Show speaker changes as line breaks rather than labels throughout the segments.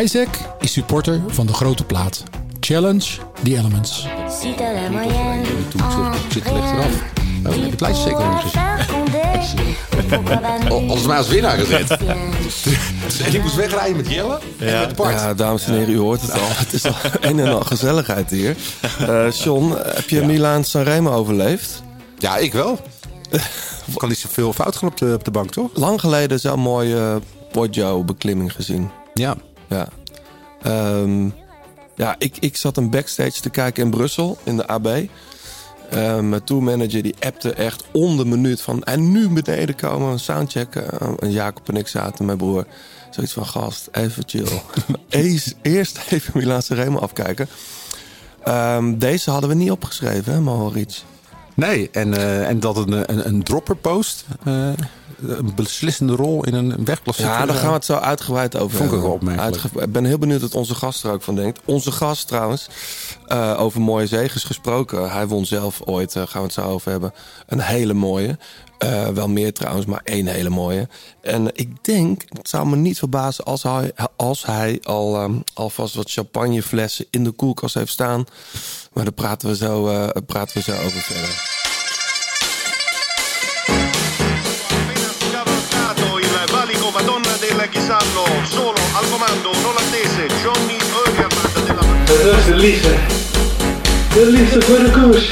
Isaac is supporter van de grote plaat. Challenge the Elements.
Si t'as la moyenne,
Toen zit- zit ligt eraf. Nou, dan heb je het lijstje zeker niet gezien. Al- Alles mij als winnaar gezet. Dus- en ik moest wegrijden met Jelle en met Bart.
Ja, Eh, dames en heren, u hoort het al. Het is al een en al gezelligheid hier. Eh John, heb je Milaan Sanremo overleefd?
Ja, ik wel. Ik kan niet zoveel fout gaan op de, op de bank, toch?
Lang geleden zo'n mooie eh, Poggio-beklimming gezien.
Ja.
Ja. Ehm, ja, ik, ik zat een backstage te kijken in Brussel, in de AB. Ehm, mijn tourmanager die appte echt om de minuut van... en nu beneden komen, soundcheck. Eh, En Jacob en ik zaten, mijn broer. Zoiets van, gast, even chill. Eens- Eerst even Milaan Sanremo afkijken. Ehm, deze hadden we niet opgeschreven, hè, Mohoric?
Nee, en, eh, en dat een, eh, een, een dropper post. eh, een beslissende rol in een wegklassieker.
Ja, daar gaan we het zo uitgebreid over
Vond ik
hebben.
ook wel opmerkelijk.
Uitge- Ik ben heel benieuwd wat onze gast er ook van denkt. Onze gast trouwens, eh, over mooie zegens gesproken. Hij won zelf ooit, eh, gaan we het zo over hebben, een hele mooie. Eh, wel meer trouwens, maar één hele mooie. En ik denk, het zou me niet verbazen als hij, als hij al, ehm, alvast wat champagneflessen in de koelkast heeft staan. Maar daar praten we zo, eh, praten we zo over verder.
scavalcato il valico Madonna della Chisallo, solo al comando un olandese Johnny Eugerman della
Dat is de liefde. De liefde voor de koers.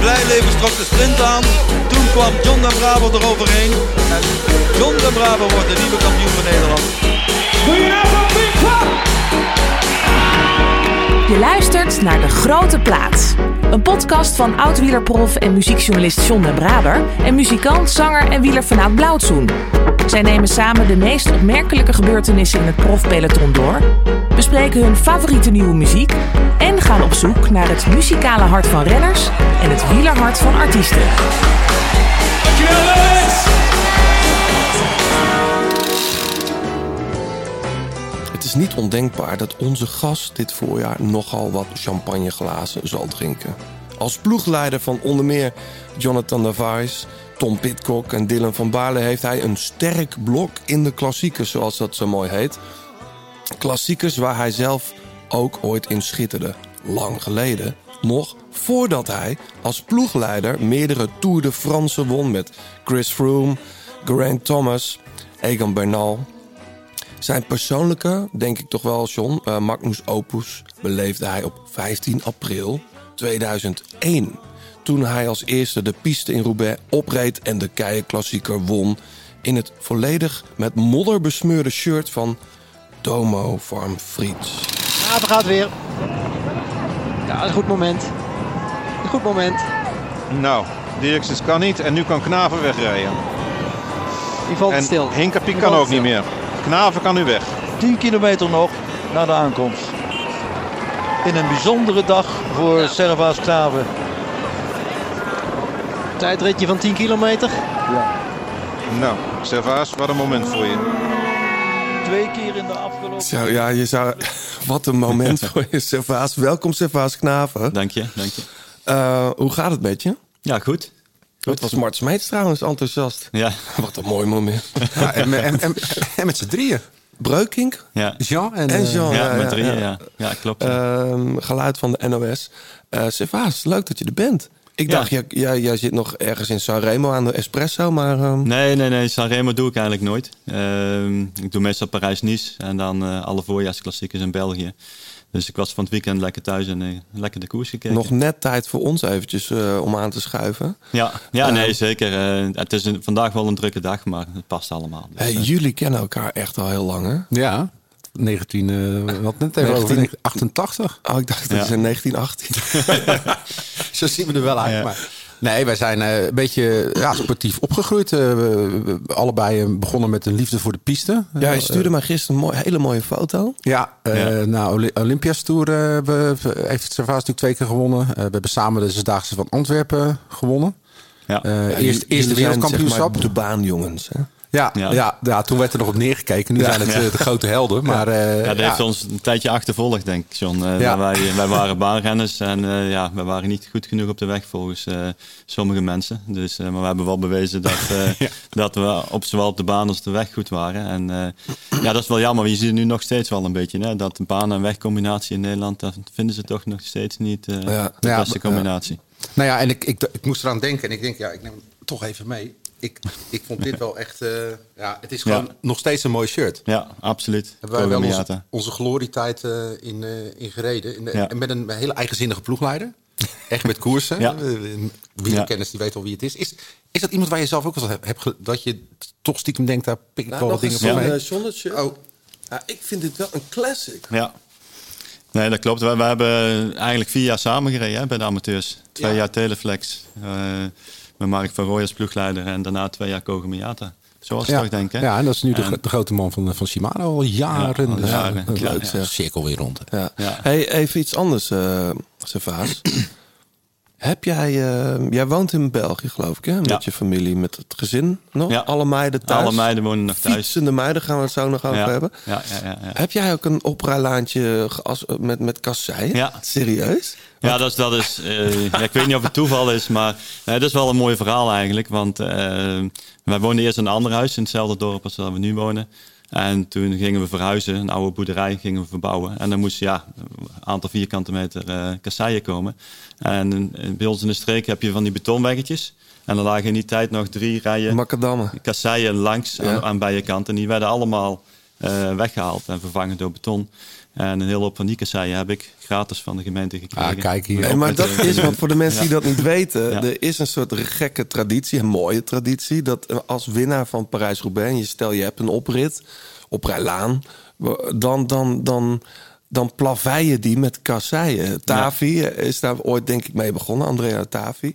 Blijleven trok de sprint aan. Toen kwam John den Bravo eroverheen. En John den Bravo wordt de nieuwe kampioen van Nederland.
Je luistert naar De Grote Plaats. Een podcast van oud-wielerprof en muziekjournalist John den Braber... en muzikant, zanger en wieler vanuit Blauwtsoen. Zij nemen samen de meest opmerkelijke gebeurtenissen in het profpeloton door... bespreken hun favoriete nieuwe muziek... en gaan op zoek naar het muzikale hart van renners... en het wielerhart van artiesten.
Het is niet ondenkbaar dat onze gast dit voorjaar nogal wat champagneglazen zal drinken. Als ploegleider van onder meer Jonathan Davies, Tom Pitcock en Dylan van Baarle heeft hij een sterk blok in de klassiekers, zoals dat zo mooi heet. Klassiekers waar hij zelf ook ooit in schitterde. Lang geleden, nog voordat hij als ploegleider meerdere Tour de France won met Chris Froome, Geraint Thomas, Egan Bernal, zijn persoonlijke, denk ik toch wel, John, eh, Magnus Opus beleefde hij op 15 april 2001. Toen hij als eerste de piste in Roubaix opreed en de Keienklassieker won. In het volledig met modder besmeurde shirt van Domo Farm Friet.
Apen gaat weer. Ja, een goed moment. Een goed moment.
Nou, Dirksens kan niet en nu kan Knaven wegrijden.
Die valt
En
stil.
Hinkapie
Die
kan
valt
ook niet
stil.
meer. Knaven kan nu weg.
10 kilometer nog naar de aankomst. In een bijzondere dag voor Servaas Knaven.
Tijdritje van 10 kilometer.
Nou, Servaas, wat een moment voor je.
Twee keer in de afgelopen...
Zo, ja, je zou... Wat een moment voor je, Servaas. Welkom, Servaas Knaven.
Dank je, dank je.
Nou, Eh, hoe gaat het met je?
Ja, goed.
Dat was Mart Smeets trouwens enthousiast.
Ja,
Wat een mooi moment.
Ja, en, en, en, en met z'n drieën.
Breukink
ja.
Jean en,
en
eh,
Jean.
Oh, ja,
eh,
met drieën,
eh,
ja. Ja, klopt.
Ehm, geluid van de NOS. Eh Servaas, leuk dat je er bent. Ik
Ja.
dacht, jij, jij, jij zit nog ergens in Sanremo aan de Espresso, maar... ehm,
Nee, nee, nee. Sanremo doe ik eigenlijk nooit. Ehm, ik doe meestal Parijs-Nice en dan eh, alle voorjaarsklassiekers in België. Dus ik was van het weekend lekker thuis en eh, lekker de koers gekeken.
Nog net tijd voor ons eventjes eh, om aan te schuiven.
Ja, ja nee,
Ehm.
zeker. Eh, het is een- vandaag wel een drukke dag, maar het past allemaal. Dus,
Hey,
eh,
jullie kennen elkaar echt al heel lang, hè?
Ja, 19... eh wat net even over
19
88.
Oh, ik dacht, dat
Ja.
is in 1918.
Zo zien we er wel uit. Maar. Nee, wij zijn eh, een beetje ja, sportief opgegroeid. Eh, we, we- we allebei eh, begonnen met een liefde voor de piste. Eh,
ja, je stuurde mij gisteren een mooi- hele mooie foto.
ja, eh,
Ja.
nou, Oli- Olympias Tour eh, we- we- heeft Servaas natuurlijk twee keer gewonnen. Eh, we hebben samen de Zesdaagse van Antwerpen gewonnen.
ja.
Eh,
Ja,
eerst
jullie
eerst de
zijn, zeg maar,
wereldkampioenschap.
de baanjongens, hè?
Ja, ja.
Ja.
ja, toen werd er nog op neergekeken. Nu zijn het
Ja.
eh, de grote helden. Maar, eh,
Ja, dat
ja.
heeft ons een tijdje achtervolgd, denk ik, John. Eh,
Ja.
wij, wij waren baanrenners en eh, ja, wij waren niet goed genoeg op de weg volgens eh, sommige mensen. Dus, eh, maar we hebben wel bewezen dat, eh, dat we op zowel op de baan als de weg goed waren. En eh, ja, dat is wel jammer. Je ziet het nu nog steeds wel een beetje. Hè? Dat de baan- en wegcombinatie in Nederland, dat vinden ze toch nog steeds niet eh,
Ja.
de
Ja,
beste
maar-
combinatie.
Nou ja, en ik, ik, ik moest eraan denken. En ik denk, ja, ik neem hem toch even mee. Ik, ik vond dit wel echt... eh, ja, het is gewoon
Ja.
nog steeds een mooi shirt.
Ja, absoluut.
Hebben wij wel
Kobe
onze, onze glorietijd eh, in, eh, in gereden. In de-
Ja.
En met een hele eigenzinnige ploegleider. Echt met koersen. Eh,
Ja.
Wie kennis die weet al wie het is. is. Is dat iemand waar je zelf ook wel hebt, hebt ge- dat je toch stiekem denkt, daar pik ik wel wat
nog
dingen
eens
van
zo'n
mee?
eh, zonnetje.
Oh.
Ja, ik vind dit wel een classic.
Ja. Nee, dat klopt. We, we hebben eigenlijk vier jaar samen gereden hè, bij de amateurs. Twee
Ja.
jaar Teleflex eh, met Mark van Rooij als ploegleider en daarna twee jaar Kogen Miata. Zoals ik toch denk, hè?
ja, en dat is nu de,
En-
gro- de grote man van, van Shimano al jaren.
Ja, al
Dus, eh,
jaren.
een
Ja,
leuk
ja.
cirkel weer rond.
Ja.
Ja.
Hey, even iets anders, eh Servaas. Heb jij, eh, jij woont in België, geloof ik, hè? Met
Ja.
je familie, met het gezin nog?
Ja.
Alle meiden thuis?
Alle meiden wonen nog thuis.
Fietsende meiden gaan we het zo nog over
ja.
hebben.
Ja, ja, ja, ja.
Heb jij ook een oprijlaantje geas- met, met kasseien?
Ja.
Serieus?
Ja, dat is. Dat is eh, ja, ik weet niet of het toeval is, maar eh, dat is wel een mooi verhaal eigenlijk. Want eh, wij woonden eerst in een ander huis in hetzelfde dorp als waar we nu wonen. En toen gingen we verhuizen, een oude boerderij gingen we verbouwen. En dan moest ja, een aantal vierkante meter eh kasseien komen. En in- bij ons in de streek heb je van die betonweggetjes. En er lagen in die tijd nog drie rijen
Macadammen.
kasseien langs
Ja.
aan, aan beide kanten. Die werden allemaal eh, weggehaald en vervangen door beton. En een hele hoop van die kasseien heb ik gratis van de gemeente gekregen.
Ah, kijk hier.
Met-
Nee, maar
met-
dat is wat voor de mensen die dat niet weten.
Ja.
Er is een soort gekke traditie, een mooie traditie. Dat eh, als winnaar van Parijs-Roubaix, en je stel je hebt een oprit op Rijlaan, dan, dan, dan, dan plavei je die met kasseien. Tavi is daar ooit denk ik mee begonnen, Andrea Tavi.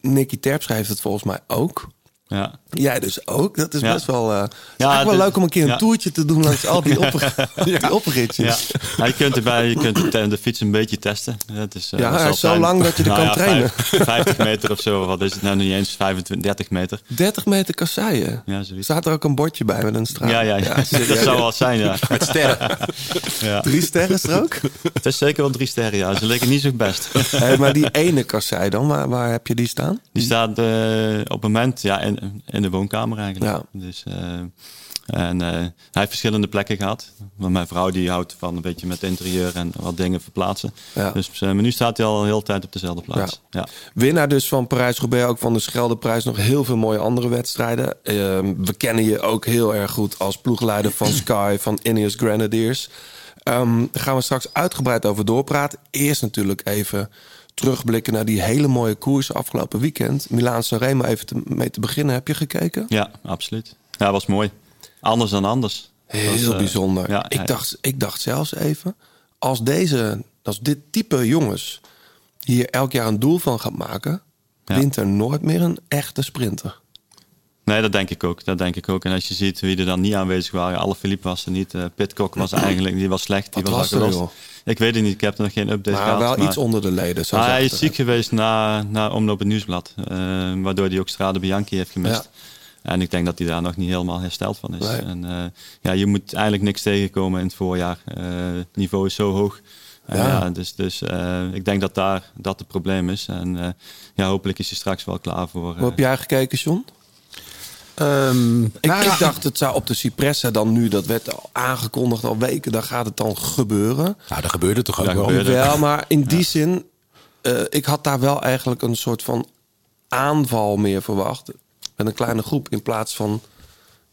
Nicky Terp schrijft het volgens mij ook.
Ja.
Jij dus ook. Dat is
Ja.
best wel, eh, het is
Ja,
eigenlijk wel
het is-
leuk om een keer een
ja.
toertje te doen langs al die, opper, die
Ja.
opritjes.
Ja, je kunt, erbij, je kunt de, de fiets een beetje testen. Het is, eh,
Ja,
dat zal
zo
zijn- Nou
lang dat je er kan trainen.
vijf- 50 meter of zo, wat is het nou niet eens? 25, 30 meter.
30 meter kasseien.
Ja, zoiets.
Staat er ook een bordje bij met een straat?
Ja, ja, ja. dat
serieus.
zou wel zijn, ja.
Met sterren.
ja.
Drie sterrenstrook?
Het is zeker wel drie sterren, ja. Ze leken niet zo best.
Hé, Eh, maar die ene kassei dan, waar, waar heb je die staan?
Die staat eh, op het moment ja, in, in de woonkamer eigenlijk. Dus, eh, en eh, hij heeft verschillende plekken gehad. Want mijn vrouw die houdt van een beetje met interieur en wat dingen verplaatsen.
Ja.
Dus eh, maar nu staat hij al een hele tijd op dezelfde plaats. Ja.
Winnaar dus van Parijs-Roubaix, ook van de Scheldeprijs. Nog heel veel mooie andere wedstrijden. Ehm, we kennen je ook heel erg goed als ploegleider van Sky, van Ineos Grenadiers. Ehm, daar gaan we straks uitgebreid over doorpraten. Eerst natuurlijk even terugblikken naar die hele mooie koers afgelopen weekend. Milaan-San Remo even te- mee te beginnen. Heb je gekeken?
Ja, absoluut. Ja, was mooi. Anders dan anders. Dat
Heel
was, eh,
bijzonder.
ja, ja.
ik, dacht, ik dacht zelfs even, als, deze, als dit type jongens hier elk jaar een doel van gaat maken,
Ja.
wint er nooit meer een echte sprinter.
Nee, dat denk ik ook. Dat denk ik ook. En als je ziet wie er dan niet aanwezig waren, alle Philippe was er niet. eh Pitcock was eigenlijk, die was slecht. Die
Wat was
al
er,
gelost. Ik weet het niet. Ik heb er nog geen update
maar
gehad.
wel iets onder de leden. Zo
Maar
zegt
Ah, hij
het.
is ziek geweest na, na Omloop het Nieuwsblad. eh, waardoor hij ook Strade Bianchi heeft gemist. En ik denk dat hij daar nog niet helemaal hersteld van is.
Nee.
En, eh, ja, je moet eigenlijk niks tegenkomen in het voorjaar. Eh, het niveau is zo hoog. En
Ja.
ja. dus dus eh, ik denk dat daar dat het probleem is. En eh, ja, hopelijk is hij straks wel klaar voor... eh,
Hoe heb jij gekeken, John? Ik, ik dacht, het zou op de Cipressa dan nu, dat werd al aangekondigd al weken, dan gaat het dan gebeuren.
Nou, dat gebeurde toch ook
Dat
wel.
gebeurde. Verder.
Wel, maar in die zin, eh, ik had daar wel eigenlijk een soort van aanval meer verwacht. Met een kleine groep in plaats van.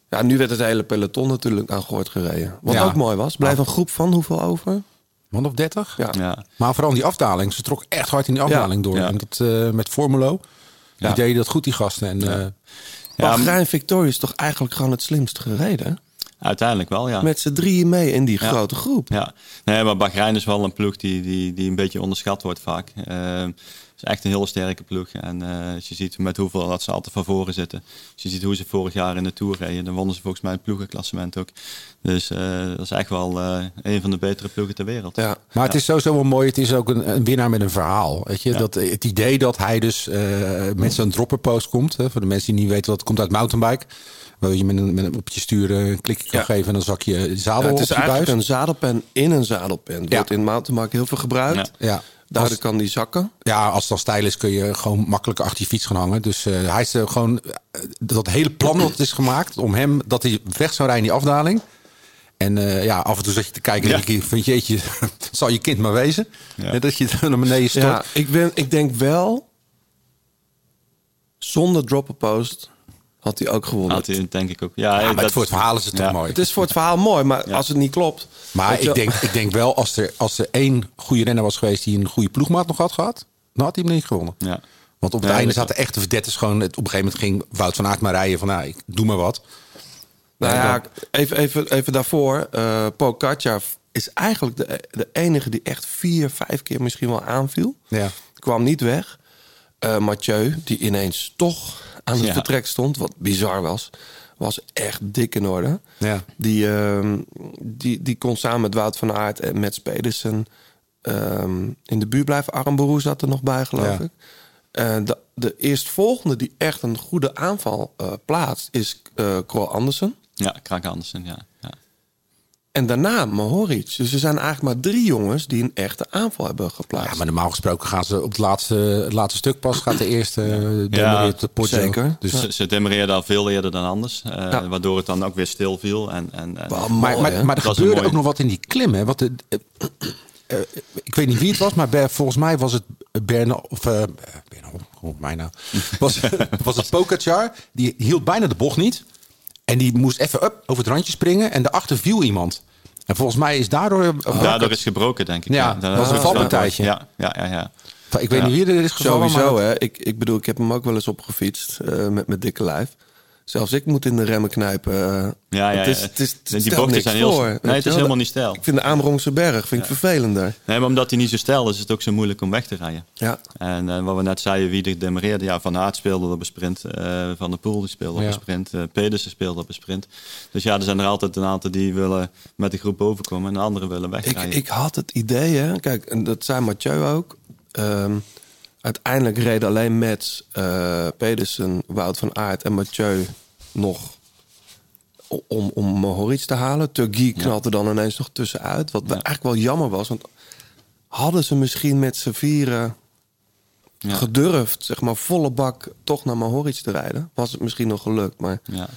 Ja, nu werd het hele peloton natuurlijk aan Goort gereden. Wat
Ja.
ook mooi was. Blijf een groep van hoeveel over?
Man of 30?
Ja.
ja.
Maar vooral in die afdaling. Ze trok echt hard in die afdaling door.
ja.
En dat, eh, met Formulo. Die
Ja.
deden dat goed, die gasten. En, eh,
Ja,
Bahrein Victoria is toch eigenlijk gewoon het slimst gereden?
Uiteindelijk wel, ja.
Met z'n drieën mee in die grote groep.
Ja, nee, maar Bahrein is wel een ploeg die, die, die een beetje onderschat wordt vaak. Ehm, is echt een hele sterke ploeg. En eh, als je ziet met hoeveel dat ze altijd van voren zitten. Als je ziet hoe ze vorig jaar in de Tour reden, dan wonnen ze volgens mij het ploegenklassement ook. Dus eh, dat is echt wel eh, een van de betere ploegen ter wereld.
Ja.
Maar het is sowieso wel mooi. Het is ook een, een winnaar met een verhaal. Weet je? Dat, het idee dat hij dus eh, met zo'n dropperpost komt. Hè, voor de mensen die niet weten wat het komt uit mountainbike. Waar je met een, met een op je stuur eh, een klikje kan
Ja.
geven en dan zak je zadel
Ja, het is
op je buis.
eigenlijk een zadelpen in een zadelpen. Dat
Ja.
wordt in mountainbike heel veel gebruikt.
Ja.
Ja.
Daardoor
Als-
kan die zakken.
Ja, als het dan stijl is kun je gewoon makkelijk achter je fiets gaan hangen. Dus eh, hij is er gewoon... eh, dat hele plan dat is gemaakt om hem... dat hij weg zou rijden in die afdaling. En eh, ja, af en toe zat je te kijken en
Ja.
denk je van... jeetje, zal je kind maar wezen.
Ja.
Net Dat je dan naar beneden stort.
Ja, ik, ben, ik denk wel... Zonder drop post had hij ook gewonnen.
Had hij, denk ik ook. Ja,
Ah, maar
dat-
voor het verhaal is het toch
Ja.
mooi.
Het is voor het verhaal mooi, maar als het niet klopt... weet
Maar
je-
ik denk, ik denk wel, als er, als er één goede renner was geweest... die een goede ploegmaat nog had gehad... dan had hij hem niet gewonnen.
Ja.
Want op het
Ja,
einde
dat-
zaten echte verdetters gewoon... Het, op een gegeven moment ging Wout van Aert maar rijden van... nou, ik doe maar wat.
Nou
Nee,
ja, even, even, even daarvoor. eh Pogacar is eigenlijk de, de enige die echt vier, vijf keer misschien wel aanviel.
Ja.
Kwam niet weg. Eh Mathieu, die ineens toch aan het
Ja.
vertrek stond, wat bizar was, was echt dik in orde.
Ja.
Die, ehm, die, die kon samen met Wout van Aert en met Pedersen ehm, in de buurt blijven. Armboeroe zat er nog bij, geloof
Ja.
ik. Eh, de, de eerstvolgende die echt een goede aanval eh, plaatst, is eh Kroll Andersen.
Ja, Krak Andersen, ja. ja.
En daarna Mohoric. Dus er zijn eigenlijk maar drie jongens die een echte aanval hebben geplaatst.
Ja, maar normaal gesproken gaan ze op het laatste, het laatste stuk pas. Gaat de eerste eh,
Ja,
demoreert de potje.
zeker.
Dus,
Ze, ze demereerden al veel eerder dan anders. eh, Waardoor het dan ook weer stil viel. En, en, en-
Wel
maar,
mooi, hè?
maar, maar er
Dat is een
gebeurde
mooie.
ook nog wat in die klim. Hè? Wat de, eh, eh, ik weet niet wie het was, maar Ber- volgens mij was het Bernal... Of, eh Bernal, hoe mij nou? Was, was het Pogacar. Die hield bijna de bocht niet. En die moest even up, over het randje springen. En daarachter viel iemand. En volgens mij is daardoor... eh,
Daardoor is gebroken, denk ik.
Ja, dat was een valpartijtje.
Ja, ja, ja. ja.
ik weet niet wie er is gevallen. maar
Sowieso,
dat-
hè. Ik, ik bedoel, ik heb hem ook wel eens opgefietst eh met mijn dikke lijf. Zelfs ik moet in de remmen knijpen. eh.
Ja, ja,
het is,
ja.
het is, het
Die
stelt
bochten
niks
zijn heel-
voor,
Nee,
weet
het
je
is
wel.
helemaal niet stijl.
Ik vind de Aamrongse berg vind ik vervelender.
Nee, maar omdat hij niet zo stijl is, is het ook zo moeilijk om weg te rijden.
Ja.
En eh, wat we net zeiden, wie er demereerde. Ja, Van Aert speelde op een sprint. eh, van der Poel die speelde op
Ja.
een sprint. eh, Pedersen speelde op een sprint. Dus ja, er zijn er altijd een aantal die willen met de groep bovenkomen. En de anderen willen
Ik,
wegrijden.
ik had het idee, hè. Kijk, en dat zei Mathieu ook. Ehm, uiteindelijk reden alleen met Pedersen, Wout van Aert en Mathieu nog o- om, om Mohoric te halen. Turgi knalde dan ineens nog tussenuit. Wat eigenlijk wel jammer was. Want hadden ze misschien met z'n vieren
Ja.
gedurfd, zeg maar volle bak, toch naar Mohoric te rijden? Was het misschien nog gelukt, maar...
Ja.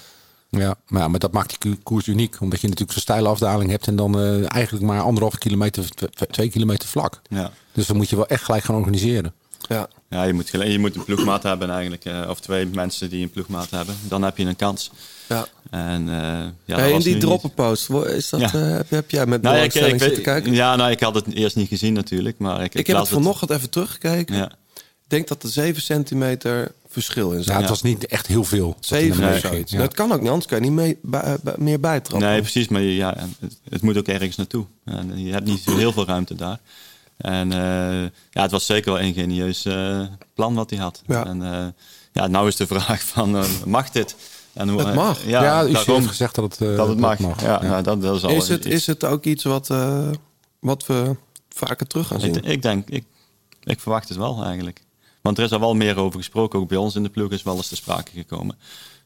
Ja, maar, ja, maar dat maakt die koers uniek. Omdat je natuurlijk zo'n steile afdaling hebt en dan eh, eigenlijk maar anderhalve kilometer, tw- tw- twee kilometer vlak.
Ja.
Dus dan moet je wel echt gelijk gaan organiseren.
Ja.
Ja, je moet, gele- je moet een ploegmaat hebben eigenlijk. eh, of twee mensen die een ploegmaat hebben. Dan heb je een kans.
Ja.
En, eh ja, dat
Hey, in
was nu
die
niet.
droppenpost, wo- is dat,
Ja.
eh, heb, heb jij met
Nou, ja, ik,
belangstelling
ik,
zitten
weet-
kijken?
ja, nou, ik had het eerst niet gezien natuurlijk. Maar ik,
Ik heb het
las
vanochtend even teruggekeken.
Ja.
Ik denk dat er 7 centimeter verschil in
Ja,
zit.
het was niet echt heel veel. wat in de
7 of
meid
zoiets.
ging.
Dat kan ook niet, anders kan je niet mee, bij- bij- meer bijtrappen.
Nee, precies. Maar ja, het, het moet ook ergens naartoe. En je hebt niet zo heel veel ruimte daar. En eh, ja, het was zeker wel een ingenieus eh, plan wat hij had.
Ja.
En eh, ja, nou is de vraag van, eh, mag dit? En, hoe- eh,
Het mag.
Ja,
Ja,
u
daarom
heeft gezegd dat het, eh,
dat het mag. Ja,
Ja.
nou, dat, dat is al
is, het,
iets.
is het ook iets wat, eh, wat we vaker terug gaan zien?
Ik, ik denk, ik, ik verwacht het wel eigenlijk. Want er is al wel meer over gesproken. Ook bij ons in de ploeg is wel eens te sprake gekomen.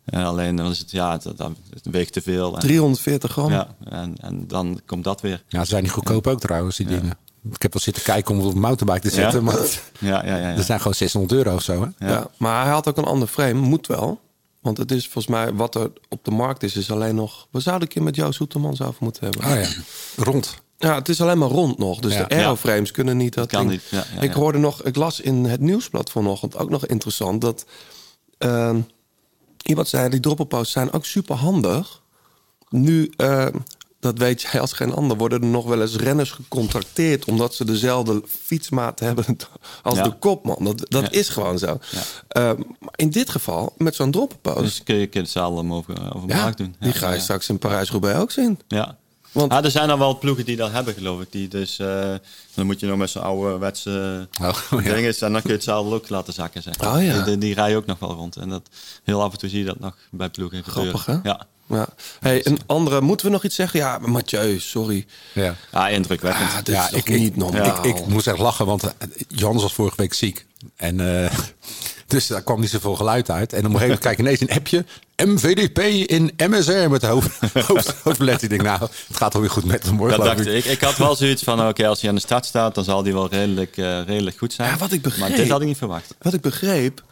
Eh, alleen dan is het, ja, het, dat- het weegt te veel. En,
340 gram?
ja, en, en dan komt dat weer.
Ja, ze zijn niet goedkoop ook trouwens, die dingen. Ik heb wel zitten kijken om het op een mountainbike te
Ja?
zetten, maar het-
Ja, ja, ja. ja.
dat zijn gewoon 600 euro of zo. Hè?
Ja. Maar hij had ook een ander frame, moet wel. Want het is volgens mij, wat er op de markt is, is alleen nog... We zouden een keer met Joost Soetermans over moeten hebben.
Ah ja, rond.
Ja, het is alleen maar rond nog. Dus
Ja.
de aeroframes kunnen niet. Dat
Kan
ding.
niet, ja, ja,
ik
ja.
hoorde nog, ik las in het nieuwsblad vanochtend ook nog interessant dat ehm, iemand zei: die droppelposts zijn ook super handig. Nu, ehm, dat weet jij als geen ander, worden er nog wel eens renners gecontracteerd omdat ze dezelfde fietsmaat hebben als
Ja.
de kopman. Dat, dat
Ja.
is gewoon zo. Ehm, maar in dit geval, met zo'n droppelpost,
Dus kun je kun je hetzelfde om over, over
ja,
markt doen.
die ga je
ja.
straks in Parijs-Roubaix ook zien.
Ja.
Want
Ah, er zijn al wel ploegen die dat hebben, geloof ik. Die dus, eh, dan moet je nog met zo'n ouderwetse
Oh, ja.
dinges... en dan kun je het zadel ook laten zakken, zeg maar.
Oh, ja.
die, die, die rijden ook nog wel rond. En dat, heel af en toe zie je dat nog bij ploegen gebeuren.
Grappig, hè?
Ja.
ja. hey, een andere, moeten we nog iets zeggen? Ja, Mathieu, sorry.
Ja.
Ja, indrukwekkend.
Ah, dit is toch niet normaal.
Ik, ik moest echt lachen, want eh, Jans was vorige week ziek. En, eh, dus daar kwam niet zoveel geluid uit. En op een gegeven moment kijk ik ineens een appje. MVDP in MSR met de hoofd, hoofd, hoofdletter. Ik denk, nou, het gaat alweer goed met hem hoor.
Dat
geloof
dacht ik. Ik had wel zoiets van, oké, als hij aan de start staat... dan zal die wel redelijk, eh, redelijk goed zijn.
Ja, wat ik
Maar
begreep-
dit had ik niet verwacht.
Wat ik begreep,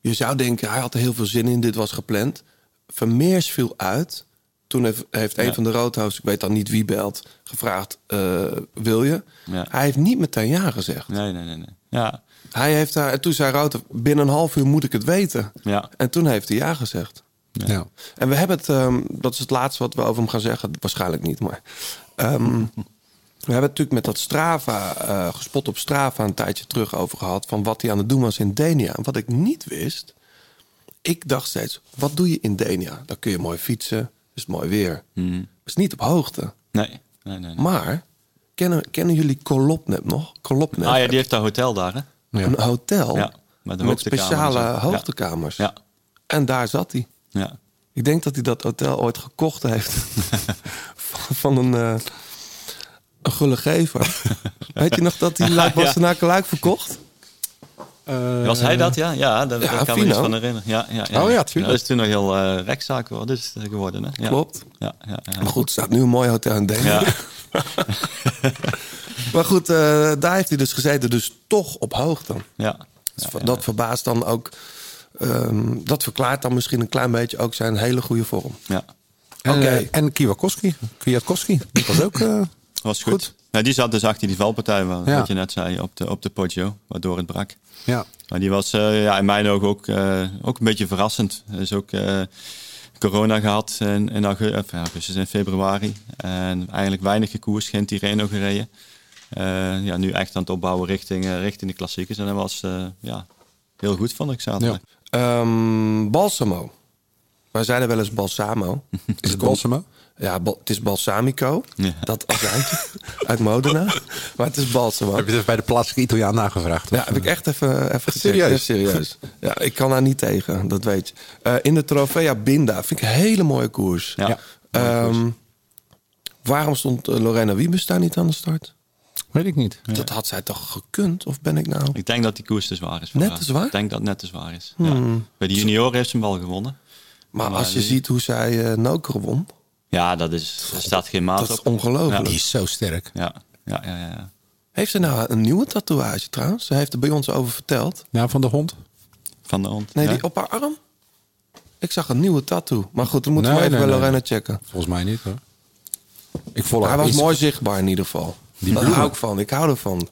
je zou denken, hij had er heel veel zin in, dit was gepland. Vermeers viel uit. Toen heeft, heeft een van de roodhoofds, ik weet dan niet wie belt, gevraagd, eh, wil je?
Ja.
Hij heeft niet meteen ja gezegd.
Nee, nee, nee. nee. Ja,
Hij heeft daar, en toen zei Router, binnen een half uur moet ik het weten.
ja.
En toen heeft hij ja gezegd.
ik. Ja.
En we hebben het, ehm, dat is het laatste wat we over hem gaan zeggen. Waarschijnlijk niet, maar. ehm, we hebben het natuurlijk met dat Strava, eh, gespot op Strava, een tijdje terug over gehad. van wat hij aan het doen was in Denia. En wat ik niet wist. Ik dacht steeds: wat doe je in Denia? Dan kun je mooi fietsen, is het mooi weer.
Hmm.
Is niet op hoogte.
Nee, nee, nee. nee.
Maar kennen, kennen jullie Kolopnet nog? Kolopnet,
Ah ja, die heeft dat hotel daar, hè?
een hotel
Ja, met
met,
een hoogtekamer
speciale
en zo. Ja.
hoogtekamers.
Ja,
En daar zat hij.
ja.
Ik denk dat hij dat hotel ooit gekocht heeft van, van een, eh een gulle gever. Weet je nog dat hij Luik
Ja.
Bastenaken Luik verkocht?
Was hij dat? Ja, ja dat,
ja,
dat kan ik me iets
Fino.
van herinneren. Ja, ja,
Oh ja, tuurlijk.
Dat is toen nog heel eh rechtszaak geworden, dus, eh, geworden. Hè? Ja.
Klopt.
Ja, ja, ja.
Maar goed, er staat nu een mooi hotel in Denemarken.
Ja.
Maar goed, eh, daar heeft hij dus gezeten, dus toch op hoogte.
Ja.
Dus Dat verbaast dan ook... ehm, dat verklaart dan misschien een klein beetje ook zijn hele goede vorm.
ja.
En,
Oké.
eh, en Kwiatkowski. Kwiatkowski. Dat was ook... eh,
Was goed. Ja, die zat dus achter die valpartij, waar,
Ja.
wat je net zei, op de, op de Poggio, waardoor het brak.
ja.
Maar die was eh, ja, in mijn ogen ook, eh, ook een beetje verrassend. Er is ook eh, corona gehad in, in augu- of, ja, augustus en februari. En eigenlijk weinig gekoers, geen Tirreno gereden. Eh, ja, nu echt aan het opbouwen richting, eh, richting de klassiekers. En dat was eh, ja, heel goed, vond ik zaterdag.
Ja.
eh,
Ehm balsamo. Wij zeiden wel eens balsamo.
Is het Balsamo?
Ja, bal- het is balsamico.
Ja.
Dat azijntje uit Modena. Maar het is balsamo.
Heb je het bij de plaatselijke Italiaan nagevraagd?
Ja, heb ik echt even, even gecheckt.
Serieus?
Ja, serieus. Ja, ik kan daar niet tegen, dat weet je. Eh, in de Trofea Binda vind ik een hele mooie koers.
Ja.
Ehm, waarom stond eh, Lorena Wiebes daar niet aan de start?
Weet ik niet.
Dat had zij toch gekund? Of ben ik nou...
Ik denk dat die koers te zwaar is. voor
Net
haar.
te zwaar? Hmm.
Ik denk dat het net te zwaar is. Ja. Bij de junioren heeft ze hem wel gewonnen.
Maar
Maar
als je
die-
ziet hoe zij eh Noker won...
Ja, dat is, er staat geen maat
Dat is
op.
ongelooflijk.
Die is zo sterk.
Ja, ja, ja. ja, ja.
Heeft ze nou een nieuwe tatoeage trouwens? Ze heeft er bij ons over verteld.
Ja, van de hond?
Van de hond.
Nee,
ja.
die op haar arm? Ik zag een nieuwe tattoo. Maar goed, dan moeten we
Nee,
even
nee,
bij
nee.
Lorena checken.
Volgens mij niet hoor. Ik volg
Hij was
Insta-
mooi zichtbaar in ieder geval.
Die
Daar
bloemen.
hou ik van. Ik hou ervan.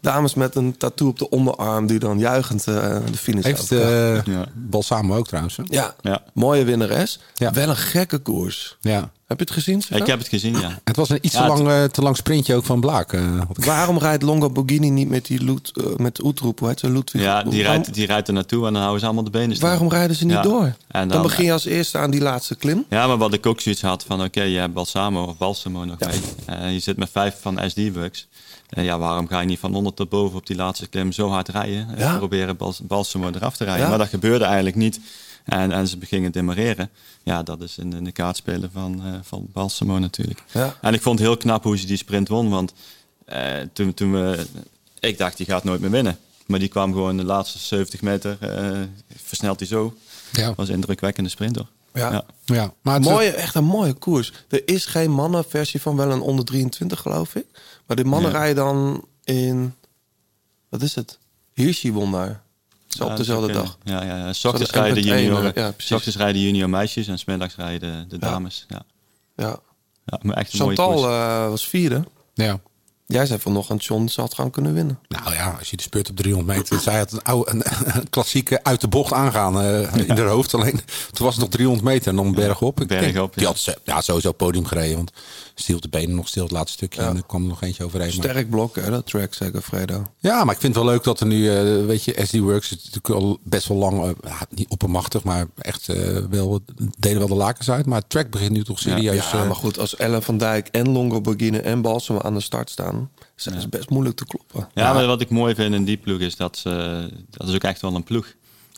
Dames met een tattoo op de onderarm die dan juichend eh, de finish
Heeft
overkomen.
eh
Ja.
Balsamo ook trouwens. hè?
ja.
Ja.
mooie winnares.
Ja.
Wel een gekke koers.
Ja.
Heb je het gezien? Sven?
Ik heb het gezien, ja.
Het was een iets
Ja,
te,
het-
lang, eh, te lang sprintje ook van Blaak. eh, had ik-
Waarom rijdt Longo Borghini niet met die Loet, eh, met Oetroep? Hoe heet ze? Ludwig?
Ja, die
Waarom-
rijdt, die rijdt er naartoe en dan houden ze allemaal de benen staan.
Waarom rijden ze niet
Ja.
door?
En
dan
dan-
begin je als eerste aan die laatste klim.
Ja, maar wat ik ook zoiets had van, oké, je hebt Balsamo of Balsamo nog mee. Eh, je zit met vijf van SD-Bucks. En Eh, ja, waarom ga je niet van onder tot boven op die laatste klim zo hard rijden? En
Ja.
proberen Bals Balsamo eraf te rijden.
Ja.
Maar dat gebeurde eigenlijk niet. En, en ze begingen demareren. Ja, dat is in, de- in de kaart spelen van, eh, van Balsamo natuurlijk.
Ja.
En ik vond het heel knap hoe ze die sprint won. Want eh, toen, toen we, ik dacht, die gaat nooit meer winnen. Maar die kwam gewoon de laatste 70 meter, eh, versnelt hij zo.
Ja.
was een indrukwekkende sprint hoor.
Ja.
ja. Maar het
Mooie, echt een mooie koers. Er is geen mannenversie van wel een onder 23, geloof ik. Maar de mannen
Ja.
rijden dan in... Wat is het? Hirschi won daar. Zo op
Ja,
dezelfde
dat zou
dag.
kunnen. Ja, ja, ja. S ochtends
Zou dat
rijden
M met
junior,
één, eh, ja, precies.
s ochtends rijden junior meisjes en 's middags rijden de dames. Ja.
Ja. eh,
Ja, maar echt eh, een mooie
Chantal
koers.
eh, was vierde.
Ja.
Jij zei vanochtend, John ze had gewoon kunnen winnen.
Nou ja, als je de speurt op 300 meter. Zij had een, oude, een, een klassieke uit de bocht aangaan eh, in haar hoofd. Alleen toen was het nog 300 meter en dan berg op. Ik
bergop,
denk,
ja.
Die had ze- ja, sowieso op het podium gereden. Want stil de benen nog stil het laatste stukje. En er kwam er nog eentje overheen. maar-
Sterk blok, hè, dat track, zeker Fredo.
Ja, maar ik vind het wel leuk dat er nu, eh, weet je, SD Works is natuurlijk al best wel lang, eh, ja, niet oppermachtig, maar echt eh, wel, deden wel de lakens uit. Maar het track begint nu toch serieus.
Ja,
eh,
maar goed, als Ellen van Dijk en Longo Borghini en Balsamo aan de start staan... zijn ze best moeilijk te kloppen.
Ja, maar wat ik mooi vind in die ploeg is dat ze... Dat is ook echt wel een ploeg.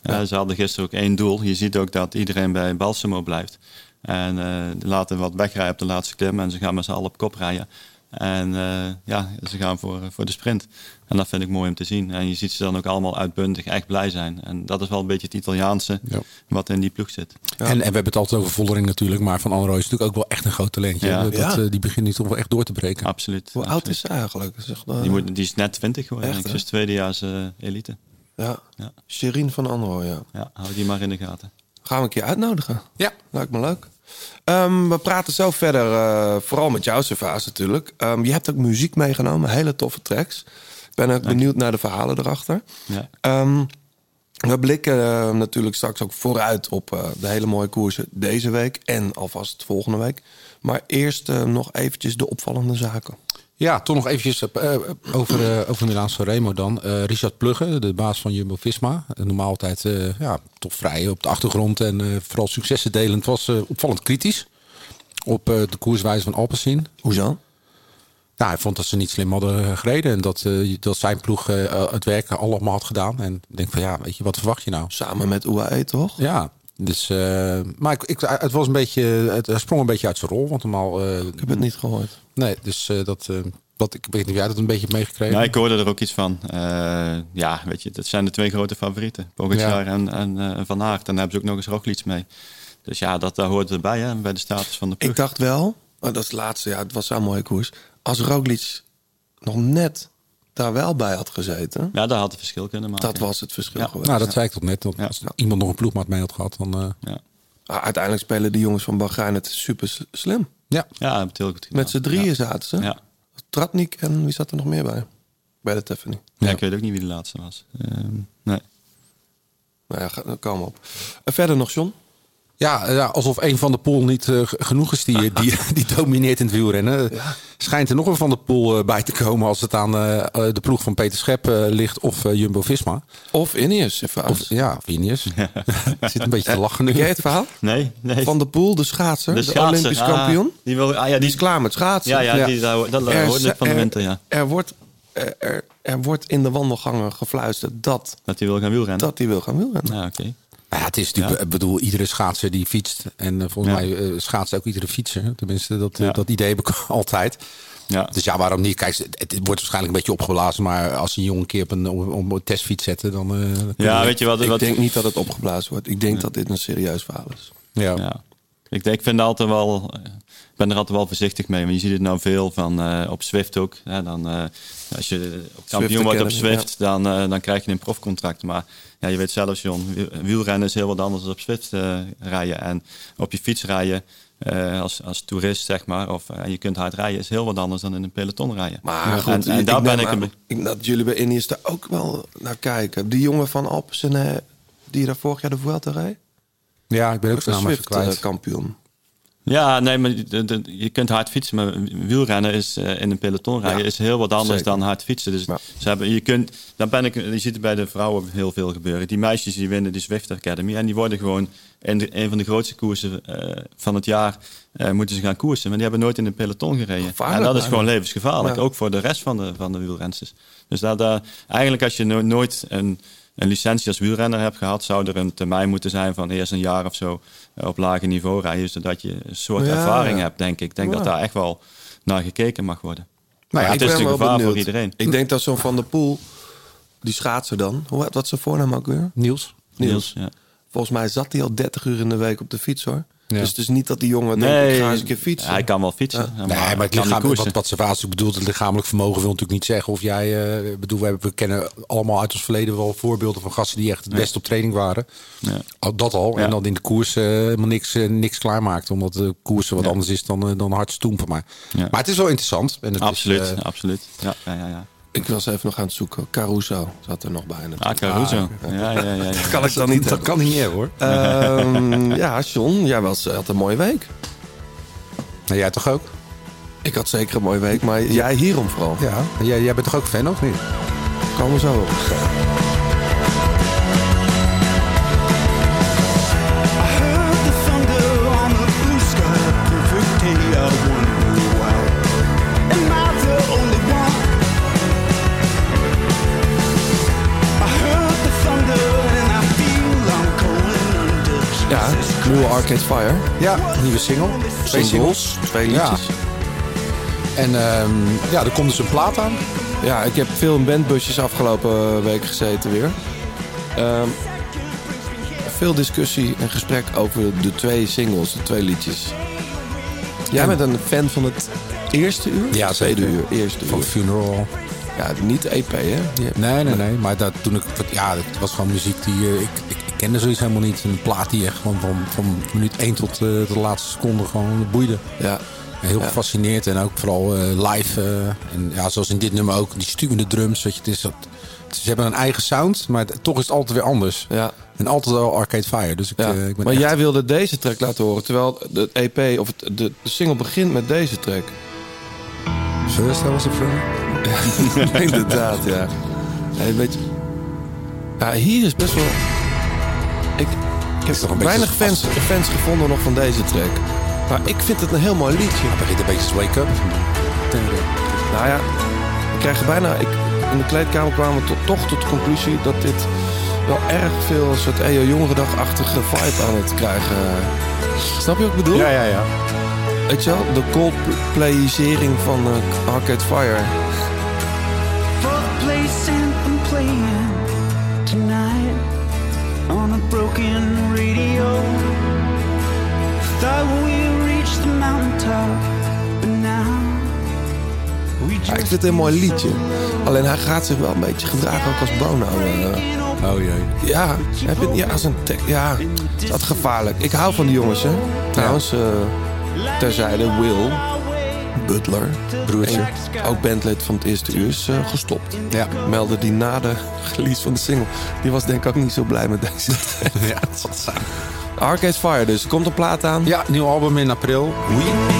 Eh, ze hadden gisteren ook één doel. Je ziet ook dat iedereen bij Balsamo blijft. En eh, laten wat wegrijden op de laatste klim. En ze gaan met z'n allen op kop rijden. En eh, ja, ze gaan voor, eh, voor de sprint. En dat vind ik mooi om te zien. En je ziet ze dan ook allemaal uitbundig echt blij zijn. En dat is wel een beetje het Italiaanse
Ja.
wat in die ploeg zit.
en, en we hebben het altijd over Vollering natuurlijk, maar Van Anrooy is natuurlijk ook wel echt een groot talentje.
Ja.
Dat,
Ja.
eh, die begint nu toch wel echt door te breken.
Absoluut.
Hoe
absoluut.
oud is ze eigenlijk? Ze Is
Die, moet, die is net 20 geworden.
Echt,
Echt, is tweedejaars eh, elite.
ja.
Ja.
Shirin van Anro, ja.
Ja, hou die maar in de gaten.
Gaan we een keer uitnodigen.
Ja.
Lijkt me leuk. Ehm, we praten zo verder, eh, vooral met jou, Servaas natuurlijk. Ehm, je hebt ook muziek meegenomen, hele toffe tracks. Ik ben ook benieuwd naar de verhalen erachter.
Ja.
Ehm, we blikken eh, natuurlijk straks ook vooruit op eh, de hele mooie koersen deze week en alvast volgende week. Maar eerst eh, nog eventjes de opvallende zaken.
Ja, toch nog eventjes eh, eh, over, eh, over Milaan Sanremo dan. Eh, Richard Plugge, de baas van Jumbo-Visma. Eh, Normaal altijd eh, ja, toch vrij op de achtergrond en eh, vooral successen delend. Was eh, opvallend kritisch op eh, de koerswijze van Alpecin.
Hoezo?
Nou, hij vond dat ze niet slim hadden gereden. En dat, eh, dat zijn ploeg eh, eh, het werk allemaal had gedaan. En ik denk van ja, weet je, wat verwacht je nou?
Samen met UAE, toch?
Ja, dus... eh, maar ik, ik, het was een beetje... Het, hij sprong een beetje uit zijn rol. Want normaal... eh,
Ik heb het niet gehoord.
nee, dus eh, dat... eh, wat, ik weet niet of jij dat een beetje hebt meegekregen.
Nou, ik hoorde er ook iets van. Eh, ja, weet je, dat zijn de twee grote favorieten. Pogacar en, en eh, Van Aert. En daar hebben ze ook nog eens Roglic mee. Dus ja, dat, daar hoort erbij, hè, bij de status van de ploeg.
Ik dacht wel, maar dat is het laatste, ja, het was zo'n mooie koers. Als Roglic nog net daar wel bij had gezeten,
Ja, daar had het verschil kunnen maken.
dat was het verschil
Ja.
geweest.
Nou, dat zei ik tot net. Dat
Ja.
Als iemand nog een ploegmaat mee had gehad, dan... eh,
Ja,
Maar Uiteindelijk spelen de jongens van Bahrein het super s- slim.
ja.
ja dat heb heel goed gedaan.
Met z'n drieën zaten ze.
Ja. Ja.
Tratnik en wie zat er nog meer bij? Bij de Tiffany.
Ja, ik weet ook niet wie de laatste was. Ehm, nee.
Nou ja, ga- dan komen we op. Eh, verder nog, John.
Ja, eh, ja, alsof een van de pool niet eh, g- genoeg is die, die, die domineert in het wielrennen. Schijnt er nog een van de pool eh, bij te komen als het aan eh, eh, de ploeg van Peter Schep eh, ligt of eh, Jumbo Visma.
Of Ineus, even
Of ja, Vinius. Zit een beetje te lachen nu.
Ken jij het verhaal?
Nee, nee.
Van de Poel, de schaatser, de,
schaatser.
Olympisch
Ah,
kampioen.
die, wil, ah, ja, die
Die is klaar met schaatsen.
Ja, ja, Die, dat, dat hoorde
ze-
ik van de winter, ja.
er wordt, er, er, er wordt in de wandelgangen gefluisterd dat,
Dat hij wil gaan wielrennen.
dat hij wil gaan wielrennen.
Ja, oké.
Nou ja, het is natuurlijk, ik bedoel, iedere schaatser die fietst. En eh, volgens
Ja.
mij eh, schaatsen ook iedere fietser. Tenminste, dat, eh,
Ja.
dat idee heb ik altijd.
Ja.
Dus ja, waarom niet? Kijk, het, het wordt waarschijnlijk een beetje opgeblazen. Maar als een jongen een keer op een, op, op een testfiets zetten, dan... eh, dan kun
Ja,
je-
weet je wat...
Ik
wat
denk niet dat het opgeblazen wordt. Ik denk dat dit een serieus verhaal is.
Ja.
Ja. Ik, denk- ik vind altijd wel, eh, ik ben er altijd wel voorzichtig mee. Want je ziet het nou veel van eh, op Zwift ook. Hè, dan, eh, als je kampioen wordt op
Academy,
Zwift, dan, eh, dan krijg je een profcontract. Maar ja, je weet zelf, John, wiel- wielrennen is heel wat anders dan op Zwift eh, rijden. En op je fiets rijden eh, als, als toerist, zeg maar, of eh, en je kunt hard rijden, is heel wat anders dan in een peloton rijden.
Maar
En-
goed,
en, daar ben ik een be-
ik dat jullie bij Ineos daar ook wel naar kijken. Die jongen van Alpecin eh, die daar vorig jaar de Vuelta reed.
Ja, ik ben ook
Ook een
zijn naam even
Swift
kwijt.
eh, kampioen.
Ja, nee, maar de- de- je kunt hard fietsen, maar wielrennen is eh, in een peloton rijden
Ja,
is heel wat anders
zeker.
dan hard fietsen. Dus
Ja.
ze hebben, je kunt, dan ben ik, je ziet het bij de vrouwen heel veel gebeuren. Die meisjes die winnen die Zwift Academy en die worden gewoon in de- een van de grootste koersen eh, van het jaar eh, moeten ze gaan koersen, maar die hebben nooit in een peloton gereden.
Gevaarlijk,
en dat is
maar.
gewoon levensgevaarlijk,
Ja.
ook voor de rest van de, van de wielrensters. Dus dat, eh, eigenlijk als je no- nooit een, een licentie als wielrenner hebt gehad, zou er een termijn moeten zijn van eerst een jaar of zo eh, op lager niveau rijden, zodat je een soort
Ja,
ervaring
ja.
hebt, denk ik. Ik denk
Ja.
dat daar echt wel naar gekeken mag worden.
Nou ja,
het
ik ben
is natuurlijk
wel
gevaar
benieuwd.
voor iedereen.
Ik denk dat zo'n Van der Poel, die schaatser dan. Hoe, wat is zijn voornaam ook weer?
Niels.
Niels, ja.
Volgens mij zat hij al 30 uur in de week op de fiets hoor. Dus het is niet dat die jongen denkt, ik ga eens een keer fietsen.
hij kan wel fietsen.
Nee, maar het
kan niet
lichaam,
koersen.
wat, wat Servaas bedoelt, het lichamelijk vermogen wil natuurlijk niet zeggen of jij. eh, ik bedoel, we, hebben, we kennen allemaal uit ons verleden wel voorbeelden van gasten die echt het best op training waren.
Ja.
Al Dat al.
Ja.
En dan in de koers eh, helemaal niks, eh, niks klaarmaakt. Omdat de koersen wat anders is dan, eh, dan hard stoempen. Maar,
Ja.
maar het is wel interessant. En het
Absoluut,
Is, eh,
absoluut. Ja, ja, ja. ja.
Ik was even nog aan het zoeken. Caruso zat er nog bij.
Ah,
natuurlijk. Ah,
Caruso. ja, ja, ja, ja.
kan ik dan niet
dat kan niet meer hoor.
Ehm, ja, John, jij was, had een mooie week.
Nou, jij toch ook?
Ik had zeker een mooie week, maar jij hierom vooral.
Ja. Jij, jij bent toch ook fan of niet?
Komen we zo op. Ja, nieuwe Arcade Fire.
Ja, nieuwe single. Twee singles.
twee liedjes. Ja.
En ehm, ja, er komt dus een plaat aan.
ik heb veel in bandbusjes afgelopen week gezeten weer. Ehm, veel discussie en gesprek over de twee singles, de twee liedjes. Jij bent een fan van het eerste uur?
Ja,
tweede
zeker.
uur. Eerste
Van
uur.
Funeral.
Ja, niet EP, hè? Ja.
Nee, nee, nee. Maar dat, toen ik, ja, het was gewoon muziek die... eh, ik, ik, ik kende zoiets helemaal niet. Een plaat die echt gewoon van, van minuut 1 tot eh, de laatste seconde gewoon boeide.
Ja.
Heel
Ja.
gefascineerd en ook vooral eh, live. eh, en ja, zoals in dit nummer ook, die stuwende drums. Weet je, het is dat, ze hebben een eigen sound, maar het- toch is het altijd weer anders.
Ja.
En altijd wel Arcade Fire. Dus ik,
Ja,
eh, ik ben
maar
echt-
jij wilde deze track laten horen, terwijl de EP of het, de, de single begint met deze track.
First I was a friend.
Inderdaad, ja. Hey, weet je- ja. Hier is best wel. Ik, ik heb
toch een
weinig
beetje
fans, fans gevonden nog van deze track. Maar ik vind het een heel mooi liedje.
Het begint een beetje als Wake Up.
Nou ja, we krijgen bijna. Ik, in de kleedkamer kwamen we tot, toch tot de conclusie dat dit wel erg veel een soort EO Jongerendagachtige vibe aan het krijgen. eh. Snap je wat ik bedoel?
ja, ja.
Weet je wel, de Coldplayisering van eh, Arcade Fire. Ja, ik vind het een mooi liedje. Alleen hij gaat zich wel een beetje gedragen ook als Bono. eh.
Oh jee.
ja, heb je, ja, als een tek- ja, is dat gevaarlijk. Ik hou van die jongens, hè. Trouwens, eh, terzijde, Will Butler, broertje, ook bandlid van het eerste uur, is eh, gestopt.
Ja.
Meldde die na de release van de single. Die was denk ik ook niet zo blij met deze.
ja, dat zal het zijn.
Arcade Fire dus, komt een plaat aan.
Ja, nieuw album in april. We.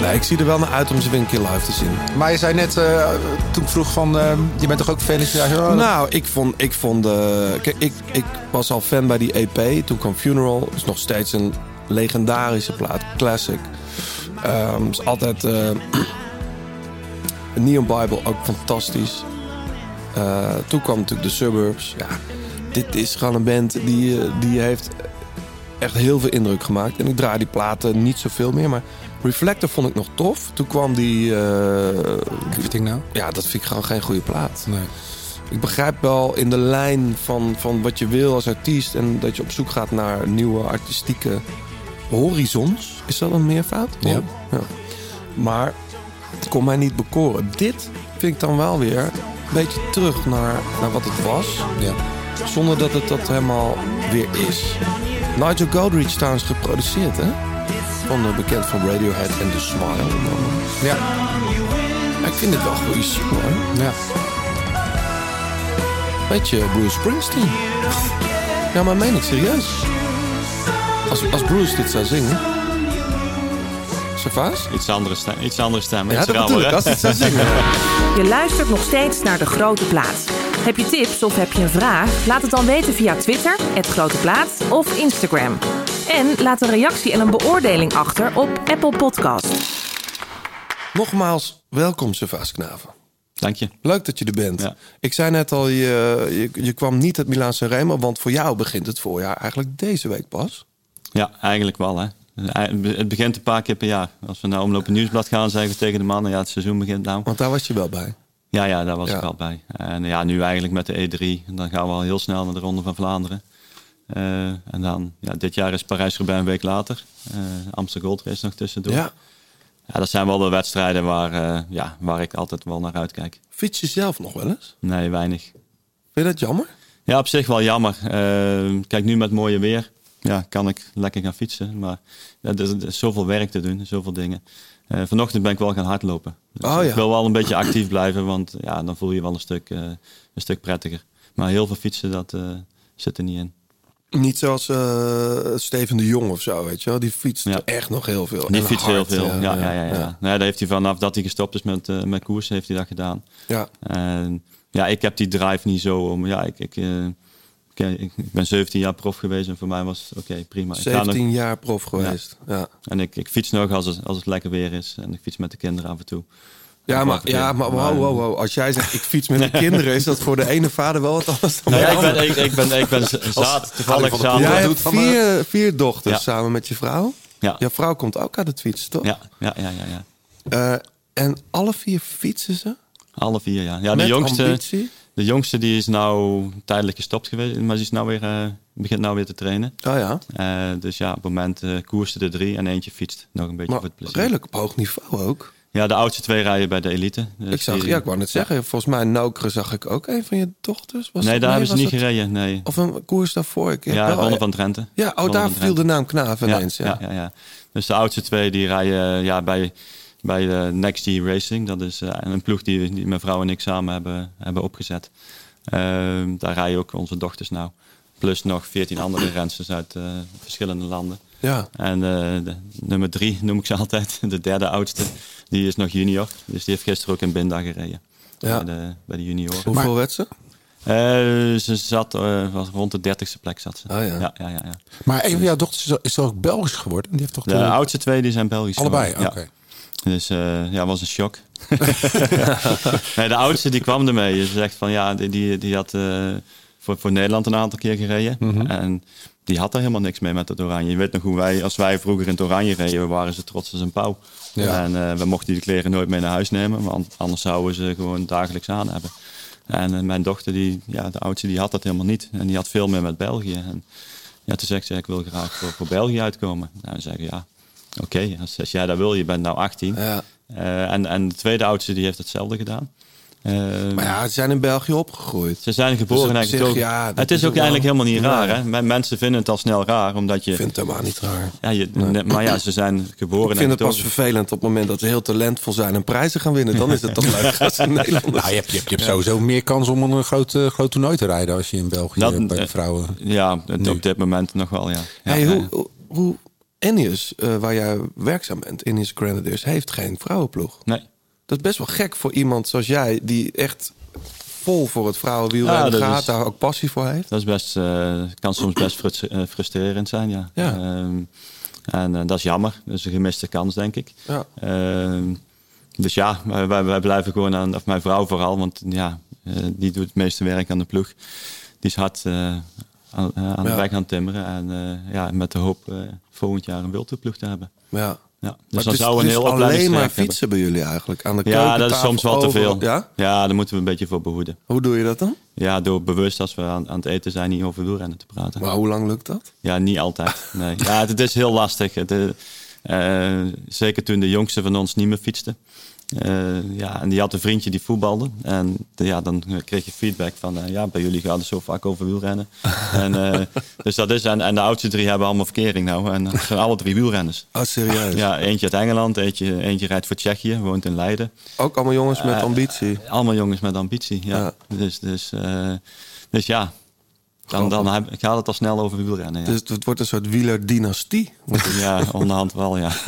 Nee, ik zie er wel naar uit om ze weer een keer live te zien.
Maar je zei net, eh, toen ik vroeg van, eh, je bent toch ook fan? Ik zei, oh,
Nou, ik vond, ik vond de. Kijk, ik, ik was al fan bij die EP. Toen kwam Funeral. Is nog steeds een legendarische plaat. Classic. Ehm is altijd. eh, Neon Bible ook fantastisch. Eh, toen kwam natuurlijk de Suburbs. Ja, dit is gewoon een band die, eh, die heeft echt heel veel indruk gemaakt. En ik draai die platen niet zoveel meer. Maar Reflector vond ik nog tof. Toen kwam die. eh,
everything now?
ja, dat vind ik gewoon geen goede plaat.
Nee.
Ik begrijp wel in de lijn van, van wat je wil als artiest en dat je op zoek gaat naar nieuwe artistieke horizons. Is dat een meervoud?
Ja.
Maar het kon mij niet bekoren. Dit vind ik dan wel weer een beetje terug naar, naar wat het was,
Ja.
zonder dat het dat helemaal weer is. Nigel Godrich trouwens geproduceerd, hè? Van, eh, bekend van Radiohead en The Smile.
Ja.
Maar ik vind het wel een goede single, hoor.
ja.
Weet je, Bruce Springsteen. Ja, maar meen ik serieus. Als, als Bruce dit zou zingen. Servaas?
Iets andere stem. Iets andere stem.
Ja,
iets
dat
rauwer,
bedoel ik.
hè?
Als dit zou zingen.
Je luistert nog steeds naar De Grote Plaat. Heb je tips of heb je een vraag? Laat het dan weten via Twitter, het Grote Plaat of Instagram. En laat een reactie en een beoordeling achter op Apple Podcast.
Nogmaals, welkom Servaas Knaven.
Dank je.
Leuk dat je er bent.
Ja.
Ik zei net al, je, je, je kwam niet uit Milaan Sanremo, want voor jou begint het voorjaar eigenlijk deze week pas.
Ja, eigenlijk wel, hè. Eh, eh, het begint een paar keer per jaar. Als we naar Omloop en Nieuwsblad gaan, zeggen we tegen de mannen... ja, het seizoen begint nou.
Want daar was je wel bij.
Ja, ja, daar was
Ja.
ik al bij. En ja, nu eigenlijk met de E3. Dan gaan we al heel snel naar de Ronde van Vlaanderen. Eh, en dan, ja, dit jaar is Parijs-Roubaix een week later. Eh Amsterdam Gold Race nog tussendoor. Ja.
Ja.
dat zijn wel de wedstrijden waar, eh, ja, waar ik altijd wel naar uitkijk.
Fiets je zelf nog wel eens?
Nee, weinig.
Vind je dat jammer?
Ja, op zich wel jammer. Eh, kijk, nu met mooie weer ja, kan ik lekker gaan fietsen. Maar ja, er, is, er is zoveel werk te doen, zoveel dingen. Eh, vanochtend ben ik wel gaan hardlopen. Dus
Oh, ja.
Ik wil wel een beetje actief blijven, want ja, dan voel je wel een stuk, eh, een stuk prettiger. Maar heel veel fietsen, dat eh, zit er niet in.
Niet zoals eh, Steven de Jong of zo, weet je wel. Die fietst
Ja.
echt nog heel veel.
Die
En
fietst heel
Oh, hard,
veel. Ja, ja, ja, ja,
ja.
Nee, dat heeft hij vanaf dat hij gestopt is met, eh, met koersen, heeft hij dat gedaan.
Ja.
En ja, ik heb die drive niet zo om. Ja, ik, ik, eh, ik, ik ben 17 jaar prof geweest en voor mij was het oké, prima. Ik ga nog-
17 jaar prof geweest. Ja, ja.
En ik, ik fiets nog als het, als het lekker weer is. En ik fiets met de kinderen af en toe.
maar, ja, maar wow, wow, wow. Als jij zegt, ik fiets met de kinderen... is dat voor de ene vader wel wat anders dan
Nou ja,
de
ik
andere.
ben, ik, ik ben, ik ben za- zaad,
Arie
toevallig
van der
zaad.
Poel.
Jij
Ja,
hebt vier, vier dochters
Ja.
samen met je vrouw.
Ja.
Je vrouw komt ook uit het fietsen, toch?
ja, ja, ja, ja.
Eh, en alle vier fietsen ze?
Alle vier, ja. ja de,
Met
jongste,
ambitie?
de jongste die is nou tijdelijk gestopt geweest. Maar die is nou weer, eh, begint nou weer te trainen.
Oh ja.
Eh, dus ja, op het moment eh koersen de drie en eentje fietst nog een beetje
Maar
voor het plezier.
redelijk op hoog niveau ook.
Ja, de oudste twee rijden bij de elite. Dus
Ik zag,
die-
ja, ik wou net zeggen. Volgens mij in Nokeren zag ik ook een van je dochters. Was
Nee,
dat-
daar hebben ze
was
niet
dat-
gereden, nee.
Of een koers daarvoor. Ik heb
Ja,
wel-
Ronde van Drenthe.
Ja,
Ronde
oh, daar
van
viel
Drenthe.
de naam Knaaf ineens. Ja,
ja, ja, ja. Dus de oudste twee die rijden eh, ja, bij, bij eh, Next G Racing. Dat is eh, een ploeg die, die mijn vrouw en ik samen hebben, hebben opgezet. Ehm, daar rijden ook onze dochters nou. Plus nog 14 andere rensters uit eh, verschillende landen.
Ja.
En eh, de, nummer drie noem ik ze altijd, de derde oudste, die is nog junior. Dus die heeft gisteren ook in Binda gereden.
Ja.
Bij, de, bij de junioren.
Hoeveel werd ze?
Eh, ze zat eh, was rond de dertigste plek. Zat ze.
Ah, ja.
Ja, ja, ja, ja.
Maar een van jouw dochters is toch- is toch ook Belgisch geworden? Die heeft toch
De
de-
oudste twee die zijn Belgisch.
allebei? Oké.
geworden. Ja. Dus eh ja, was een shock. nee, de oudste die kwam ermee. Ze zegt van ja, die, die, die had eh, voor, voor Nederland een aantal keer gereden. En die had daar helemaal niks mee met het oranje. Je weet nog hoe wij, als wij vroeger in het oranje reden, we waren ze trots als een pauw.
Ja.
En eh, we mochten die kleren nooit mee naar huis nemen, want anders zouden ze gewoon dagelijks aan hebben. En eh, mijn dochter, die, ja, de oudste, die had dat helemaal niet. En die had veel meer met België. En ja, toen zegt ze, ik wil graag voor, voor België uitkomen. Nou, dan zeggen ja, oké, als, als jij dat wil, je bent nou 18.
Ja.
Eh, en, en de tweede oudste die heeft hetzelfde gedaan. Eh,
Maar ja, ze zijn in België opgegroeid.
ze zijn geboren
Dus op
en eigenlijk
zich,
ook-
ja, dat
het
is
is ook
ook wel-
eigenlijk helemaal niet raar.
Nee.
Hè? Men- Mensen vinden het al snel raar, omdat
Ik
je...
vind het helemaal niet raar.
Ja, je nee, Maar ja, ze zijn geboren
Ik vind het
en
pas vervelend op het moment dat ze heel talentvol zijn en prijzen gaan winnen. Dan is het toch leuk als ze Nederlanders.
Nou, je hebt, je hebt, je hebt sowieso meer kans om een groot, eh, groot toernooi te rijden als je in België
Dat-
bij de
eh,
vrouwen.
Ja, het- op dit moment nog wel, ja. Ja, eh,
hey,
ja.
hoe, hoe- hoe Ennius, eh, waar jij werkzaam bent, Ennius Grenadiers, heeft geen vrouwenploeg.
Nee.
Dat is best wel gek voor iemand zoals jij, die echt vol voor het vrouwenwielrennen
Ja, dat
gaat,
is-
daar ook passie voor heeft.
Dat is best, eh, kan soms best frus- eh, frustrerend zijn, ja.
Ja.
Ehm, en eh, dat is jammer. Dat is een gemiste kans, denk ik.
Ja.
Ehm, dus ja, wij, wij- wij blijven gewoon aan, of mijn vrouw vooral, want ja, eh, die doet het meeste werk aan de ploeg. Die is hard eh, aan, eh, aan de
Ja.
weg gaan timmeren en eh, ja, met de hoop eh, volgend jaar een wildtoerploeg te hebben.
Ja.
Ja. Dus
Maar het
dan
is,
zou een
het is
heel
alleen
opleidingstraject
maar
hebben.
fietsen bij jullie eigenlijk. Aan de
Ja, dat is
keukentafel,
soms wel te
overal.
veel.
Ja?
ja, daar moeten we een beetje voor behoeden.
Hoe doe je dat dan?
Ja, door bewust als we aan, aan het eten zijn niet over wielrennen te praten.
Maar hoe lang lukt dat?
Ja, niet altijd. Nee. Ja, het, het is heel lastig. Het, eh, eh, zeker toen de jongste van ons niet meer fietste. Eh, ja, en die had een vriendje die voetbalde. En eh, ja, dan kreeg je feedback van... eh, ja, bij jullie gaat het zo vaak over wielrennen. en, eh, dus dat is, en, en de oudste drie hebben allemaal verkering nou. En het zijn alle drie wielrenners.
Oh, serieus?
Ja, eentje uit Engeland, eentje, eentje rijdt voor Tsjechië, woont in Leiden.
Ook allemaal jongens met
Eh,
ambitie.
Allemaal jongens met ambitie, ja. Dus, dus, eh, dus ja, dan, dan heb, gaat het al snel over wielrennen. Ja.
Dus het wordt een soort wielerdynastie. Ja,
Ja, onderhand wel, ja.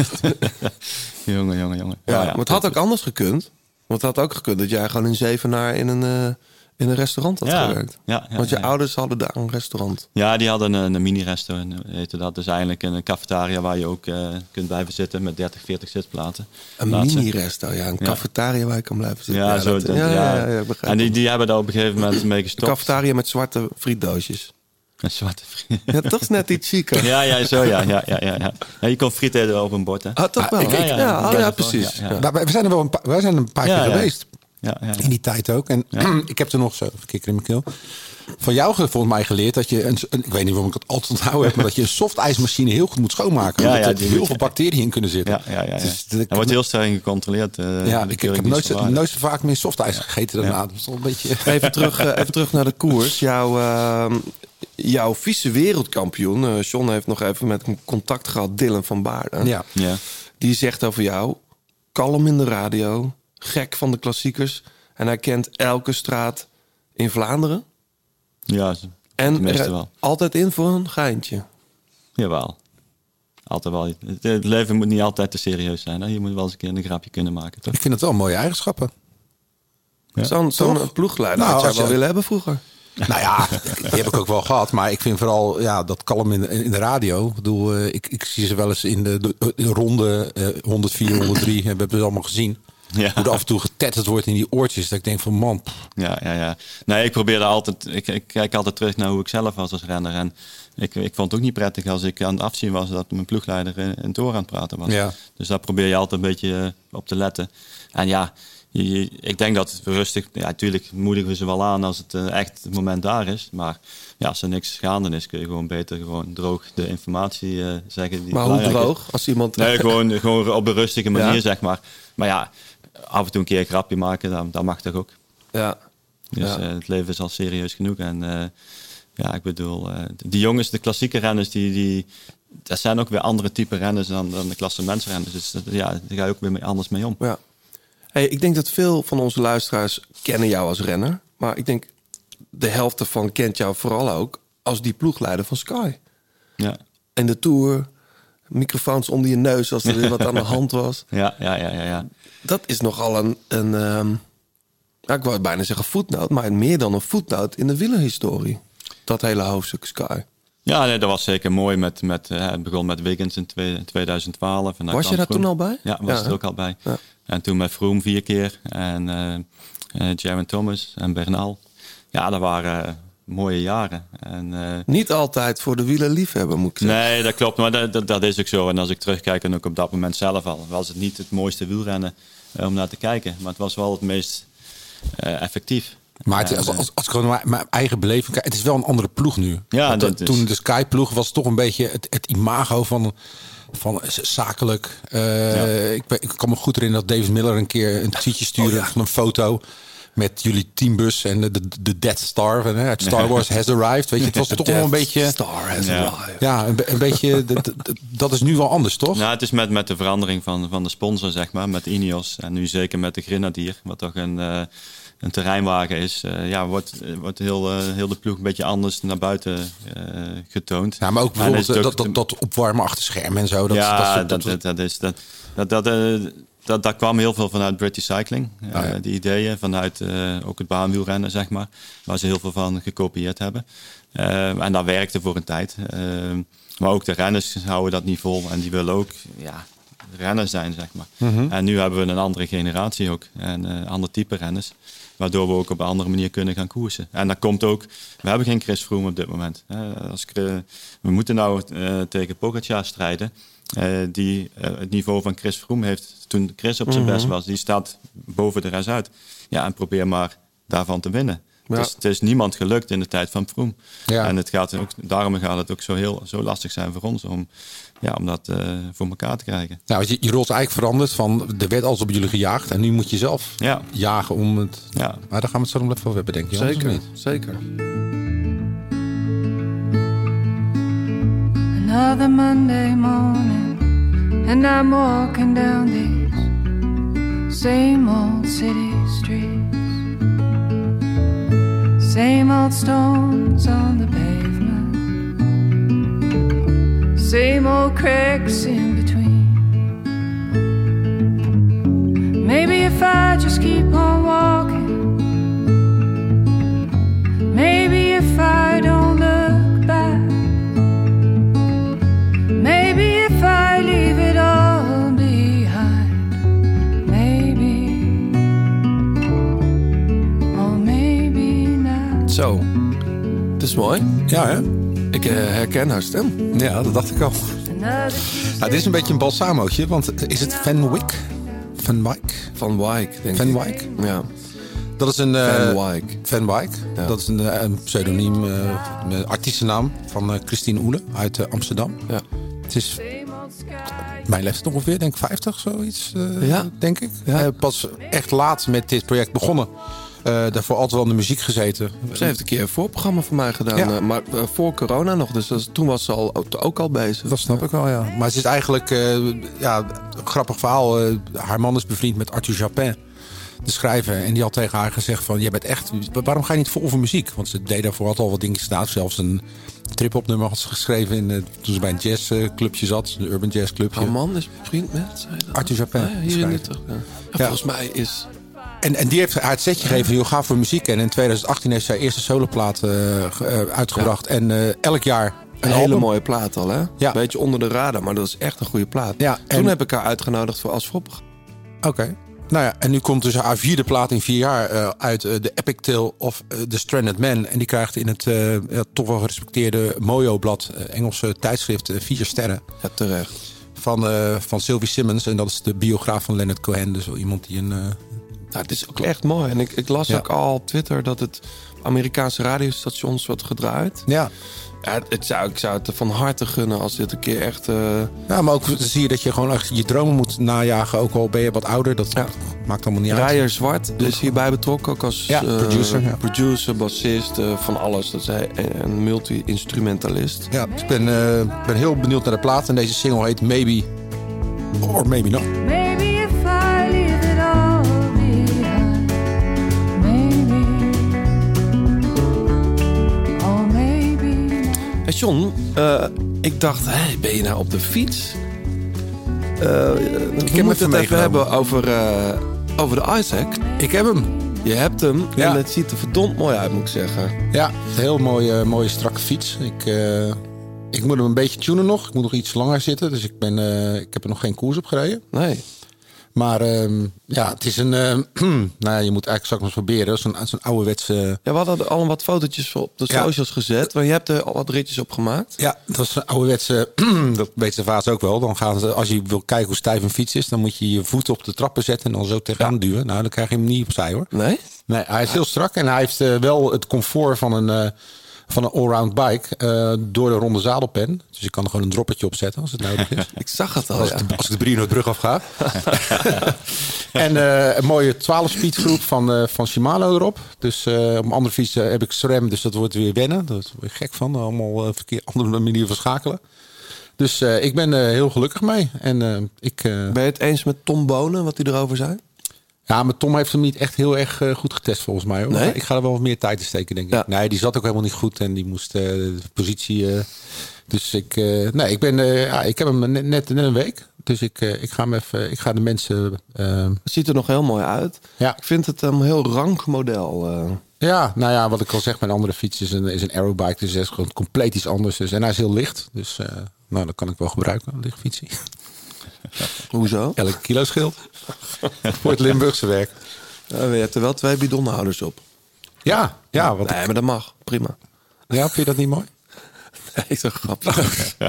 jongen, jongen, jongen.
ja, maar het had ook anders gekund. Want het had ook gekund dat jij gewoon in Zevenaar in een, eh, in een restaurant had
Ja,
gewerkt.
ja, ja,
Want je
ja.
ouders hadden daar een restaurant.
Ja, die hadden een, een mini-restaurant, heette dat. Dus eigenlijk een cafetaria waar je ook eh, kunt blijven zitten met 30, 40 zitplaten.
Een
Plaatsen.
mini-resto, ja. Een cafetaria waar je kan blijven zitten.
Ja, zo.
dat-
dat-
ja,
ja.
ja, ja, ik begrijp
en die,
het.
die hebben daar op een gegeven moment mee gestopt.
Cafetaria met zwarte frietdoosjes.
Een zwarte friet.
Ja, toch is net iets chiquer.
Ja, ja, zo ja. ja, ja, ja, ja. Ja, je kon frieten op een bord, hè?
Ah, toch wel?
ik- ik-
ja,
ja,
ah,
ik-
ja,
ik-
precies. Ja,
ja,
Maar
ja.
Nou, wij zijn er wel een paar, wij zijn er een paar
Ja,
keer
ja.
geweest.
Ja, ja.
In die tijd ook. En ik heb er nog zo, even kikker in mijn keel. Van jou ge- volgens mij geleerd dat je, een, een- ik weet niet waarom ik het altijd onthouden heb, maar dat je een softijsmachine heel goed moet schoonmaken.
Ja,
omdat
ja,
er
die
heel
moet-
veel bacteriën in kunnen zitten.
Ja, ja, ja. ja.
Het is-
Hij
ik,
wordt heel streng gecontroleerd. eh,
Dus ja, ik,
de
ik heb
keuringsdienst
nooit,
van
zo-
waarde.
nooit zo vaak meer softijs gegeten daarna. Dat is toch een beetje...
Even terug, eh, even terug naar de koers. Jouw, ehm, jouw vieze wereldkampioen, eh, John heeft nog even met hem contact gehad, Dylan van Baarden.
Ja.
Ja.
Die zegt over jou, kalm in de radio, gek van de klassiekers. En hij kent elke straat in Vlaanderen.
Ja, en, de
En
meeste
er-
wel.
altijd in voor een geintje.
Jawel. Altijd wel. Het, het leven moet niet altijd te serieus zijn. Hè? Je moet wel eens een keer een grapje kunnen maken, toch?
Ik vind het wel mooie eigenschappen.
Zo'n zo'n ploegleider
Nou,
had jij
als
wel
je-
willen hebben vroeger.
Nou ja, die heb ik ook wel gehad. Maar ik vind vooral ja, dat kalm in, in de radio. Ik bedoel, eh, ik, ik zie ze wel eens in de, de- de ronde eh, 104, 103. We hebben het allemaal gezien.
Ja.
Hoe er af en toe getetterd wordt in die oortjes. Dat ik denk van man, pff,
Ja, ja, ja. Nee, ik probeerde altijd. Ik, ik kijk altijd terug naar hoe ik zelf was als renner. En ik, ik vond het ook niet prettig als ik aan het afzien was dat mijn ploegleider in, in het oor aan het praten was.
Ja.
Dus daar probeer je altijd een beetje eh, op te letten. En ja, je- je- ik denk dat het rustig. Ja, natuurlijk moedigen we ze wel aan als het eh, echt het moment daar is. Maar ja, als er niks gaande is, kun je gewoon beter gewoon droog de informatie eh, zeggen. Die
Maar hoe
belangrijk is.
droog? Als iemand...
Nee, gewoon, gewoon op een rustige manier,
Ja.
zeg maar. Maar ja, af en toe een keer een grapje maken, dat, dat mag toch ook.
Ja.
Dus
Ja.
eh, het leven is al serieus genoeg. En eh, ja, ik bedoel, eh, die jongens, de klassieke renners, die, die, dat zijn ook weer andere type renners dan, dan de klassementsrenners. Dus dat- ja, daar ga je ook weer mee, anders mee om.
Ja. Hey, ik denk dat veel van onze luisteraars kennen jou als renner. Maar ik denk de helft ervan kent jou vooral ook als die ploegleider van Sky.
Ja,
En de Tour, microfoons onder je neus als er weer wat aan de hand was.
ja, ja, ja, ja. ja.
Dat is nogal een, een ehm, ja, ik wou bijna zeggen voetnoot, maar meer dan een voetnoot in de wielerhistorie. Dat hele hoofdstuk Sky.
Ja, nee, dat was zeker mooi. Met, met, eh, het begon met Wiggins in twee- 2012. En dan
Was je
kwam
daar
Froome.
toen al bij?
Ja, was
Ja,
er
hè?
ook al bij.
Ja.
En toen met Froome vier keer. En eh eh, Jaron Thomas en Bernal. Ja, dat waren eh, mooie jaren. En, eh,
Niet altijd voor de wielerliefhebber, moet ik zeggen.
Nee, dat klopt. Maar dat, dat, dat is ook zo. En als ik terugkijk, en ook op dat moment zelf al, was het niet het mooiste wielrennen eh, om naar te kijken. Maar het was wel het meest eh, effectief.
Maar het,
En,
als,
eh,
als, als ik gewoon naar mijn eigen beleving kijk, het is wel een andere ploeg nu.
Ja,
Want,
dat
eh,
is-
Toen de Sky-ploeg was toch een beetje het, het imago van, van z- zakelijk. Eh, ik, ben- ik kan me goed herinneren dat David Miller een keer een tweetje stuurde
Oh,
van een foto met jullie teambus en de, de, de Death Star van, hè, uit Star Wars has arrived. Weet je, het was toch wel een beetje...
Star has
Ja.
arrived.
Ja, een, be- een beetje... de- de- de- dat is nu wel anders, toch?
nou, het is met, met de verandering van, van de sponsor, zeg maar, met Ineos. En nu zeker met de Grenadier, wat toch een, eh, een terreinwagen is. Eh, ja, wordt, eh, wordt heel, eh, heel de ploeg een beetje anders naar buiten eh, getoond.
Ja, maar ook
En dan is
bijvoorbeeld eh,
het
dat, dat,
ook
dat opwarmen achter schermen en zo. Dat,
ja,
dat,
Oh, dat, dat, dat is dat. Dat, dat, eh, dat, daar kwam heel veel vanuit British Cycling. Eh, die ideeën vanuit eh, ook het baanwielrennen, zeg maar. Waar ze heel veel van gekopieerd hebben. Eh, en dat werkte voor een tijd. Eh, maar ook de renners houden dat niet vol. En die willen ook ja, renners zijn, zeg maar. En nu hebben we een andere generatie ook. En eh ander type renners. Waardoor we ook op een andere manier kunnen gaan koersen. En dan komt ook... We hebben geen Chris Froome op dit moment. Eh, als ik, eh, we moeten nou eh, tegen Pogacar strijden. eh, die eh, het niveau van Chris Froome heeft toen Chris op zijn best was. Die staat boven de rest uit. Ja, en probeer maar daarvan te winnen.
Ja.
Dus het is niemand gelukt in de tijd van Froome.
Ja.
En het gaat ook, daarom gaat het ook zo, heel, zo lastig zijn voor ons om, ja, om dat eh, voor elkaar te krijgen.
Nou, want je, je rol is eigenlijk veranderd van er werd alles op jullie gejaagd en nu moet je zelf
Ja.
jagen om het.
Ja.
Maar daar gaan we het zo nog even over hebben, denk je? anders
Zeker,
of niet?
zeker.
Another Monday morning, and I'm walking down these same old city streets. Same old stones on the pavement, same old cracks in between. Maybe if I just keep on walking, maybe if I don't look back. Maybe if I leave it all behind, maybe, or maybe not.
Zo, het is mooi.
Ja, hè?
Ik eh, herken haar stem.
Ja, dat dacht ik al. Nou, dit is een beetje een balsamootje, want is het Van Wyck? Van Wyck?
Van Wijk, denk
Van
ik.
Wyck?
Ja.
Dat is een... eh,
Van Wyck.
Van Wyck. Dat is een, eh, een pseudoniem, eh, een artiestennaam van eh, Christine Oele uit eh, Amsterdam.
Ja.
Het is mijn leeftijd ongeveer, denk ik 50, zoiets, eh,
Ja.
denk ik. Eh, pas echt laat met dit project begonnen. Eh, daarvoor altijd wel in de muziek gezeten.
Ze heeft een keer een voorprogramma voor mij gedaan,
Ja.
eh, maar eh, voor corona nog. Dus dat is- toen was ze al, ook al bezig.
Dat snap ik wel, ja. Maar ze is eigenlijk, eh, ja, een grappig verhaal. eh, haar man is bevriend met Arthur Japin, de schrijver. En die had tegen haar gezegd van, jij bent echt, waarom ga je niet vol voor muziek? Want ze deed daarvoor had al wat dingen staan. Zelfs een trip-op nummer had ze geschreven in, eh, toen ze bij een jazzclubje zat. Een urban jazzclubje.
Haar man is vriend met, zei je dat?
Arthur Japin,
Ah, ja, hier in
schrijver.
Utrecht, ja. Ja, Volgens mij is...
En, en die heeft haar het setje gegeven van, joh, ga voor muziek. En in 2018 heeft ze haar eerste soloplaat eh, ge- eh, uitgebracht. En eh, elk jaar
Een
een
hele
album.
mooie plaat al, hè?
Ja.
Beetje onder de radar, maar dat is echt een goede plaat.
Ja,
Toen
en-
heb ik haar uitgenodigd voor als voorprogramma.
Oké. Nou ja, en nu komt dus haar vierde plaat in vier jaar eh, uit eh, The Epic Tale of eh, The Stranded Man. En die krijgt in het eh, ja, toch wel gerespecteerde Mojo-blad, eh, Engelse tijdschrift, eh, vier sterren.
Ja, terecht.
Van, eh, van Sylvie Simmons. En dat is de biograaf van Leonard Cohen. Dus wel iemand die een... eh,
Nou, het is ook echt mooi. En ik, ik las
Ja.
ook al op Twitter dat het Amerikaanse radiostations wordt gedraaid.
ja.
Ja, het, het zou, ik zou het van harte gunnen als dit een keer echt... eh,
ja, maar ook zie je dat je gewoon echt je dromen moet najagen. Ook al ben je wat ouder, dat
Ja.
maakt allemaal niet uit.
Rijer Zwart is hierbij betrokken, ook als
Ja,
eh,
producer, ja.
producer, bassist, eh, van alles. Dat is hij een- een multi-instrumentalist.
Ja, dus ik ben, eh, ben heel benieuwd naar de plaat. En deze single heet Maybe or Maybe Not.
Maybe if I leave it all behind, maybe, oh maybe. not.
Hey John, eh, ik dacht, hey, ben je nou op de fiets? Eh, we
hem
moeten
even
het even
meegenomen.
hebben over, eh, over de Isaac.
Ik heb hem.
Je hebt hem
Ja.
en het ziet er verdomd mooi uit, moet ik zeggen.
Ja, een heel mooie, mooie strakke fiets. Ik, eh, ik moet hem een beetje tunen nog. Ik moet nog iets langer zitten. Dus ik, ben, eh, ik heb er nog geen koers op gereden.
Nee.
Maar ehm, ja, het is een... eh, nou ja, je moet eigenlijk straks maar eens proberen. Zo'n zo'n ouderwetse...
Ja, we hadden al wat fotootjes op de
Ja.
socials gezet. Want je hebt er al wat ritjes op gemaakt.
Ja, dat is een ouderwetse... dat weet de vaas ook wel. Dan gaan ze, als je wil kijken hoe stijf een fiets is... dan moet je je voeten op de trappen zetten en dan zo tegenaan duwen. Nou, dan krijg je hem niet opzij hoor.
Nee?
Nee, hij is heel strak en hij heeft eh, wel het comfort van een, eh, van een allround bike eh, door de ronde zadelpen. Dus ik kan er gewoon een droppetje op zetten als het nodig is.
Ik zag het al.
Als,
Ja.
ik de, als ik de Brino-brug afga. en eh, een mooie 12-speed groep van, eh, van Shimano erop. Dus eh, op een andere fiets eh, heb ik SRAM, dus dat wordt weer wennen. Daar word ik gek van. Allemaal een verkeer, andere manier van schakelen. Dus eh, ik ben eh, heel gelukkig mee. En eh, ik... eh,
Ben je het eens met Tom Bonen, wat hij erover zei?
ja, maar Tom heeft hem niet echt heel erg eh, goed getest volgens mij. Hoor.
Nee?
Ik ga er wel wat meer tijd in steken, denk ik.
Ja.
Nee, die zat ook helemaal niet goed en die moest eh, de positie... eh, dus ik, eh, nee, ik, ben, eh, ja, ik heb hem net, net net een week. Dus ik, eh, ik, ga, hem even, ik ga de mensen... eh,
Het ziet er nog heel mooi uit.
Ja.
Ik vind het een heel rank model. eh.
ja, nou ja, wat ik al zeg, mijn andere fiets is een, is een aerobike. Dus dat is gewoon compleet iets anders. Dus, en hij is heel licht. Dus eh, nou, dat kan ik wel gebruiken, een licht fietsie.
Hoezo?
Elke kilo scheelt. Voor het Limburgse werk.
Eh, je hebt er wel twee bidonhouders op.
Ja, ja, Ah, wat,
Nee, maar dat mag. Prima.
ja, vind je dat niet mooi?
Nee, is een grapje. Eh,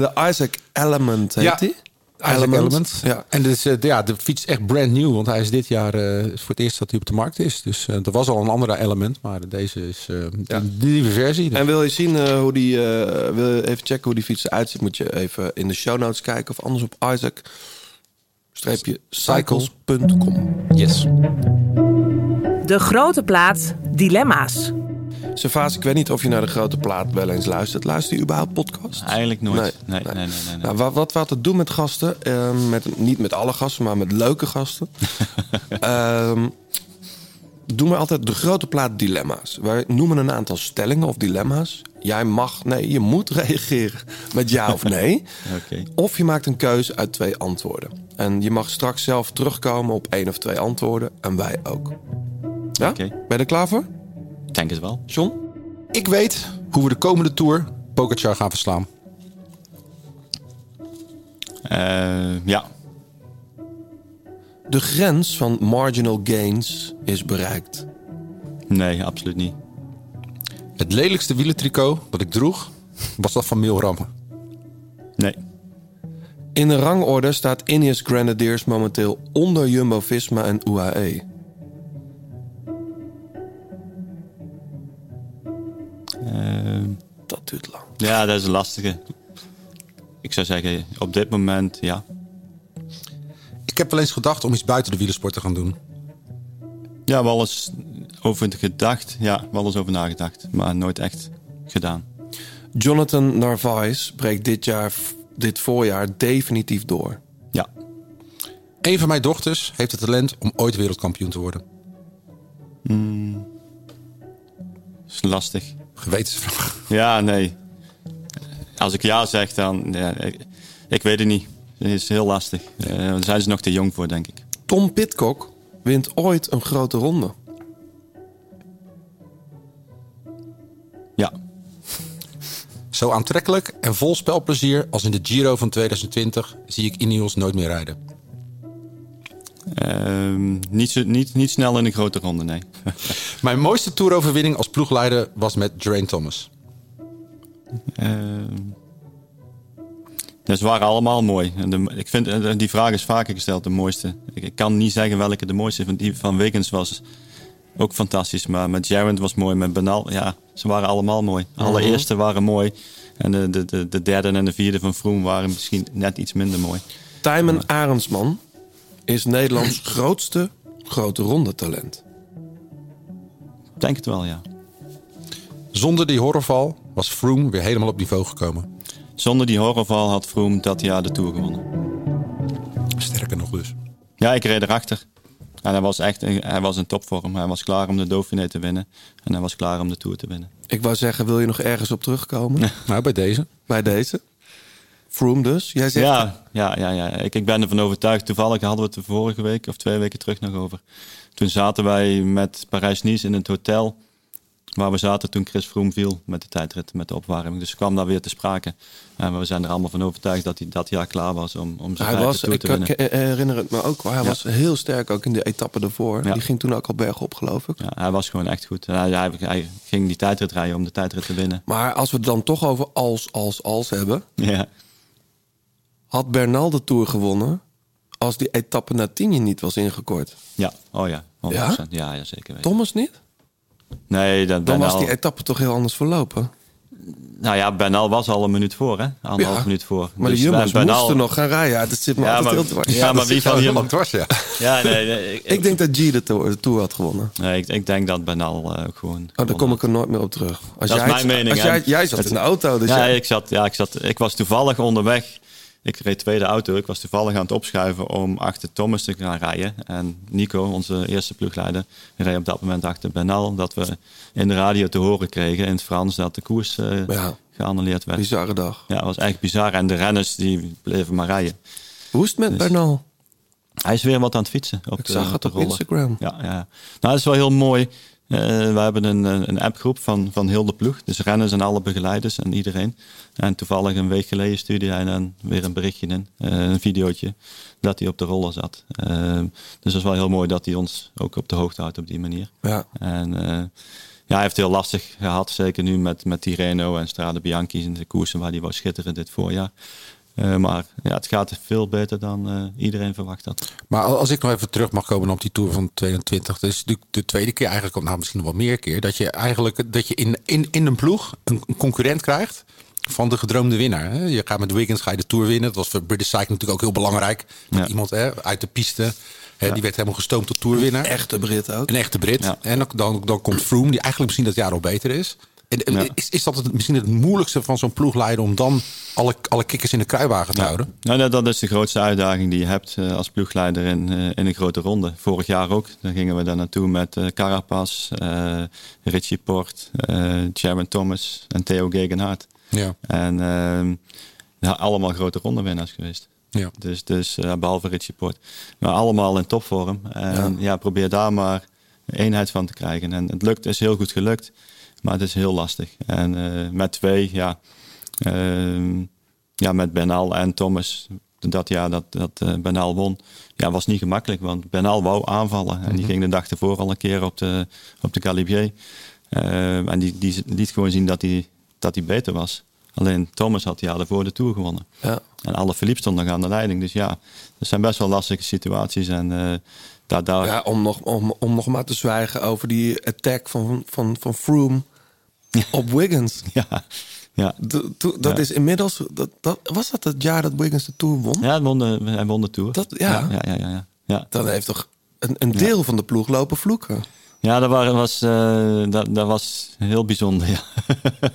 De Isaac Element heet
Ja.
die?
Isaac Element.
Ja.
En dus, eh, ja, de fiets is echt brand new, want hij is dit jaar eh, voor het eerst dat hij op de markt is. Dus eh, er was al een andere Element, maar deze is eh de nieuwe versie. Dus.
En wil je zien eh, hoe die, eh, wil je even checken hoe die fiets eruit ziet, moet je even in de show notes kijken of anders op Isaac. Cycles.com.
yes.
De grote plaat Dilemma's.
Servaas, ik weet niet of je naar de grote plaat wel eens luistert. Luister je überhaupt podcast?
Eigenlijk nooit. Nee, nee, nee, nee, nee.
Nou, wat, wat we altijd doen met gasten, ehm, met, niet met alle gasten, maar met leuke gasten. ehm, doen we altijd de grote plaat dilemma's. Wij noemen een aantal stellingen of dilemma's. Jij mag, nee, je moet reageren met ja of nee.
Oké.
Of je maakt een keuze uit twee antwoorden. En je mag straks zelf terugkomen op één of twee antwoorden. En wij ook. Ja?
Oké.
Ben je er klaar voor?
Ik denk het wel.
John?
Ik weet hoe we de komende tour Pogacar gaan verslaan.
Eh, ja.
De grens van marginal gains is bereikt.
Nee, absoluut niet.
Het lelijkste wielentricot dat ik droeg, was dat van Milram.
Nee.
In de rangorde staat Ineos Grenadiers momenteel onder Jumbo-Visma en E. UAE.
Ehm,
Dat duurt lang.
ja, dat is een lastige. Ik zou zeggen, op dit moment ja.
Ik heb wel eens gedacht om iets buiten de wielersport te gaan doen.
Ja, wel eens over gedacht. Ja, wel eens over nagedacht. Maar nooit echt gedaan.
Jonathan Narvaez breekt dit, jaar, dit voorjaar definitief door.
Ja.
Een van mijn dochters heeft het talent om ooit wereldkampioen te worden.
is lastig.
Gewetensvraag.
Ja, nee. Als ik ja zeg, dan... Ja, ik, ik weet het niet. Het is heel lastig. Eh, daar zijn ze nog te jong voor, denk ik.
Tom Pitcock wint ooit een grote ronde.
Ja.
Zo aantrekkelijk en vol spelplezier als in de Giro van 2020 zie ik Ineos nooit meer rijden.
Ehm, niet, zo- niet, niet snel in een grote ronde, nee.
Mijn mooiste toeroverwinning als ploegleider was met Geraint Thomas.
Ehm, dat waren allemaal mooi. En de- ik vind, eh, die vraag is vaker gesteld, de mooiste. Ik, ik kan niet zeggen welke de mooiste is, want die van Wiggins was ook fantastisch. Maar met Jarrett was mooi, met Benal, ja, ze waren allemaal mooi. Alle eerste waren mooi. En de, de, de, de derde en de vierde van Vroom waren misschien net iets minder mooi.
Tijmen Arendsman is Nederlands grootste grote ronde talent.
Ik denk het wel, ja.
Zonder die horrorval was Froome weer helemaal op niveau gekomen.
Zonder die horrorval had Vroom dat jaar de Tour gewonnen.
Sterker nog dus.
Ja, ik reed erachter. En hij was echt in, hij was in topvorm. Hij was klaar om de Dauphiné te winnen. En hij was klaar om de Tour te winnen.
Ik wou zeggen, wil je nog ergens op terugkomen?
Nou, bij deze.
Bij deze. Froome dus. Jij zegt,
Ja, ja, ja, ja. Ik, ik ben ervan overtuigd. Toevallig hadden we het er vorige week of twee weken terug nog over. Toen zaten wij met Parijs-Nice in het hotel waar we zaten toen Chris Froome viel met de tijdrit, met de opwarming. Dus kwam daar weer te sprake. En we zijn er allemaal van overtuigd dat hij dat jaar klaar was om, om zijn
hij
vijfde
was,
Tour
ik
te winnen.
ik herinner het me ook wel, hij was heel sterk ook in de etappe daarvoor.
Ja.
Die ging toen ook al bergop, geloof ik.
Ja, hij was gewoon echt goed. En Hij, hij, hij ging die tijdrit rijden om de tijdrit te winnen.
Maar als we het dan toch over als, als, als hebben.
Ja.
Had Bernal de Tour gewonnen als die etappe na Tienje niet was ingekort?
Ja, oh ja. 100%.
Ja?
Ja? Ja, zeker weten.
Thomas niet?
Nee, dat
Dan
Benal-
was die etappe toch heel anders verlopen.
Nou ja, Benal was al een minuut voor, hè? Anderhalf
Ja.
minuut voor.
Maar
Dus
de Jumbo's
Benal-
moesten nog gaan rijden. Ja, dat zit me
Ja,
altijd
maar-
heel dwars.
Ja, maar
dat
wie
zit jou
van
heel
hier-
lang dwars, ja.
Ja, nee, nee, ik,
Ik denk dat G de Tour, de Tour had gewonnen.
nee, ik, ik denk dat Benal eh, ook gewoon...
Oh, daar kom ik er nooit meer op terug. Als
Dat
jij
is
het-
mijn mening.
Als
hè.
jij, jij zat
Het-
in de auto, dus
ja,
jij-
ik zat, ja ik, zat, ik was toevallig onderweg. Ik reed tweede auto. Ik was toevallig aan het opschuiven om achter Thomas te gaan rijden. En Nico, onze eerste ploegleider, reed op dat moment achter Benal. Dat we in de radio te horen kregen in het Frans dat de koers eh,
Ja.
geannuleerd werd.
bizarre dag.
Ja, dat was echt bizar. En de renners die bleven maar rijden.
Hoe is het
Dus-
met Bernal?
Hij is weer wat aan het fietsen. Op
Ik
de-
zag het
de
op
rollen.
Instagram.
Ja, ja. Nou, dat is wel heel mooi. Eh, we hebben een, een een appgroep van, van heel de ploeg. Dus renners en alle begeleiders en iedereen. En toevallig een week geleden stuurde hij dan weer een berichtje in. eh, een videootje. Dat hij op de roller zat. Eh, dus dat is wel heel mooi dat hij ons ook op de hoogte houdt op die manier.
Ja.
En eh, ja, hij heeft het heel lastig gehad. Zeker nu met, met Tirreno en Strade Bianchi in de koersen waar hij wou schitteren dit voorjaar. Eh, maar ja, het gaat veel beter dan eh, iedereen verwacht had.
Maar als ik nog even terug mag komen op die Tour van 22. Dat is natuurlijk de tweede keer eigenlijk, nou misschien nog wel meer keer. Dat je eigenlijk dat je in, in, in een ploeg een, een concurrent krijgt van de gedroomde winnaar. Hè? Je gaat met Wiggins ga je de Tour winnen. Dat was voor British Cycling natuurlijk ook heel belangrijk. Dat
Ja.
Iemand hè, uit de piste, hè, die werd helemaal gestoomd tot Tourwinnaar.
Echte Brit ook.
Een echte Brit.
Ja.
En dan, dan, dan komt Froome, die eigenlijk misschien dat jaar al beter is. En, en
Ja.
is, is dat het, misschien het moeilijkste van zo'n ploegleider om dan alle, alle kikkers in de kruiwagen te houden?
Nou, dat, dat is de grootste uitdaging die je hebt eh, als ploegleider in, eh, in een grote ronde. Vorig jaar ook. Dan gingen we daar naartoe met eh Carapaz, eh, Richie Port, eh Jaron Thomas en Theo Gegenhardt.
Ja.
En ehm, ja, allemaal grote rondewinnaars geweest.
Ja.
Dus, dus eh, behalve Richie Port. Maar allemaal in topvorm. En ja. probeer daar maar eenheid van te krijgen. En het lukt, is heel goed gelukt. Maar het is heel lastig. En eh, met twee, ja. ehm, ja, met Benal en Thomas. Dat jaar dat, dat eh, Benal won, ja, was niet
Mhm.
gemakkelijk. Want Benal wou aanvallen. En die ging de dag ervoor al een keer op de, op de Calibier. Eh, en die, die liet gewoon zien dat hij dat die beter was. Alleen Thomas had die al voor de Tour gewonnen.
Ja.
En alle Philippe stond nog aan de leiding. Dus ja, dat zijn best wel lastige situaties. En eh daar, daar,
Ja, om nog, om, om nog maar te zwijgen over die attack van, van, van Froome op Wiggins.
ja, ja.
De- to- dat
Ja.
is inmiddels... Dat, dat, was dat het jaar dat Wiggins de Tour won?
Ja, hij won de, hij won de Tour.
Dat- ja.
Ja, ja, ja, ja. ja.
Dan heeft toch een, een deel van de ploeg lopen vloeken.
Ja, dat, waren, was, eh, dat, dat was heel bijzonder, ja.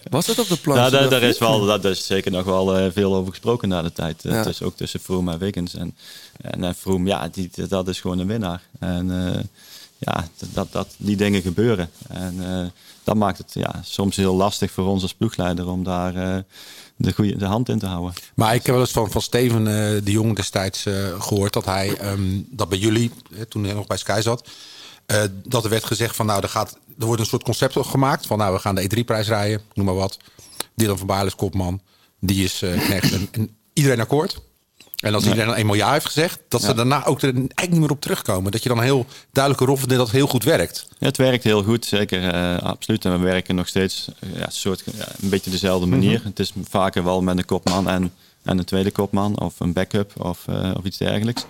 Was dat op de plank?
Ja, Nou, daar, daar is wel, daar daar is zeker nog wel eh, veel over gesproken na de tijd. Eh,
Ja.
tussen- ook tussen Froome en Wiggins. En, en, eh, Froome, ja, die, dat is gewoon een winnaar. En eh, ja, dat, dat, die dingen gebeuren. En eh, dat maakt het ja, soms heel lastig voor ons als ploegleider om daar eh, de, goede, de hand in te houden.
Maar ik heb wel eens van, van Steven eh, de Jong destijds eh, gehoord dat hij, ehm, dat bij jullie, hè, toen hij nog bij Sky zat, eh, dat er werd gezegd van nou, er, gaat, er wordt een soort concept gemaakt van nou, we gaan de E3-prijs rijden, noem maar wat. Dylan van Baarle is kopman, die is eh knecht en, en iedereen akkoord. En als iedereen dan eenmaal ja heeft gezegd, dat ze
Ja.
daarna ook er eigenlijk niet meer op terugkomen. Dat je dan heel duidelijke roffelt dat het heel goed werkt.
Ja, het werkt heel goed, zeker. eh, absoluut. En we werken nog steeds eh, ja, soort, ja, een beetje dezelfde
Mhm.
manier. Het is vaker wel met een kopman en, en een tweede kopman of een backup of, eh, of iets dergelijks.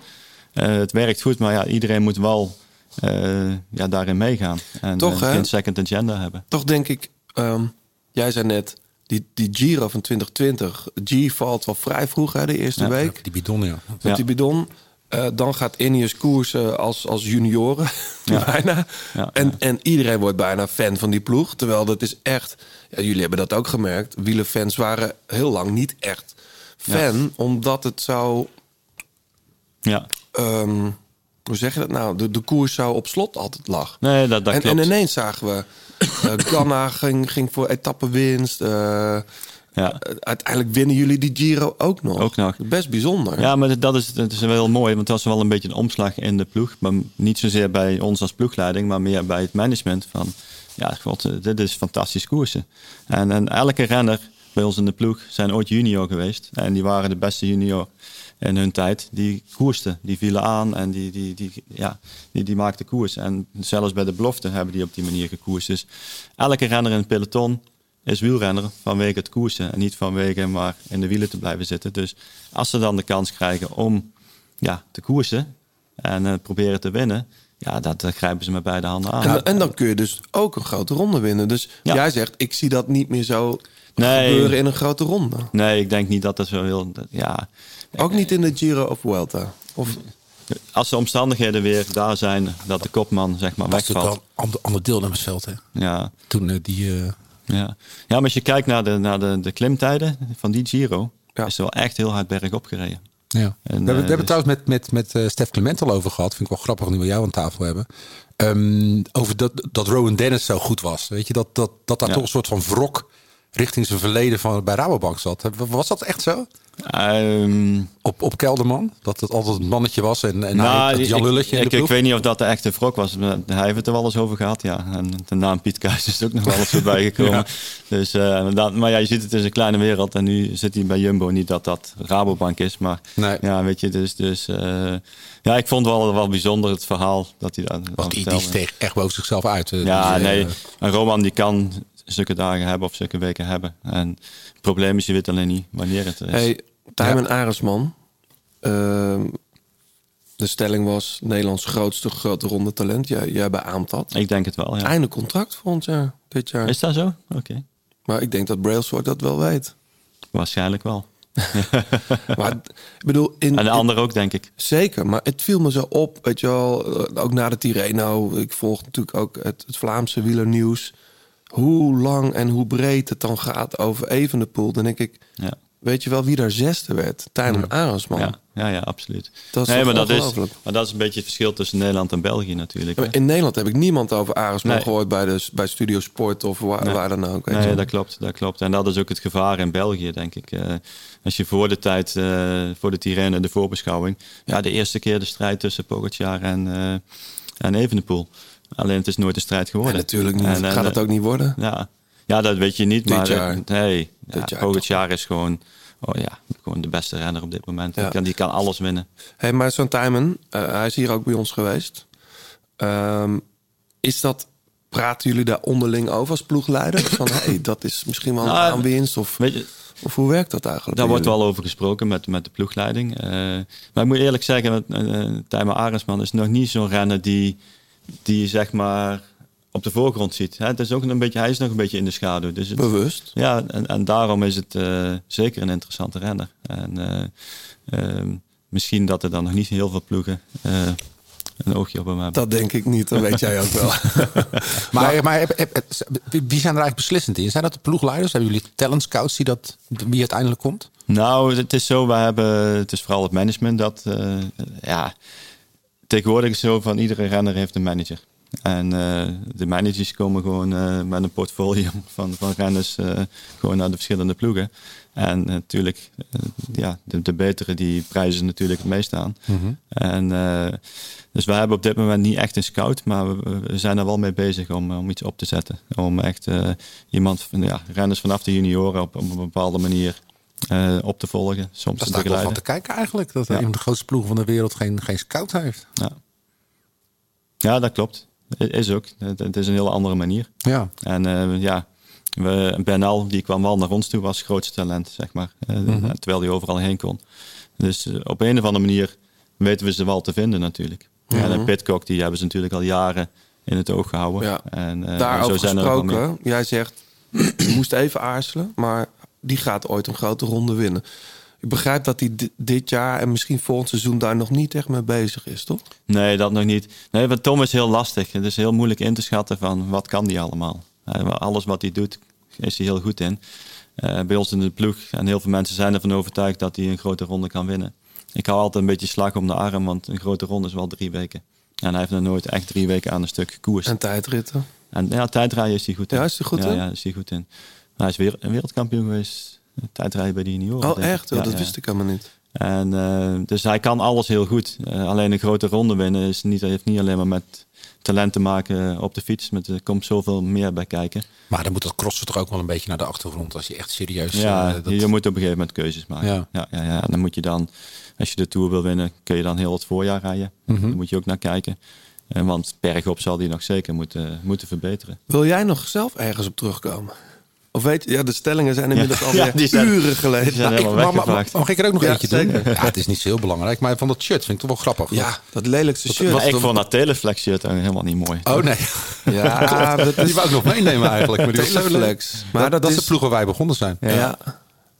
Eh, het werkt goed, maar ja, iedereen moet wel eh, ja, daarin meegaan. En
Toch,
eh,
hè?
geen second agenda hebben.
Toch denk ik, ehm, jij zei net, die, die Giro van 2020. G valt wel vrij vroeg, hè, de eerste
Ja,
week.
Die bidon, ja.
Met
Ja.
die bidon. Eh, dan gaat Ineos koersen als, als junioren, bijna.
Ja,
en, en iedereen wordt bijna fan van die ploeg. Terwijl dat is echt... Ja, jullie hebben dat ook gemerkt. Wielenfans waren heel lang niet echt fan. Omdat het zo...
Ja.
ehm, hoe zeg je dat nou? De, de koers zo op slot altijd lag.
Nee, dat, dat
en,
klopt.
en ineens zagen we... eh Ganna ging, ging voor etappenwinst. eh,
Ja.
uiteindelijk winnen jullie die Giro ook nog.
Ook nog.
Best bijzonder.
Ja, maar dat is, dat is wel heel mooi, want dat was wel een beetje een omslag in de ploeg. Maar niet zozeer bij ons als ploegleiding, maar meer bij het management. Van ja, god, eh, dit is fantastisch koersen. En, en elke renner bij ons in de ploeg zijn ooit junior geweest. En die waren de beste junior in hun tijd. Die koersten, die vielen aan en die, die, die, ja, die, die maakten koers. En zelfs bij de belofte hebben die op die manier gekoerst. Dus elke renner in het peloton is wielrenner vanwege het koersen en niet vanwege maar in de wielen te blijven zitten. Dus als ze dan de kans krijgen om ja, te koersen en eh, proberen te winnen, ja, dat, dat grijpen ze met beide handen aan.
En, en dan kun je dus ook een grote ronde winnen. Dus
Ja.
jij zegt, ik zie dat niet meer zo
Nee.
gebeuren in een grote ronde.
Nee, ik denk niet dat dat zo heel. dat- Ja,
Ook niet in de Giro of Vuelta. Of,
als de omstandigheden weer daar zijn dat de kopman zeg maar
Dat is natuurlijk wel
wegvalt.
een ander- ander deel naar het veld, hè.
Ja.
Toen eh, die... eh,
Ja. ja, maar als je kijkt naar de, naar de, de klimtijden van die Giro,
Ja.
is er wel echt heel hard bergop gereden.
Ja.
En,
we hebben, we
eh,
hebben
dus-
trouwens met, met, met eh, Stef Clement al over gehad. Vind ik wel grappig nu we jou aan tafel hebben. Ehm, over dat, dat Rowan Dennis zo goed was. Weet je, dat, dat, dat daar
Ja.
toch een soort van wrok richting zijn verleden van, bij Rabobank zat. Heb- Was dat echt zo?
Ehm,
Op, op Kelderman? Dat het altijd een mannetje was en, en hij, Nou, dat
Nou, ik-
Jan Lulletje in
ik,
de
ik,
ploeg.
weet niet of dat de echte wrok was. maar Hij heeft het er wel eens over gehad, ja. En de naam Piet Kuijs is ook nog wel eens voorbij gekomen. dus, eh, dat, maar ja, je ziet het is een kleine wereld. En nu zit hij bij Jumbo. Niet dat dat Rabobank is, maar
Nee.
ja, weet je. Dus, dus eh, ja, ik vond wel, wel bijzonder het verhaal dat hij dat
Want die, die
vertelde.
steeg echt boven zichzelf uit. eh,
Ja,
dus, eh,
nee. Een Roman die kan zulke dagen hebben of zulke weken hebben. En het probleem is, je weet alleen niet wanneer het er is.
hey, Tijmen Aresman. Ehm, de stelling was Nederlands grootste grote ronde talent. Jij, jij beaamt dat.
Ik denk het wel, ja.
Einde contract volgend jaar, dit jaar.
Is dat zo? Oké.
Maar ik denk dat Brailsford dat wel weet.
Waarschijnlijk wel.
Maar ik bedoel, in,
En de
in-
ander ook, denk ik.
Zeker, maar het viel me zo op, weet je wel. eh, Ook na de Tirreno, ik volg natuurlijk ook het, het Vlaamse wielernieuws. Hoe lang en hoe breed het dan gaat over Evenepoel. Dan denk ik,
Ja.
weet je wel wie daar zesde werd? Tijmen Arendsman.
Ja, ja, ja, absoluut.
Dat is
nee,
toch
maar, dat is,
ongelooflijk?
maar dat is een beetje het verschil tussen Nederland en België natuurlijk.
Ja,
hè.
maar In Nederland heb ik niemand over Arendsman
Nee.
gehoord bij, de, bij Studio Sport of waar,
Nee.
waar dan ook. weet je
Nee,
wel.
dat klopt, dat klopt. En dat is ook het gevaar in België, denk ik. Eh, als je voor de tijd, eh, voor de Tirreno, de voorbeschouwing... Ja, de eerste keer de strijd tussen Pogacar en, eh, en Evenepoel. Alleen het is nooit een strijd geworden.
En natuurlijk niet.
En- en-
Gaat het ook niet worden?
Ja, ja dat weet je niet.
Dit
maar eh,
jaar.
nee, ja,
jaar
Pogacar is gewoon, oh ja, gewoon de beste renner op dit moment.
Ja.
Die, kan, die kan alles winnen.
Hé, maar zo'n Tijmen, eh, hij is hier ook bij ons geweest. Ehm, is dat praten jullie daar onderling over als ploegleider? Van hey, dat is misschien wel een
Nou,
aanwinst? Of,
weet je-
of hoe werkt dat eigenlijk?
Daar
bij
wordt
jullie?
wel over gesproken met, met de ploegleiding. Eh, maar ik moet eerlijk zeggen, eh Tijma Arendsman is nog niet zo'n renner die, die je zeg maar op de voorgrond ziet. Hè, het is ook een beetje, hij is nog een beetje in de schaduw. Dus het-
Bewust.
Ja, en, en daarom is het eh, zeker een interessante renner. En eh, ehm, misschien dat er dan nog niet heel veel ploegen eh, een oogje op hem hebben.
Dat denk ik niet, dat weet jij ook wel.
Maar, maar heb- heb- wie zijn er eigenlijk beslissend in? Zijn dat de ploegleiders? Hebben jullie talent scouts die dat wie uiteindelijk komt?
Nou, het is zo, we hebben, het is vooral het management dat, eh, ja, tegenwoordig is het zo van iedere renner heeft een manager. En eh, de managers komen gewoon eh, met een portfolio van, van renners eh, gewoon naar de verschillende ploegen. En eh, natuurlijk, eh, ja, de, de betere die prijzen natuurlijk het meest aan. En, eh, dus we hebben op dit moment niet echt een scout, maar we, we zijn er wel mee bezig om, eh, om iets op te zetten. Om echt eh, iemand, van, ja, renners vanaf de junioren op, op een bepaalde manier eh, op te volgen. Soms
Daar
te
sta ik wel van
begeleiden.
te kijken eigenlijk. Dat
Ja.
een van de grootste ploegen van de wereld geen, geen scout heeft.
Ja. ja, dat klopt. I- Is ook. Het- Het is een hele andere manier.
Ja.
En eh, ja, we, Bernal die kwam wel naar ons toe als grootste talent, zeg maar. Eh,
Mhm.
Terwijl hij overal heen kon. Dus eh, op een of andere manier weten we ze wel te vinden natuurlijk.
Mhm.
En eh, Pitcock, die hebben ze natuurlijk al jaren in het oog gehouden.
Ja.
En, eh,
Daarover
er ook wel meer.
gesproken, jij zegt, je moest even aarzelen, maar die gaat ooit een grote ronde winnen. Ik begrijp dat hij di- dit jaar en misschien volgend seizoen daar nog niet echt mee bezig is, toch?
Nee, dat nog niet. Nee, want Tom is heel lastig. Het is heel moeilijk in te schatten van wat kan die allemaal. Eh, maar Alles wat hij doet, is hij heel goed in. Eh, bij ons in de ploeg, en heel veel mensen zijn ervan overtuigd dat hij een grote ronde kan winnen. Ik hou altijd een beetje slag om de arm, want een grote ronde is wel drie weken. En hij heeft nog nooit echt drie weken aan een stuk gekoerst.
En tijdritten.
En ja, tijdrijden is hij goed in.
Ja, is hij goed
ja,
in?
Ja, is hij goed in. Hij is weer een wereldkampioen geweest. Tijdrijden bij de junioren.
Oh,
denk ik.
echt? Oh,
Ja,
dat
ja.
wist ik helemaal niet.
En, eh, dus hij kan alles heel goed. Eh, alleen een grote ronde winnen is niet, heeft niet alleen maar met talent te maken op de fiets. Met, er komt zoveel meer bij kijken.
Maar dan moet dat crossen toch ook wel een beetje naar de achtergrond. Als je echt serieus...
ja,
eh, dat-
je, je moet op een gegeven moment keuzes maken.
Ja.
Ja. Ja, ja, En dan moet je dan, als je de Tour wil winnen, kun je dan heel het voorjaar rijden.
Mhm.
Daar moet je ook naar kijken. Eh, want bergop zal die nog zeker moeten, moeten verbeteren.
Wil jij nog zelf ergens op terugkomen? Of weet je, ja, de stellingen zijn inmiddels
Ja,
alweer
die zijn-
uren geleden.
die zijn
Nou, ik-
helemaal
maar, maar- maar-
weggevaagd.
mag ik er ook nog
Ja,
eentje doen?
zeker.
Ja, het is niet zo heel belangrijk. Maar van dat shirt vind ik toch wel grappig.
ja, dat lelijkste shirt.
Maar ik vond dat Teleflex shirt ook helemaal niet mooi.
Oh nee.
Ja, dat
Die
is...
wou ik nog meenemen eigenlijk. Maar die was zo leuk.
Teleflex. Maar
Maar dat,
dat
dat is
is-
de ploeg waar wij begonnen zijn.
Ja.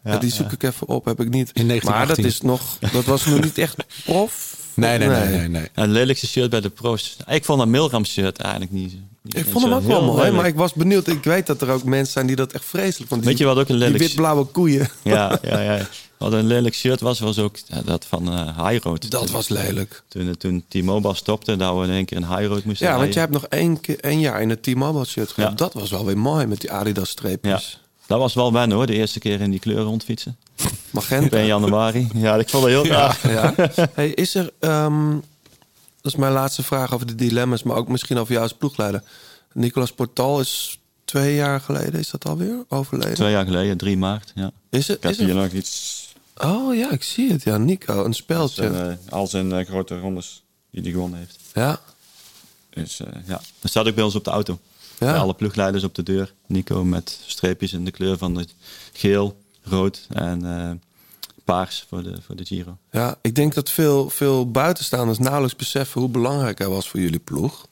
Ja,
die zoek ik even op, heb ik niet.
In
maar dat
1918.
is nog, dat was nog niet echt prof.
Nee, nee, nee, nee, nee.
Het lelijkste shirt bij de pro's. Ik vond dat Milram shirt eigenlijk niet. niet
Ik
zo
vond hem ook
heel
wel mooi,
lelijk.
maar ik was benieuwd. Ik weet dat er ook mensen zijn die dat echt vreselijk vonden.
Weet je wat ook een
Die
lelijk-
witblauwe koeien.
Ja, ja, ja. Wat een lelijk shirt was, was ook ja, dat van eh High Road.
Dat was lelijk.
Toen, eh, toen T-Mobile stopte, dat we in één keer een High Road moesten
Ja, want
rijden.
jij hebt nog één, keer, één jaar in het Team Mobile shirt gehad.
Ja.
Dat was wel weer mooi met die Adidas
Ja,
streepjes.
dat was wel wennen hoor, de eerste keer in die kleur rondfietsen.
Magenta.
1 januari. Ja, ik vond dat heel raar.
Ja. Hey, is er, ehm, dat is mijn laatste vraag over de dilemma's, maar ook misschien over jou als ploegleider. Nicolas Portal is twee jaar geleden, is dat alweer overleden?
Twee jaar geleden, 3 maart. Ja.
Is
Ik
het?
heb
Is er,
hier nog iets.
oh ja, ik zie het. Ja, Nico, een speltje.
En, eh, al zijn eh, grote rondes die hij gewonnen heeft.
ja.
Dus eh, ja, dat staat ook bij ons op de auto.
Ja.
Bij alle ploegleiders op de deur. Nico met streepjes in de kleur van het geel, rood en eh, paars voor de, voor de Giro.
ja, ik denk dat veel, veel buitenstaanders nauwelijks beseffen hoe belangrijk hij was voor jullie ploeg.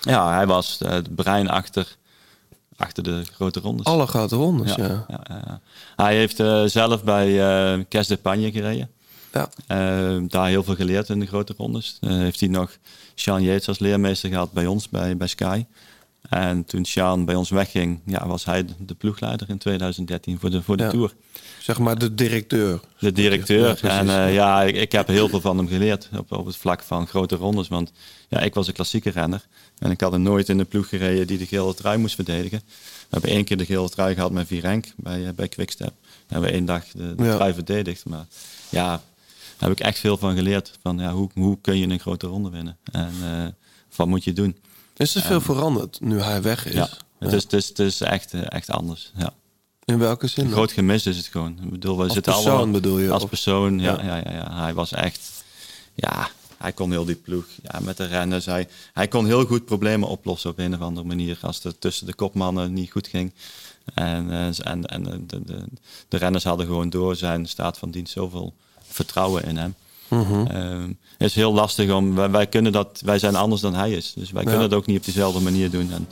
Ja, hij was eh, het brein achter, achter de grote rondes.
Alle grote rondes, ja.
ja,
ja.
ja, ja. Hij heeft eh, zelf bij eh Cas de Pagne gereden. Eh, daar heel veel geleerd in de grote rondes. Eh, heeft hij nog Sean Yates als leermeester gehad bij ons, bij, bij Sky. En toen Sean bij ons wegging, ja, was hij de- de ploegleider in 2013 voor de, voor de
Ja.
Tour.
Zeg maar de directeur.
De
Ja,
directeur.
precies.
en eh, ja, ik, ik heb heel veel van hem geleerd op, op het vlak van grote rondes. Want ja, ik was een klassieke renner. En ik had hem nooit in de ploeg gereden die de gele trui moest verdedigen. We hebben één keer de gele trui gehad met Virenk bij, eh, bij Quickstep. We hebben één dag de, de
Ja.
trui verdedigd. Maar ja, daar heb ik echt veel van geleerd. Van, ja, hoe, hoe kun je een grote ronde winnen? En eh, wat moet je doen?
Is er veel veranderd nu hij weg is?
Ja, het is, het is, het is echt, eh, echt anders. Ja.
In welke zin?
Een
dan?
groot gemis is het gewoon. Ik bedoel, we
Als
zitten
persoon
allemaal,
bedoel je,
Als
of-
persoon, ja,
Ja.
ja. Ja, ja. Hij was echt... Ja, hij hij kon heel die ploeg ja, met de renners. Hij, hij kon heel goed problemen oplossen op een of andere manier. Als het tussen de kopmannen niet goed ging. En, eh, en, en de, de, de renners hadden gewoon door zijn staat van dienst zoveel vertrouwen in hem.
Mhm.
Ehm, het is heel lastig om. Wij, wij kunnen dat, wij zijn anders dan hij is. Dus wij
Ja.
kunnen het ook niet op dezelfde manier doen. En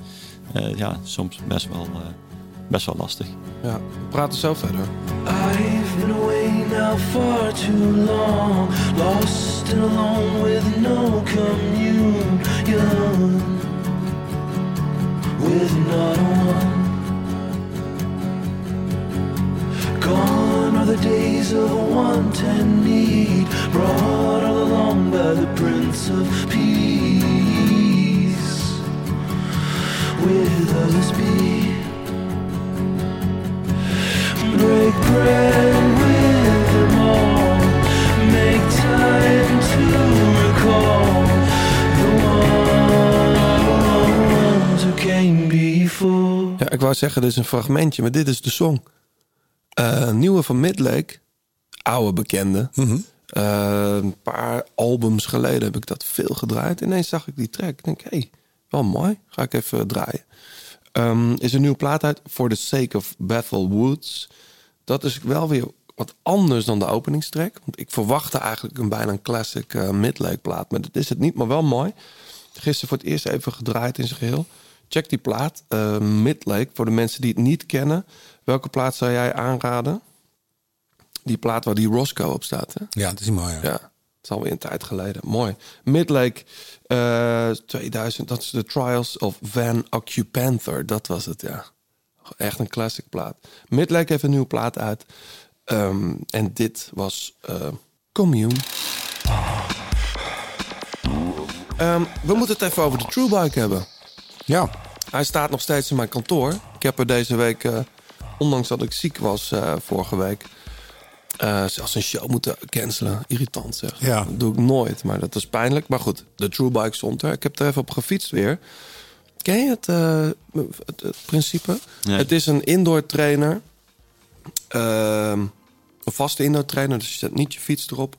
eh, ja, soms best wel, eh, best wel lastig.
Ja, we praten zo verder.
I've been away now far too long, lost and alone with no communion, with not one. Gone are the days of want and need, brought all along by the Prince of Peace. With others be. Break bread with them all. Make time to recall the ones who came before.
Ja, ik wou zeggen, dit is een fragmentje, maar dit is de song. Eh, nieuwe van Midlake, oude bekende. Eh, een paar albums geleden heb ik dat veel gedraaid. Ineens zag ik die track. Ik denk, hé, hey, wel mooi. Ga ik even draaien. Ehm, is een nieuwe plaat uit, For the Sake of Bethel Woods. Dat is wel weer wat anders dan de openingstrack. Want ik verwachtte eigenlijk een bijna een classic eh Midlake plaat. Maar dat is het niet, maar wel mooi. Gisteren voor het eerst even gedraaid in zijn geheel. Check die plaat, eh, Midlake, voor de mensen die het niet kennen. Welke plaat zou jij aanraden? Die plaat waar die Roscoe op staat, hè?
Ja, dat is mooi. Ja.
Ja, het is alweer een tijd geleden. Mooi. Midlake eh 2000, dat is de Trials of Van Occupanther. Dat was het, ja. Echt een classic plaat. Midlake heeft een nieuwe plaat uit. Ehm, en dit was eh, Commune. Ehm, we moeten het even over de Truebike hebben.
Ja.
Hij staat nog steeds in mijn kantoor. Ik heb er deze week, eh, ondanks dat ik ziek was eh, vorige week, eh, zelfs een show moeten cancelen. Irritant zeg.
Ja.
Dat doe ik nooit, maar dat is pijnlijk. Maar goed, de Truebike stond er. Ik heb er even op gefietst weer. Ken je het, eh, het, het principe?
Nee.
Het is een indoor trainer. Ehm, een vaste indoor trainer, dus je zet niet je fiets erop.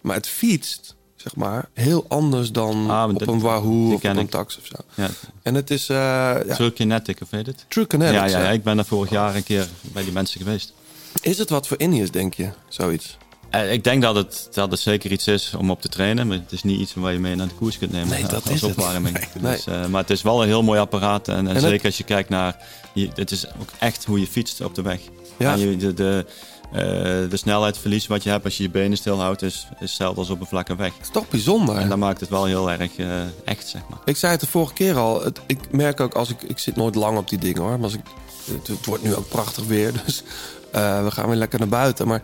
Maar het fietst, zeg maar, heel anders dan
Ah, maar
op
dat-
een Wahoo
die
of op
ken
een
ik.
tax of zo.
Ja.
En het is... eh, ja.
True Kinetic, of heet het?
True Kinetics,
Ja, ja,
ja.
ja, ik ben daar vorig jaar een keer bij die mensen geweest.
Is het wat voor in is, denk je? Zoiets.
Eh, ik denk dat het, dat het zeker iets is om op te trainen. Maar het is niet iets waar je mee naar de koers kunt nemen.
Nee,
eh,
dat
als
is het.
opwarming.
Nee.
Dus, eh, maar het is wel een heel mooi apparaat. En, en
het-
zeker als je kijkt naar... je- het is ook echt hoe je fietst op de weg.
Ja.
En je, de, de, eh, de snelheidsverlies wat je hebt als je je benen stilhoudt... is, is hetzelfde als op een vlakke weg.
is toch bijzonder.
En dat maakt het wel heel erg eh, echt, zeg maar.
Ik zei het de vorige keer al. Het, ik merk ook als ik. Ik zit nooit lang op die dingen hoor. Maar als ik, het, het wordt nu ook prachtig weer. Dus eh, we gaan weer lekker naar buiten. Maar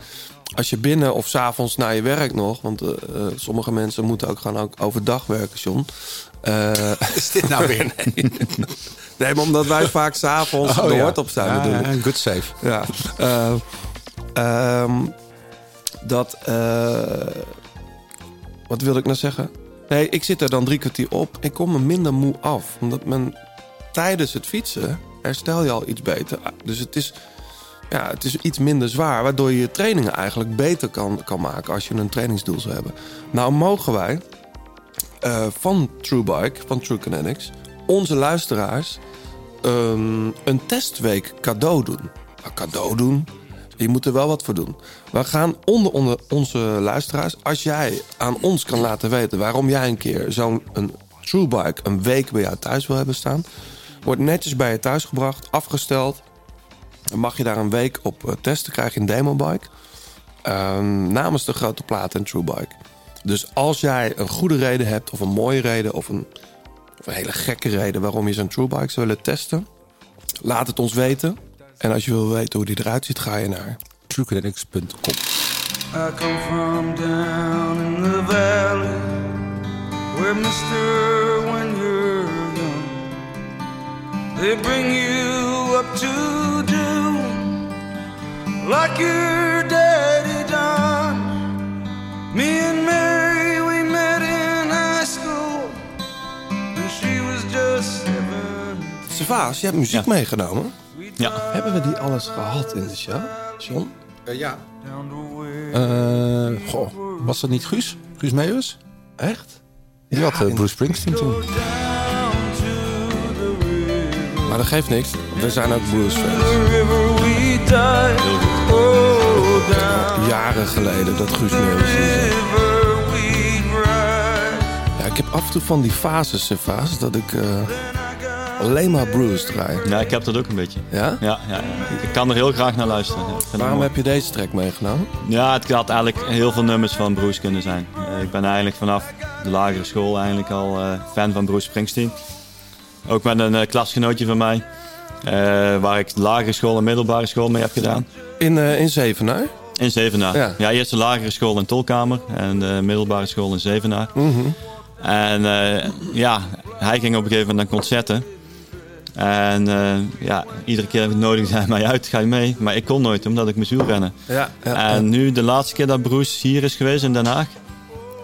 als je binnen of s'avonds naar je werk nog. Want eh, eh, sommige mensen moeten ook gaan ook overdag werken, John. Eh,
Is dit nou weer?
nee. nee, maar omdat wij vaak s'avonds
Oh,
de
ja.
hort op zijn.
Ja,
bedoel
ja,
ik.
good save.
Ja. Eh, ehm, dat. eh, wat wilde ik nou zeggen? Nee, ik zit er dan drie kwartier op. Ik kom me minder moe af. Omdat men tijdens het fietsen herstel je al iets beter. Dus het is, ja, het is iets minder zwaar. Waardoor je je trainingen eigenlijk beter kan, kan maken als je een trainingsdoel zou hebben. Nou mogen wij eh, van TrueBike, van True Kinetics, onze luisteraars ehm, een testweek cadeau doen. Nou, cadeau doen? Je moet er wel wat voor doen. We gaan onder, onder onze luisteraars, als jij aan ons kan laten weten waarom jij een keer zo'n een TrueBike een week bij jou thuis wil hebben staan, wordt netjes bij je thuis gebracht, afgesteld. Dan mag je daar een week op eh, testen, krijg je een demobike. Ehm, namens de grote plaat en TrueBike. Dus als jij een goede reden hebt, of een mooie reden, of een, of een hele gekke reden waarom je zo'n TrueBike zou willen testen, laat het ons weten. En als je wil weten hoe die eruit ziet, ga je naar
truekinetics.com.
I come from down in the valley where mister when you're young they bring you up to do like your daddy done. Me and Mary we met in high school and she was just seven.
Savaas, je hebt muziek meegenomen.
Ja.
Hebben we die alles gehad in de show, John? Eh,
ja. goh, was dat niet Guus? Guus Meeuwis?
Echt?
Die had eh, Bruce Springsteen toen.
Maar dat geeft niks. We zijn ook Blues fans. Jaren geleden dat Guus Meeuwis dit zei. Ja, ik heb af en toe van die fases, eh, fases dat ik eh, alleen maar Bruce draai.
Ja, ik heb dat ook een beetje.
Ja?
Ja, ja. Ik kan er heel graag naar luisteren. Ja, ik vind het
Waarom
mooi.
heb je deze track meegenomen?
Ja, het had eigenlijk heel veel nummers van Bruce kunnen zijn. Eh, ik ben eigenlijk vanaf de lagere school eigenlijk al eh, fan van Bruce Springsteen. Ook met een eh, klasgenootje van mij, eh, waar ik de lagere school en middelbare school mee heb gedaan.
In, eh, in Zevenaar?
In Zevenaar.
Ja.
Ja, eerst de lagere school in Tolkamer en de middelbare school in Zevenaar.
Mhm.
En eh, ja, hij ging op een gegeven moment naar concerten. En eh, ja, iedere keer nodigde hij mij uit, ga je mee? Maar ik kon nooit, omdat ik moest wielrennen.
Ja, ja, ja.
Eh, en nu, de laatste keer dat Bruce hier is geweest in Den Haag...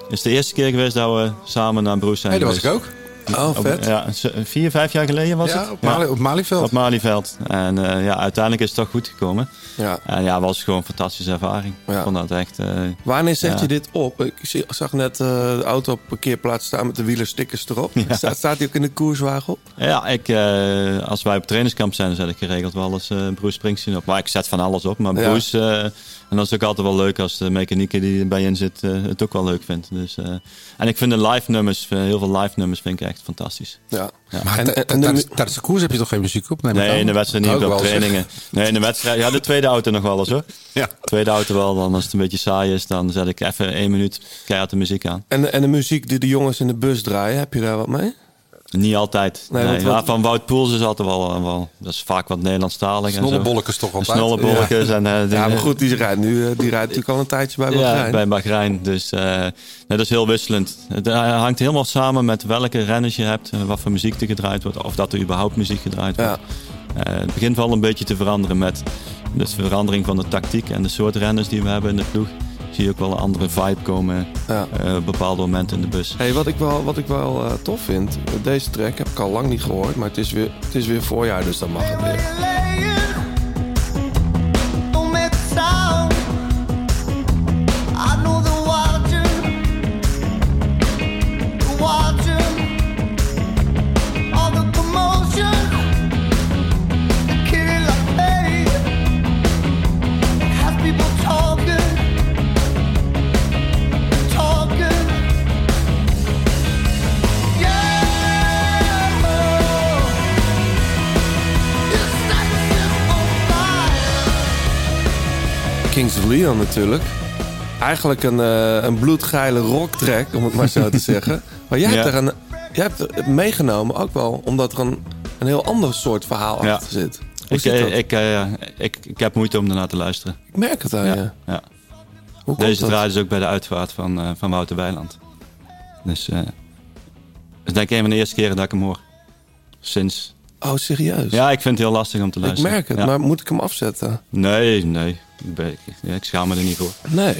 is de eerste keer geweest dat we samen naar Bruce zijn
Hé, dat was
geweest.
ik ook. Oh,
Op-
vet.
Ja, z- vier, vijf jaar geleden was
Ja,
het?
op Mali- op Malieveld.
Op Malieveld. En eh, ja, uiteindelijk is het toch goed gekomen.
Ja.
En ja, was gewoon een fantastische ervaring.
Ja.
Ik vond dat echt... eh,
Wanneer zet
ja.
je dit op? Ik zie- zag net eh, de auto op parkeerplaats staan met de wielerstickers erop. Staat, staat die ook in de koerswagen op?
Ja, ik, eh, als wij op trainingskamp zijn, zet ik geregeld wel eens eh Bruce Springsteen op. Maar ik zet van alles op. Maar
Ja.
Bruce, eh, en dat is ook altijd wel leuk als de mechanieke die erbij in zit eh, het ook wel leuk vindt. Dus, eh, en ik vind de live nummers, eh, heel veel live nummers vind ik echt fantastisch.
Ja.
Maar
En-
t-
en-
t- tijdens tijdens de koers heb je toch geen muziek op? ik
Nee,
aan.
in de wedstrijd niet,
Ook
op
wel, zeg.
trainingen. Nee, in de wedstrijd. Ja, de tweede auto nog wel eens hoor.
Ja.
Tweede auto wel, dan als het een beetje saai is, dan zet ik even één minuut keihard de muziek aan.
En, de- en de muziek die de jongens in de bus draaien, heb je daar wat mee?
Niet altijd.
Nee,
Nee,
want wat-
maar van Wout Poels is altijd wel, eh, wel... Dat is vaak wat Nederlandstalig. en zo.
Snollebollekes toch altijd?
Snollebollekes en... eh,
ja,
dingen.
maar goed, die rijdt, nu, eh, die rijdt natuurlijk al een tijdje bij Bahrein.
Ja, bij Bahrein. Dus eh, nee, dat is heel wisselend. Het eh, hangt helemaal samen met welke renners je hebt, eh, wat voor muziek er gedraaid wordt, of dat er überhaupt muziek gedraaid wordt. Eh, het begint wel een beetje te veranderen met de verandering van de tactiek en de soort renners die we hebben in de ploeg. Zie je ook wel een andere vibe komen
Ja.
eh, op bepaalde momenten in de bus.
Hey, wat ik wel, wat ik wel eh, tof vind, deze track heb ik al lang niet gehoord, maar het is weer, het is weer voorjaar, dus dan mag het weer.
Don't make a sound. I know they're watching. They're watching. All the commotion. They kill our faith. They have people talking. Talking.
Kings of Leon natuurlijk. Eigenlijk een, eh, een bloedgeile rocktrack, om het maar zo te zeggen. Maar jij hebt,
Ja.
er een, jij hebt het meegenomen ook wel, omdat er een, een heel ander soort verhaal
Ja.
achter zit. Hoe
Ik,
zit
eh,
dat?
ik, eh, ik, ik heb moeite om daarna te luisteren.
Ik merk het aan
ja.
je.
ja.
Hoe komt
Deze
dat?
draait dus ook bij de uitvaart van, eh, van Wouter Weiland. Dus eh dat is denk ik een van de eerste keren dat ik hem hoor. Sinds.
Oh, serieus?
Ja, ik vind het heel lastig om te
Ik
luisteren.
merk het,
Ja.
maar moet ik hem afzetten?
Nee, nee. Ik, ben- ik- ja, ik schaam me er niet voor.
Nee.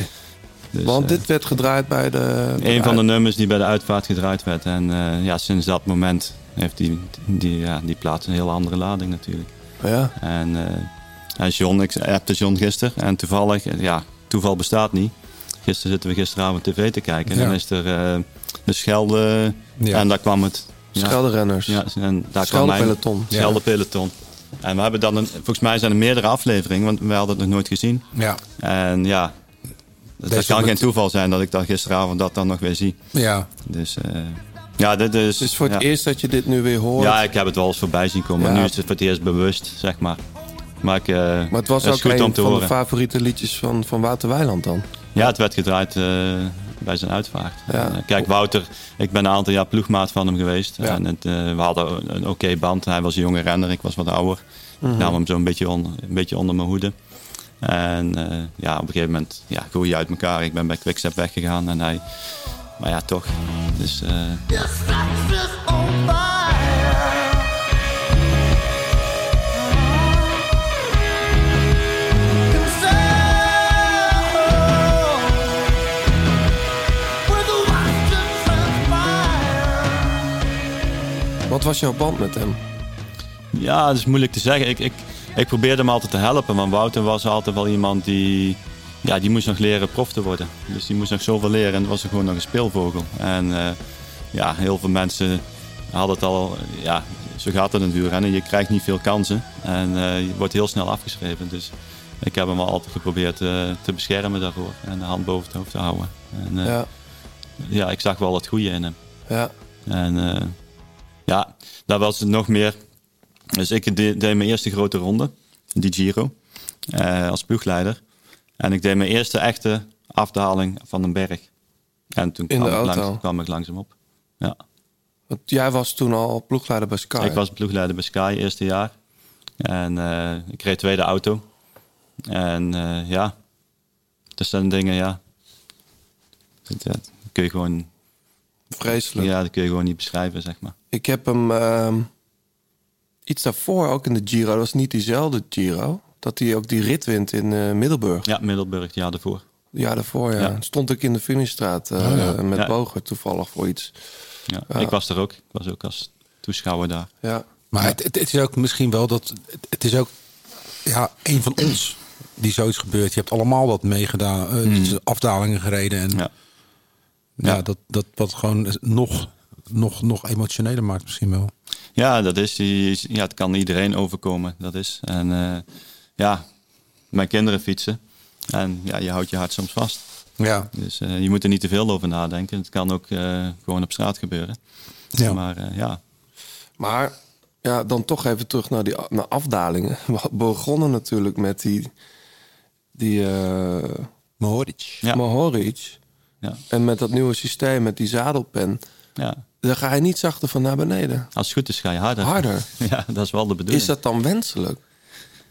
Dus,
Want
eh,
dit werd gedraaid bij de...
Een van de nummers die bij de uitvaart gedraaid werd. En eh, ja, sinds dat moment heeft die, die, ja, die plaat een heel andere lading natuurlijk.
Ja.
En, eh, en John, ik appte John gisteren. En toevallig, eh, ja, toeval bestaat niet. Gisteren zitten we gisteravond tv te kijken. En
Ja.
dan is er eh, de Schelde.
Ja.
En daar kwam het.
Schelderenners.
Ja, en daar kwam mijn-
Scheldepeloton. Ja.
Scheldepeloton. En we hebben dan, een, volgens mij zijn er meerdere afleveringen, want we hadden het nog nooit gezien.
Ja.
En ja, dat,
Deze
kan
met-
geen toeval zijn dat ik dan gisteravond dat dan nog weer zie.
Ja.
Dus eh, ja, dit is...
Dus voor het
ja.
eerst dat je dit nu weer hoort.
Ja, ik heb het wel eens voorbij zien komen. maar
Ja.
Nu is het voor het eerst bewust, zeg maar. Maar, ik, eh,
maar het was
is
ook
goed
een
om te
van de
horen.
favoriete liedjes van, van Wouter Weiland dan.
Ja, het werd gedraaid eh, bij zijn uitvaart.
Ja.
En, eh, kijk, Wouter, ik ben een aantal jaar ploegmaat van hem geweest.
Ja.
En het, eh, we hadden een- een oké band. Hij was een jonge renner, ik was wat ouder.
Mhm.
Ik nam hem zo'n beetje, on- een beetje onder mijn hoede. En eh, ja, op een gegeven moment ja, groei je uit elkaar. Ik ben bij Quickstep weggegaan en hij... Maar ja, toch. Dus, eh,
Wat was jouw band met hem?
Ja, dat is moeilijk te zeggen. Ik, ik, ik probeerde hem altijd te helpen. Want Wouter was altijd wel iemand die ja, die moest nog leren prof te worden. Dus die moest nog zoveel leren en was er gewoon nog een speelvogel. En eh, ja, heel veel mensen hadden het al, ja, zo gaat het in het wielrennen. Je krijgt niet veel kansen en eh, je wordt heel snel afgeschreven. Dus ik heb hem al altijd geprobeerd eh, te beschermen daarvoor en de hand boven het hoofd te houden. En, eh,
Ja.
ja, ik zag wel het goede in hem.
Ja.
En eh, ja, daar was het nog meer. Dus ik de- deed, mijn eerste grote ronde, die Giro, eh, als ploegleider. En ik deed mijn eerste echte afdaling van een berg. En toen
In
kwam,
de
ik,
auto. Ah,
langs- kwam ik langzaam op. Ja. Dus
Want jij was toen al ploegleider bij Sky.
Ik was ploegleider bij Sky eerste jaar. En eh, ik reed tweede auto. En eh, ja, dat zijn dingen, ja. Dat, dat kun je gewoon...
Vreselijk.
Ja, dat kun je gewoon niet beschrijven, zeg maar.
Ik heb hem ehm, iets daarvoor ook in de Giro. Dat was niet diezelfde Giro. Dat hij ook die rit wint in eh, Middelburg.
Ja, Middelburg, het jaar daarvoor.
Ja, daarvoor ja.
Ja.
Stond ik in de finishstraat eh,
Oh, ja.
met
Ja.
Boger toevallig voor iets.
Ja,
Ja.
ik was er ook. Ik was ook als toeschouwer daar.
Ja.
Maar het, het is ook misschien wel dat. het- Het is ook ja, een van ons die zoiets gebeurt. Je hebt allemaal wat meegedaan,
Hmm.
eh, afdalingen gereden. En ja. Dat, dat wat gewoon nog, nog, nog emotioneler maakt, misschien wel.
Ja, dat is, die is- ja, het kan iedereen overkomen. Dat is. En eh, ja, mijn kinderen fietsen. En ja, je houdt je hart soms vast.
Ja.
Dus eh, je moet er niet te veel over nadenken. Het kan ook eh, gewoon op straat gebeuren.
Ja.
Maar eh, ja,
Maar ja, dan toch even terug naar die a- naar afdalingen. We begonnen natuurlijk met die... die eh,
Mohoric.
Ja.
Mohoric.
Ja.
En met dat nieuwe systeem, met die zadelpen.
Ja.
Dan ga je niet zachter van naar beneden.
als het goed is ga je harder.
Harder.
Ja, dat is wel de bedoeling.
Is dat dan wenselijk?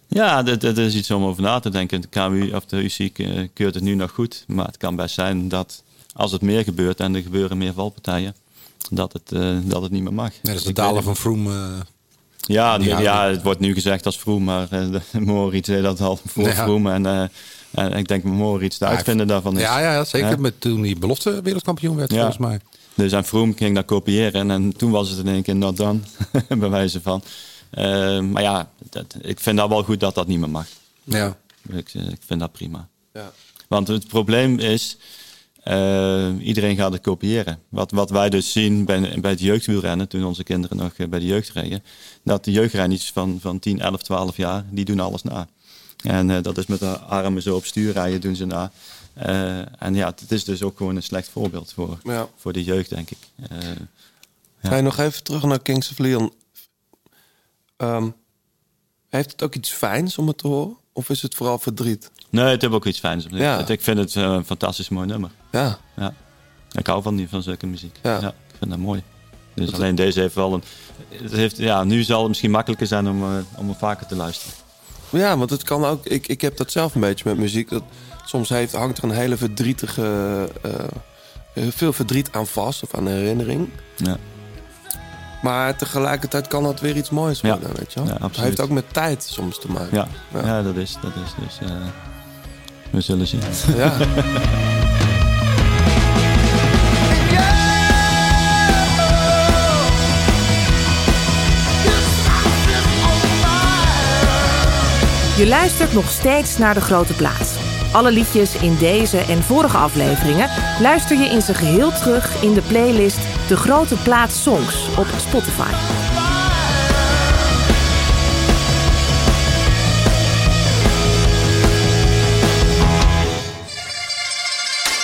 Ja, dat, dat is iets om over na te denken. De KMU of de UC ke- eh, keurt het nu nog goed. Maar het kan best zijn dat als het meer gebeurt en er gebeuren meer valpartijen, dat het, eh, dat het niet meer mag.
Net als de
Ik weet
dalen
niet.
van Vroom. eh,
Ja,
die
ja,
oude.
het wordt nu gezegd als Vroom, maar eh, de- Moritz deed dat al voor
Ja.
Vroom. En, eh, en ik denk Moritz de uitvinder daarvan is.
Ja, ja, ja, zeker.
Hè?
Met toen die belofte wereldkampioen werd,
Ja.
volgens mij.
Dus en Vroom ging dat kopiëren en toen was het in één keer not done, bij wijze van. Eh, maar ja, dat, ik vind dat wel goed dat dat niet meer mag.
Ja.
Ik, eh, ik vind dat prima.
Ja.
Want het probleem is, eh, iedereen gaat het kopiëren. Wat, wat wij dus zien bij, bij het jeugdwielrennen, toen onze kinderen nog eh, bij de jeugd reden, dat de jeugdrenners van, van 10, 11, 12 jaar, die doen alles na. En eh, dat is met de armen zo op stuur rijden, doen ze na. Eh, en ja, het is dus ook gewoon een slecht voorbeeld voor,
Ja.
voor de jeugd, denk ik. Eh, ja.
Ga je nog even terug naar Kings of Leon. Ehm, heeft het ook iets fijns om het te horen? Of is het vooral verdriet?
Nee, het heeft ook iets fijns. op.
Ja.
Het- Ik vind het eh, een fantastisch mooi nummer.
Ja.
ja. Ik hou van, die, van zulke muziek.
Ja.
Ik vind dat mooi. Dus alleen deze heeft wel een... Het heeft, ja, nu zal het misschien makkelijker zijn om, eh, om er vaker te luisteren.
Ja, want het kan ook. Ik, ik heb dat zelf een beetje met muziek. Dat, soms heeft, hangt er een hele verdrietige. eh, eh, veel verdriet aan vast of aan herinnering.
Ja.
Maar tegelijkertijd kan dat weer iets moois worden, weet je wel?
Ja,
het
absoluut.
heeft ook met tijd soms te maken.
Ja, ja. dat is dat is. Dus eh, we zullen zien.
Ja.
Je luistert nog steeds naar De Grote Plaats. Alle liedjes in deze en vorige afleveringen luister je in zijn geheel terug in de playlist De Grote Plaats Songs op Spotify.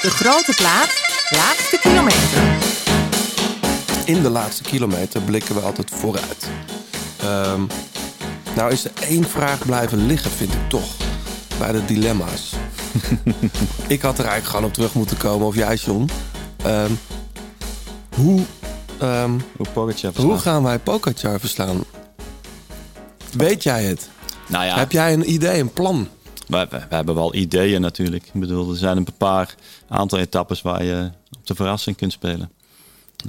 De Grote Plaats, laatste kilometer.
In de laatste kilometer blikken we altijd vooruit. Ehm, nou is er één vraag blijven liggen, vind ik toch. Bij de dilemma's. ik had er eigenlijk gewoon op terug moeten komen, of jij John. Ehm, hoe... ehm,
hoe Pogacar
Hoe gaan wij Pogacar verslaan? Weet jij het?
Nou ja.
Heb jij een idee, een plan?
We, we, we hebben wel ideeën natuurlijk. Ik bedoel, er zijn een paar aantal etappes waar je op de verrassing kunt spelen.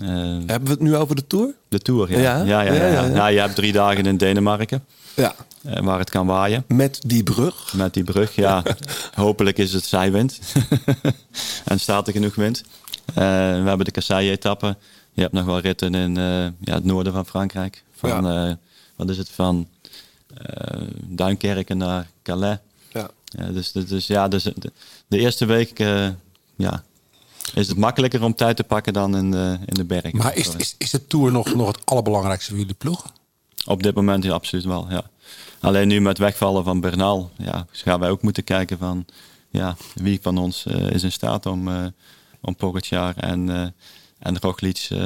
hebben
we het nu over de Tour?
De Tour, ja. Ja, ja, ja,
Ja, ja, ja.
Nou, je hebt drie dagen in Denemarken.
Ja.
eh, waar het kan waaien.
Met die brug.
Met die brug, ja. Hopelijk is het zijwind. en staat er genoeg wind. Eh, we hebben de Kassei-etappe. Je hebt nog wel ritten in eh, ja, het noorden van Frankrijk. Van, eh, wat is het, van eh, Duinkerken naar Calais.
Ja.
Ja, dus, dus- dus ja, dus de, de eerste week eh, ja, is het makkelijker om tijd te pakken dan in de, in de berg.
Maar is, is, is de Tour nog, nog het allerbelangrijkste voor jullie ploeg?
Op dit moment ja, absoluut wel. Ja. Alleen nu met wegvallen van Bernal ja, dus gaan wij ook moeten kijken van ja, wie van ons eh, is in staat om, eh om Pogacar en, eh en Roglic eh,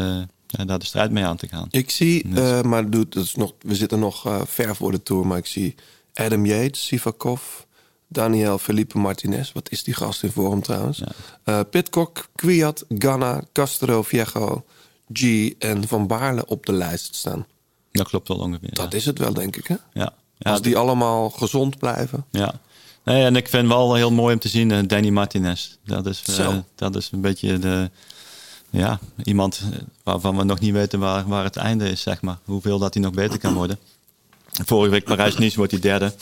daar de strijd mee aan te gaan.
Ik zie, eh, maar doet, dat is nog, we zitten nog eh, ver voor de Tour, maar ik zie Adam Yates, Sivakov, Daniel Felipe Martinez. Wat is die gast in vorm trouwens? Eh, Pidcock, Kwiat, Ganna, Castro, Viejo, G en Van Baarle op de lijst staan.
Dat klopt wel ongeveer.
Dat is het wel, denk ik. Hè?
Ja. dus-
Als die allemaal gezond blijven.
Ja. Nee, en ik vind wel heel mooi om te zien eh, Danny Martinez. Dat is, eh,
Zo.
dat is een beetje de, ja, iemand eh, waarvan we nog niet weten waar, waar het einde is, zeg maar. Hoeveel dat hij nog beter kan worden. Vorige week Parijs-Nice wordt hij derde.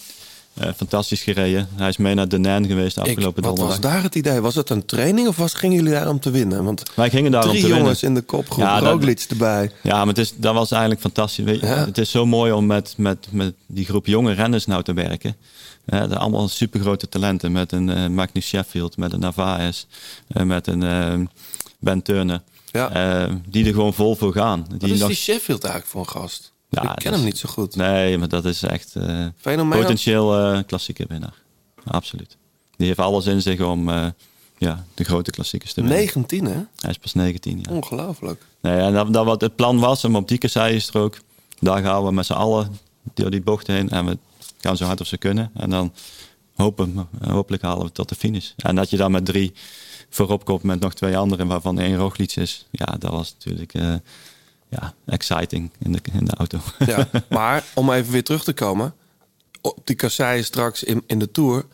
Eh, fantastisch gereden. Hij is mee naar Denain geweest
Ik,
afgelopen
wat
donderdag.
was daar het idee? Was het een training of was, gingen jullie daar om te winnen? Want
Wij gingen daar om
drie
te winnen.
jongens in de kopgroep,
Ja, dat-
Roglic erbij.
Ja, maar het is, dat was eigenlijk fantastisch. Weet je, Het is zo mooi om met, met, met die groep jonge renners nou te werken. Eh, dat allemaal supergrote talenten. Met een eh, Magnus Sheffield, met een Navaes, eh, met een eh, Ben Turner. Eh, die er gewoon vol voor gaan.
Wat is die Sheffield eigenlijk voor een gast?
Ja,
ik ken
dat
hem
is-
niet zo goed.
Nee, maar dat is echt eh,
Fenomenaal.
potentieel eh, klassieke winnaar. Absoluut. Die heeft alles in zich om eh, ja, de grote klassiekers te winnen.
19, hè?
Hij is pas 19, ja.
Ongelooflijk.
Nee, en dat, dat wat het plan was, en op die kasseienstrook, daar gaan we met z'n allen door die bocht heen en we gaan zo hard als we kunnen. En dan hopen, hopelijk halen we het tot de finish. En dat je dan met drie voorop komt met nog twee anderen, waarvan één Roglic is, ja, dat was natuurlijk eh, ja, exciting in de, in de auto.
Ja, maar om even weer terug te komen. Op die kasseien straks in, in de Tour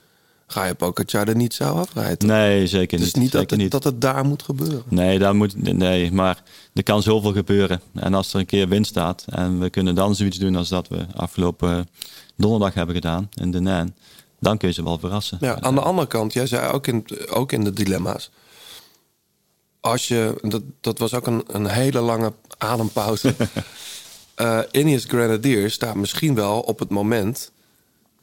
ga je Pogacar er niet zo afrijden.
Nee, zeker niet.
Het is niet dat
zeker
het, dat het daar moet gebeuren.
Nee, daar moet, nee, maar er kan zoveel gebeuren. En als er een keer wind staat en we kunnen dan zoiets doen als dat we afgelopen eh, donderdag hebben gedaan in de NAN, dan kun je ze wel verrassen.
Ja, aan de andere kant, jij zei ook in, ook in de dilemma's. Als je, dat, dat was ook een, een hele lange adempauze. Eh Ineos Grenadiers staat misschien wel op het moment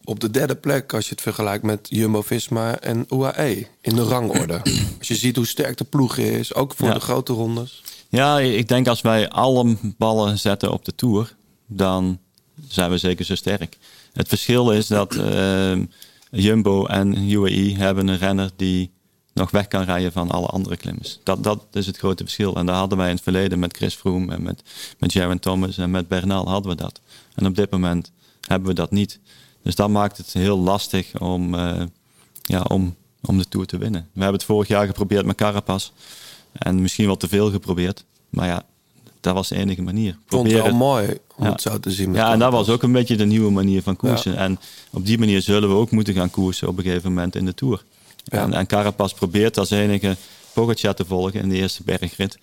op de derde plek als je het vergelijkt met Jumbo-Visma en UAE in de rangorde. als je ziet hoe sterk de ploeg is, ook voor
Ja.
de grote rondes.
Ja, ik denk als wij alle ballen zetten op de Tour, dan zijn we zeker zo sterk. Het verschil is dat ehm, Jumbo en UAE hebben een renner die nog weg kan rijden van alle andere klimmers. Dat, dat is het grote verschil. En daar hadden wij in het verleden met Chris Froome en met, met Jaron Thomas en met Bernal hadden we dat. En op dit moment hebben we dat niet. Dus dat maakt het heel lastig om, eh, ja, om, om de Tour te winnen. We hebben het vorig jaar geprobeerd met Carapaz. En misschien wel te veel geprobeerd. Maar ja, dat was de enige manier.
Vond het
Probeer
wel
het-
mooi om het zo te zien. met
Ja, en dat
Carapaz.
was ook een beetje de nieuwe manier van koersen. En op die manier zullen we ook moeten gaan koersen op een gegeven moment in de Tour. En, en Carapaz probeert als enige Pogacar te volgen in de eerste bergrit.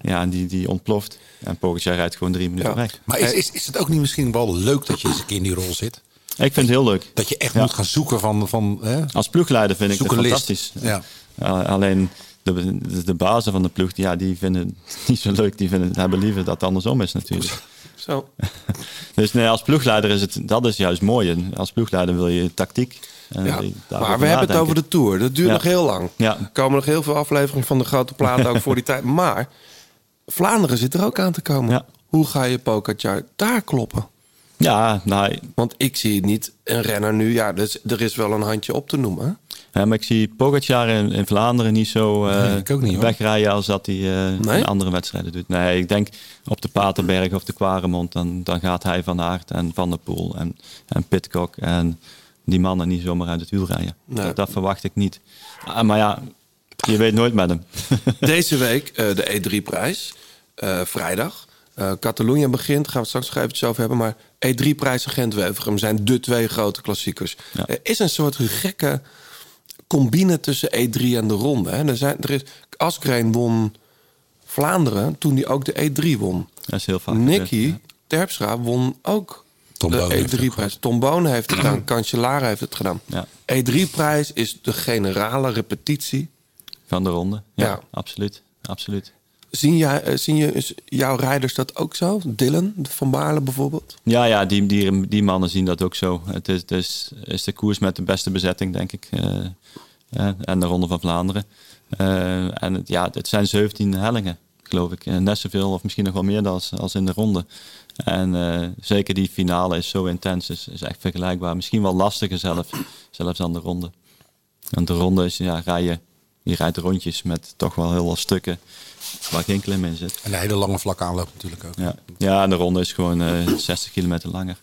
Ja, en die, die ontploft. En Pogacar rijdt gewoon drie minuten weg.
Maar is, is, is het ook niet misschien wel leuk dat je eens een keer in die rol zit?
Ik vind het heel leuk.
Dat je echt moet gaan zoeken van... van hè?
Als ploegleider vind ik het
Zoek een list.
fantastisch.
Ja.
Uh, alleen de, de, de bazen van de ploeg, ja, die vinden het niet zo leuk. Die vinden, hebben liever dat het andersom is natuurlijk.
Zo.
Dus nee, als ploegleider is het, dat is juist mooi. En Als ploegleider wil je tactiek.
Ja,
eh, daarover
maar we hebben het
nadenken.
over de tour. Dat duurt
Ja.
nog heel lang.
Ja.
Er komen nog heel veel afleveringen van de grote plaat ook voor die tijd. Maar Vlaanderen zit er ook aan te komen. Hoe ga je Pogacar daar kloppen?
Ja, nou...
Want ik zie niet een renner nu. Ja, dus er is wel een handje op te noemen. hè?
Ja, maar ik zie Pogacar in, in Vlaanderen niet zo eh,
Nee, ik ook niet, hoor.
wegrijden als dat hij eh, in andere wedstrijden doet. Nee, ik denk op de Paterberg of de Quaremont, dan, dan gaat hij Van Aert en Van der Poel en, en Pitcock en die mannen niet zomaar uit het wiel rijden.
Nee.
Dat, dat verwacht ik niet. Ah, maar ja, je weet nooit met hem.
Deze week eh, de E3-prijs. vrijdag. Eh Catalonië begint. Gaan we het straks nog eventjes over hebben. Maar E E3-prijs en Gent-Wevergem zijn de twee grote klassiekers. Er is een soort gekke combine tussen E3 en de ronde. Hè? Er zijn, er is, Askreen won Vlaanderen toen hij ook de E3 won.
Dat is heel vaak.
Nicky Terpstra won ook de E3-prijs. Tom Boon heeft het gedaan. Cancellara heeft het gedaan. E
Ja.
E3-prijs is de generale repetitie
Van de ronde. Ja,
Ja.
absoluut. absoluut.
Zien, jij, eh, zien je, jouw rijders dat ook zo? Dylan van Baarle bijvoorbeeld?
Ja, ja die, die, die mannen zien dat ook zo. Het is, het is, is de koers met de beste bezetting, denk ik. eh, eh, en de Ronde van Vlaanderen. Eh, en het, ja, het zijn 17 hellingen, geloof ik. Eh, net zoveel of misschien nog wel meer dan als, als in de Ronde. En eh, zeker die finale is zo intens. Is, is echt vergelijkbaar. Misschien wel lastiger zelf, zelfs dan de Ronde. Want de Ronde is, ja, rij je, je rijdt rondjes met toch wel heel wat stukken waar geen klim in zit.
En een hele lange vlakke aanloop natuurlijk ook.
Ja, ja en de ronde is gewoon eh, 60 kilometer langer.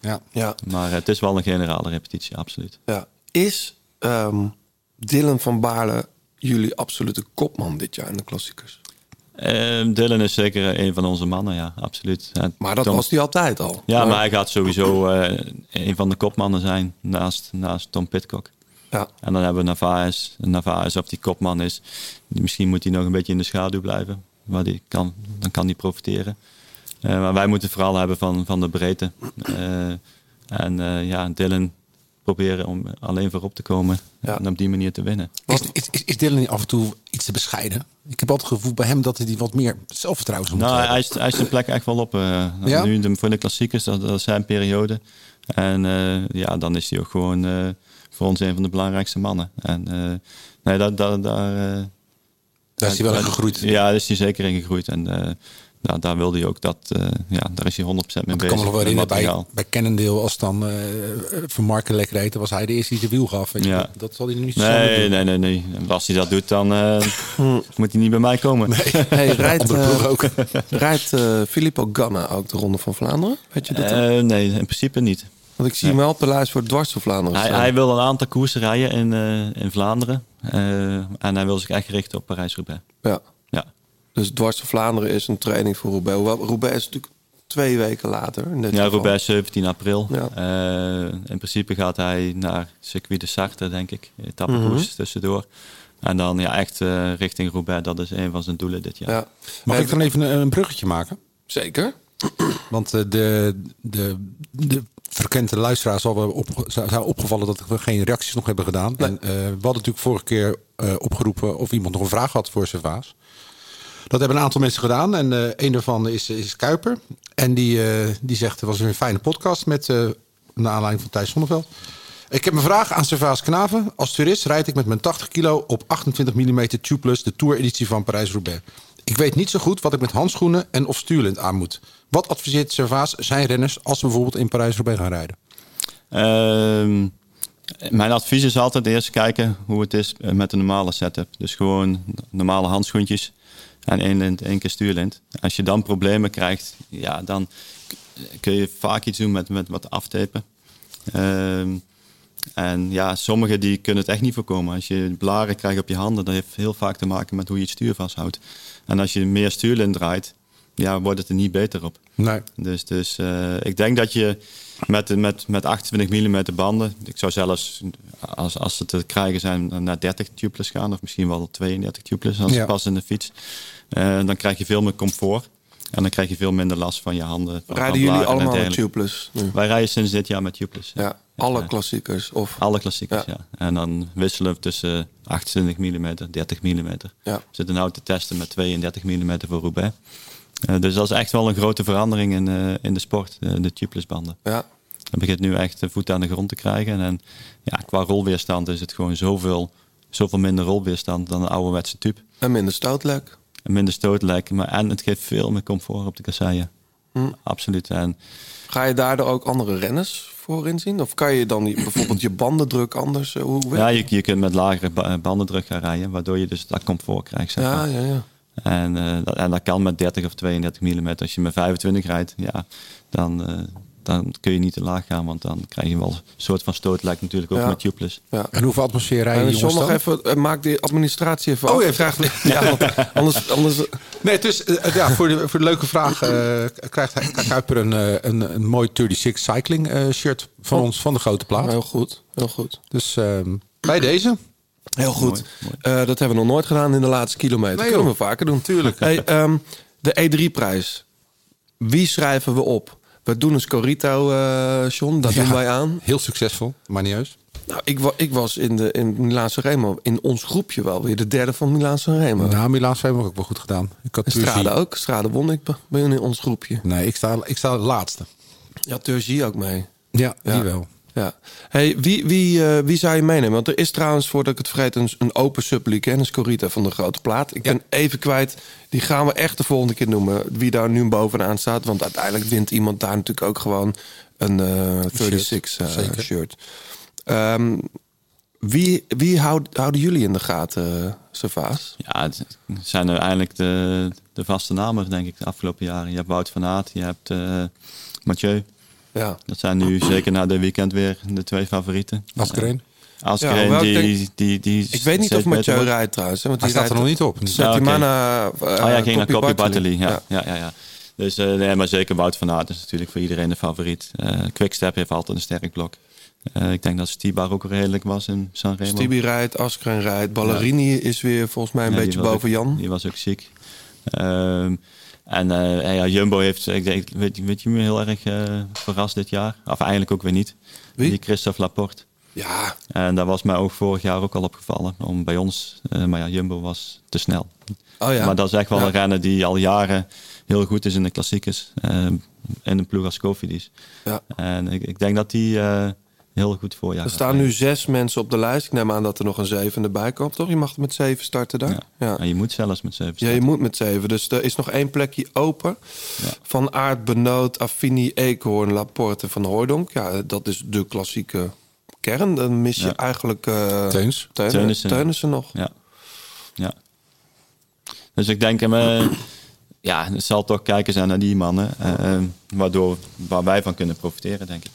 Ja.
ja.
Maar eh, het is wel een generale repetitie, absoluut.
Ja. Is ehm, Dylan van Baarle jullie absolute kopman dit jaar in de klassiekers?
Ehm Dylan is zeker eh, een van onze mannen, ja, absoluut. En
Maar dat
Tom-
was hij altijd al.
Ja, maar hij gaat sowieso eh, een van de kopmannen zijn naast, naast Tom Pitcock.
Ja.
En dan hebben we Navares. Navares, of die kopman is, die- misschien moet hij nog een beetje in de schaduw blijven. Maar die kan, dan kan die profiteren. Eh, maar wij moeten vooral hebben van, van de breedte. Eh, en eh, ja, Dylan proberen om alleen voorop te komen en op die manier te winnen.
Is, is, is- is Dylan niet af en toe iets te bescheiden? Ik heb altijd het gevoel bij hem dat hij die wat meer zelfvertrouwen zou moeten
Nou,
hebben.
hij eist, hij eist zijn plek echt wel op. eh.
Ja?
Nu de, voor de klassiekers, dat, dat is zijn periode. En eh, ja, dan is hij ook gewoon eh, voor ons een van de belangrijkste mannen. En eh, nee, daar, daar, daar, eh,
Daar is hij wel in gegroeid.
Ja, daar is hij zeker in gegroeid. En eh, daar, daar wilde hij ook dat, eh, ja, daar is hij 100% mee
Want
bezig.
ik kan me nog wel
met
herinneren bij,
materiaal.
bij Cannondale, als dan eh Van Marken lekker eten, was hij de eerste die de wiel gaf. Weet je,
Ja.
dat- Dat zal hij nu niet zo snel
Nee,
doen.
nee, nee, nee. En Als hij dat doet, dan eh, moet hij niet bij mij komen.
Hey, rijdt
Andere ploeg
eh, rijdt eh, Filippo Ganna ook de Ronde van Vlaanderen? Weet je dat?
Eh, nee, in principe niet.
Want ik zie hem wel op de lijst voor dwars door Vlaanderen.
Hij,
staan.
hij wil een aantal koersen rijden in, eh, in Vlaanderen. Eh, en hij wil zich echt richten op Parijs-Roubaix.
Ja.
Ja.
Dus dwars door Vlaanderen is een training voor Roubaix. Hoewel, Roubaix is natuurlijk twee weken later. In dit
Ja,
geval.
Roubaix 17 april. Eh, in principe gaat hij naar Circuit de Sarthe, denk ik. Etappekoers
Mhm.
tussendoor. En dan ja, echt eh, richting Roubaix. Dat is een van zijn doelen dit jaar.
Ja.
Mag ik dan even een, een bruggetje maken?
Zeker.
Want eh, de, de, de verkende luisteraar zal wel op, zou zou opgevallen dat we geen reacties nog hebben gedaan. En, eh, we hadden natuurlijk vorige keer eh, opgeroepen of iemand nog een vraag had voor Servaas. Dat hebben een aantal mensen gedaan. En eh, een daarvan is, is Kuiper. En die, eh, die zegt, het was weer een fijne podcast met eh naar aanleiding van Thijs Zonneveld. Ik heb een vraag aan Servaas Knaven. Als toerist rijd ik met mijn 80 kilo op 28 mm tubeless de Tour-editie van Parijs-Roubaix. Ik weet niet zo goed wat ik met handschoenen en of stuurlint aan moet. Wat adviseert Servaas zijn renners als ze bijvoorbeeld in Parijs-Roubaix gaan rijden?
Ehm, mijn advies is altijd eerst kijken hoe het is eh, met een normale setup. Dus gewoon normale handschoentjes en één, lint, één keer stuurlint. Als je dan problemen krijgt, ja, dan k- kun je vaak iets doen met, met wat aftapen. Ehm, en ja, sommigen die kunnen het echt niet voorkomen. Als je blaren krijgt op je handen, dat heeft heel vaak te maken met hoe je het stuur vasthoudt. En als je meer stuurlint draait, ja, wordt het er niet beter op.
Nee.
Dus, dus eh, ik denk dat je met, met, met 28 mm banden, ik zou zelfs als, als ze te krijgen zijn naar 30 tubeless gaan, of misschien wel 32 tubeless als
Ja.
het past in de fiets, Eh, dan krijg je veel meer comfort en dan krijg je veel minder last van je handen. Van,
Rijden
van
jullie
blaren en
allemaal met
dergelijke.
tubeless? nu?
Wij rijden sinds dit jaar met tubeless.
Ja, alle klassiekers? Of...
Alle klassiekers, ja. En dan wisselen we tussen 28 mm, 30 mm.
Ja.
We zitten nou te testen met 32 mm voor Roubaix. Eh, dus dat is echt wel een grote verandering in, eh, in de sport, eh, de tubeless banden.
Ja.
Dat begint nu echt eh, voet aan de grond te krijgen. En ja, qua rolweerstand is het gewoon zoveel, zoveel minder rolweerstand dan een ouderwetse tube.
En minder stoutlek.
En minder stootlek. Maar, en het geeft veel meer comfort op de kasseien.
Hm.
Absoluut. En
Ga je daardoor ook andere renners voor inzien? Of kan je dan die- bijvoorbeeld je bandendruk anders? eh, Hoe
Ja, je, je kunt met lagere ba- eh, bandendruk gaan rijden, waardoor je dus dat comfort krijgt. Zeg
Ja,
maar.
ja, ja.
En, eh, dat, en dat kan met 30 of 32 mm. Als je met 25 rijdt, ja, dan, eh, dan kun je niet te laag gaan, want dan krijg je wel een soort van stootlek natuurlijk ook
Ja.
met tubeless.
Ja.
En hoeveel atmosfeer
En
rijden die jongens
John nog
dan?
even, eh, maak die administratie even af.
ja.
Vraag- ja, want anders, anders...
Nee, dus eh, ja, voor, de, voor de leuke vraag eh, krijgt hij- krijgt Kuiper een, eh, een, een mooi 36 Cycling eh, shirt van
Oh.
ons, van de grote plaat.
Heel goed, heel goed.
Dus ehm, bij deze.
Heel goed. Eh, dat hebben we nog nooit gedaan in de laatste kilometer.
Nee,
Dat kunnen we
joh.
vaker doen. Tuurlijk. Hey, ehm, de E3-prijs. Wie schrijven we op? We doen een Scorito, eh John. Dat doen wij aan.
Heel succesvol, maar niet juist.
Nou, ik, wa- ik was in, de, in Milaanse Remo, in ons groepje wel weer, de derde van Milaanse Remo.
Nou, Milaanse Remo heb ik ook wel goed gedaan. Ik had
En Strade
Turgie.
ook. Strade won ik bij- bij hun in ons groepje.
Nee, ik sta, ik sta de laatste.
Ja, Turgie ook mee.
Ja, die wel.
Ja. Hey, wie, wie, eh, wie zou je meenemen? Want er is trouwens, voordat ik het vergeet, een, een open sublucanis Corita van de Grote Plaat. Ik ben even kwijt. Die gaan we echt de volgende keer noemen. Wie daar nu bovenaan staat. Want uiteindelijk wint iemand daar natuurlijk ook gewoon een eh 36 eh, shirt.
zeker.
Ehm, wie wie houd- houden jullie in de gaten, eh, Savaas?
Ja, het zijn uiteindelijk de, de vaste namen, denk ik, de afgelopen jaren. Je hebt Wout van Aert, je hebt eh, Mathieu.
Ja.
Dat zijn nu zeker na de weekend weer de twee favorieten.
Asgreen.
Asgreen,
Ja, hoewel ik
die,
denk-
die, die,
Ik weet niet
steeds
of Mathieu
beter wordt.
rijdt trouwens. hè, Want
Hij
die
staat er
rijdt-
nog niet op.
Staat die
oké.
man, eh, eh,
oh ja, ging naar
Coppi
Coppi
Bartoli.
Bartoli. Ja, ja. Ja, ja, Dus eh, nee, maar zeker Wout van Aert is natuurlijk voor iedereen de favoriet. Eh Quickstep heeft altijd een sterk blok. Eh, ik denk dat Stibar ook redelijk was in Sanremo.
Tibi rijdt, Askren rijdt. Ballerini is weer volgens mij een
Ja, die
beetje
was ook-
boven Jan.
Die was ook ziek. Ehm, en eh, ja, Jumbo heeft, ik denk, weet, weet je me heel erg eh, verrast dit jaar. Of eigenlijk ook weer niet.
Wie?
Die Christophe Laporte.
Ja.
En daar was mij ook vorig jaar ook al opgevallen. Om bij ons, eh, maar ja, Jumbo was te snel.
Oh ja.
Maar dat is echt wel
Ja.
een renner die al jaren heel goed is in de klassiekers. ehm en een ploeg als Cofidis.
Ja.
En ik, ik denk dat die eh, heel goed voorjaar
Er
gaat
staan nu zes mensen op de lijst. Ik neem aan dat er nog een zevende bij komt, toch? Je mag met zeven starten daar. Ja, ja.
En je moet zelfs met zeven
je moet met zeven. Dus er is nog één plekje open. Van Aert, Benoot, Affini, Eekhoorn, Laporte, Van Hooydonk. Ja, dat is de klassieke kern. Dan mis je
Ja.
eigenlijk... eh
Teuns.
Teun-
Teunissen.
Teunissen nog.
Ja. ja. Dus ik denk, eh, ja, het zal toch kijken zijn naar die mannen. eh, eh, waardoor, waar wij van kunnen profiteren, denk ik.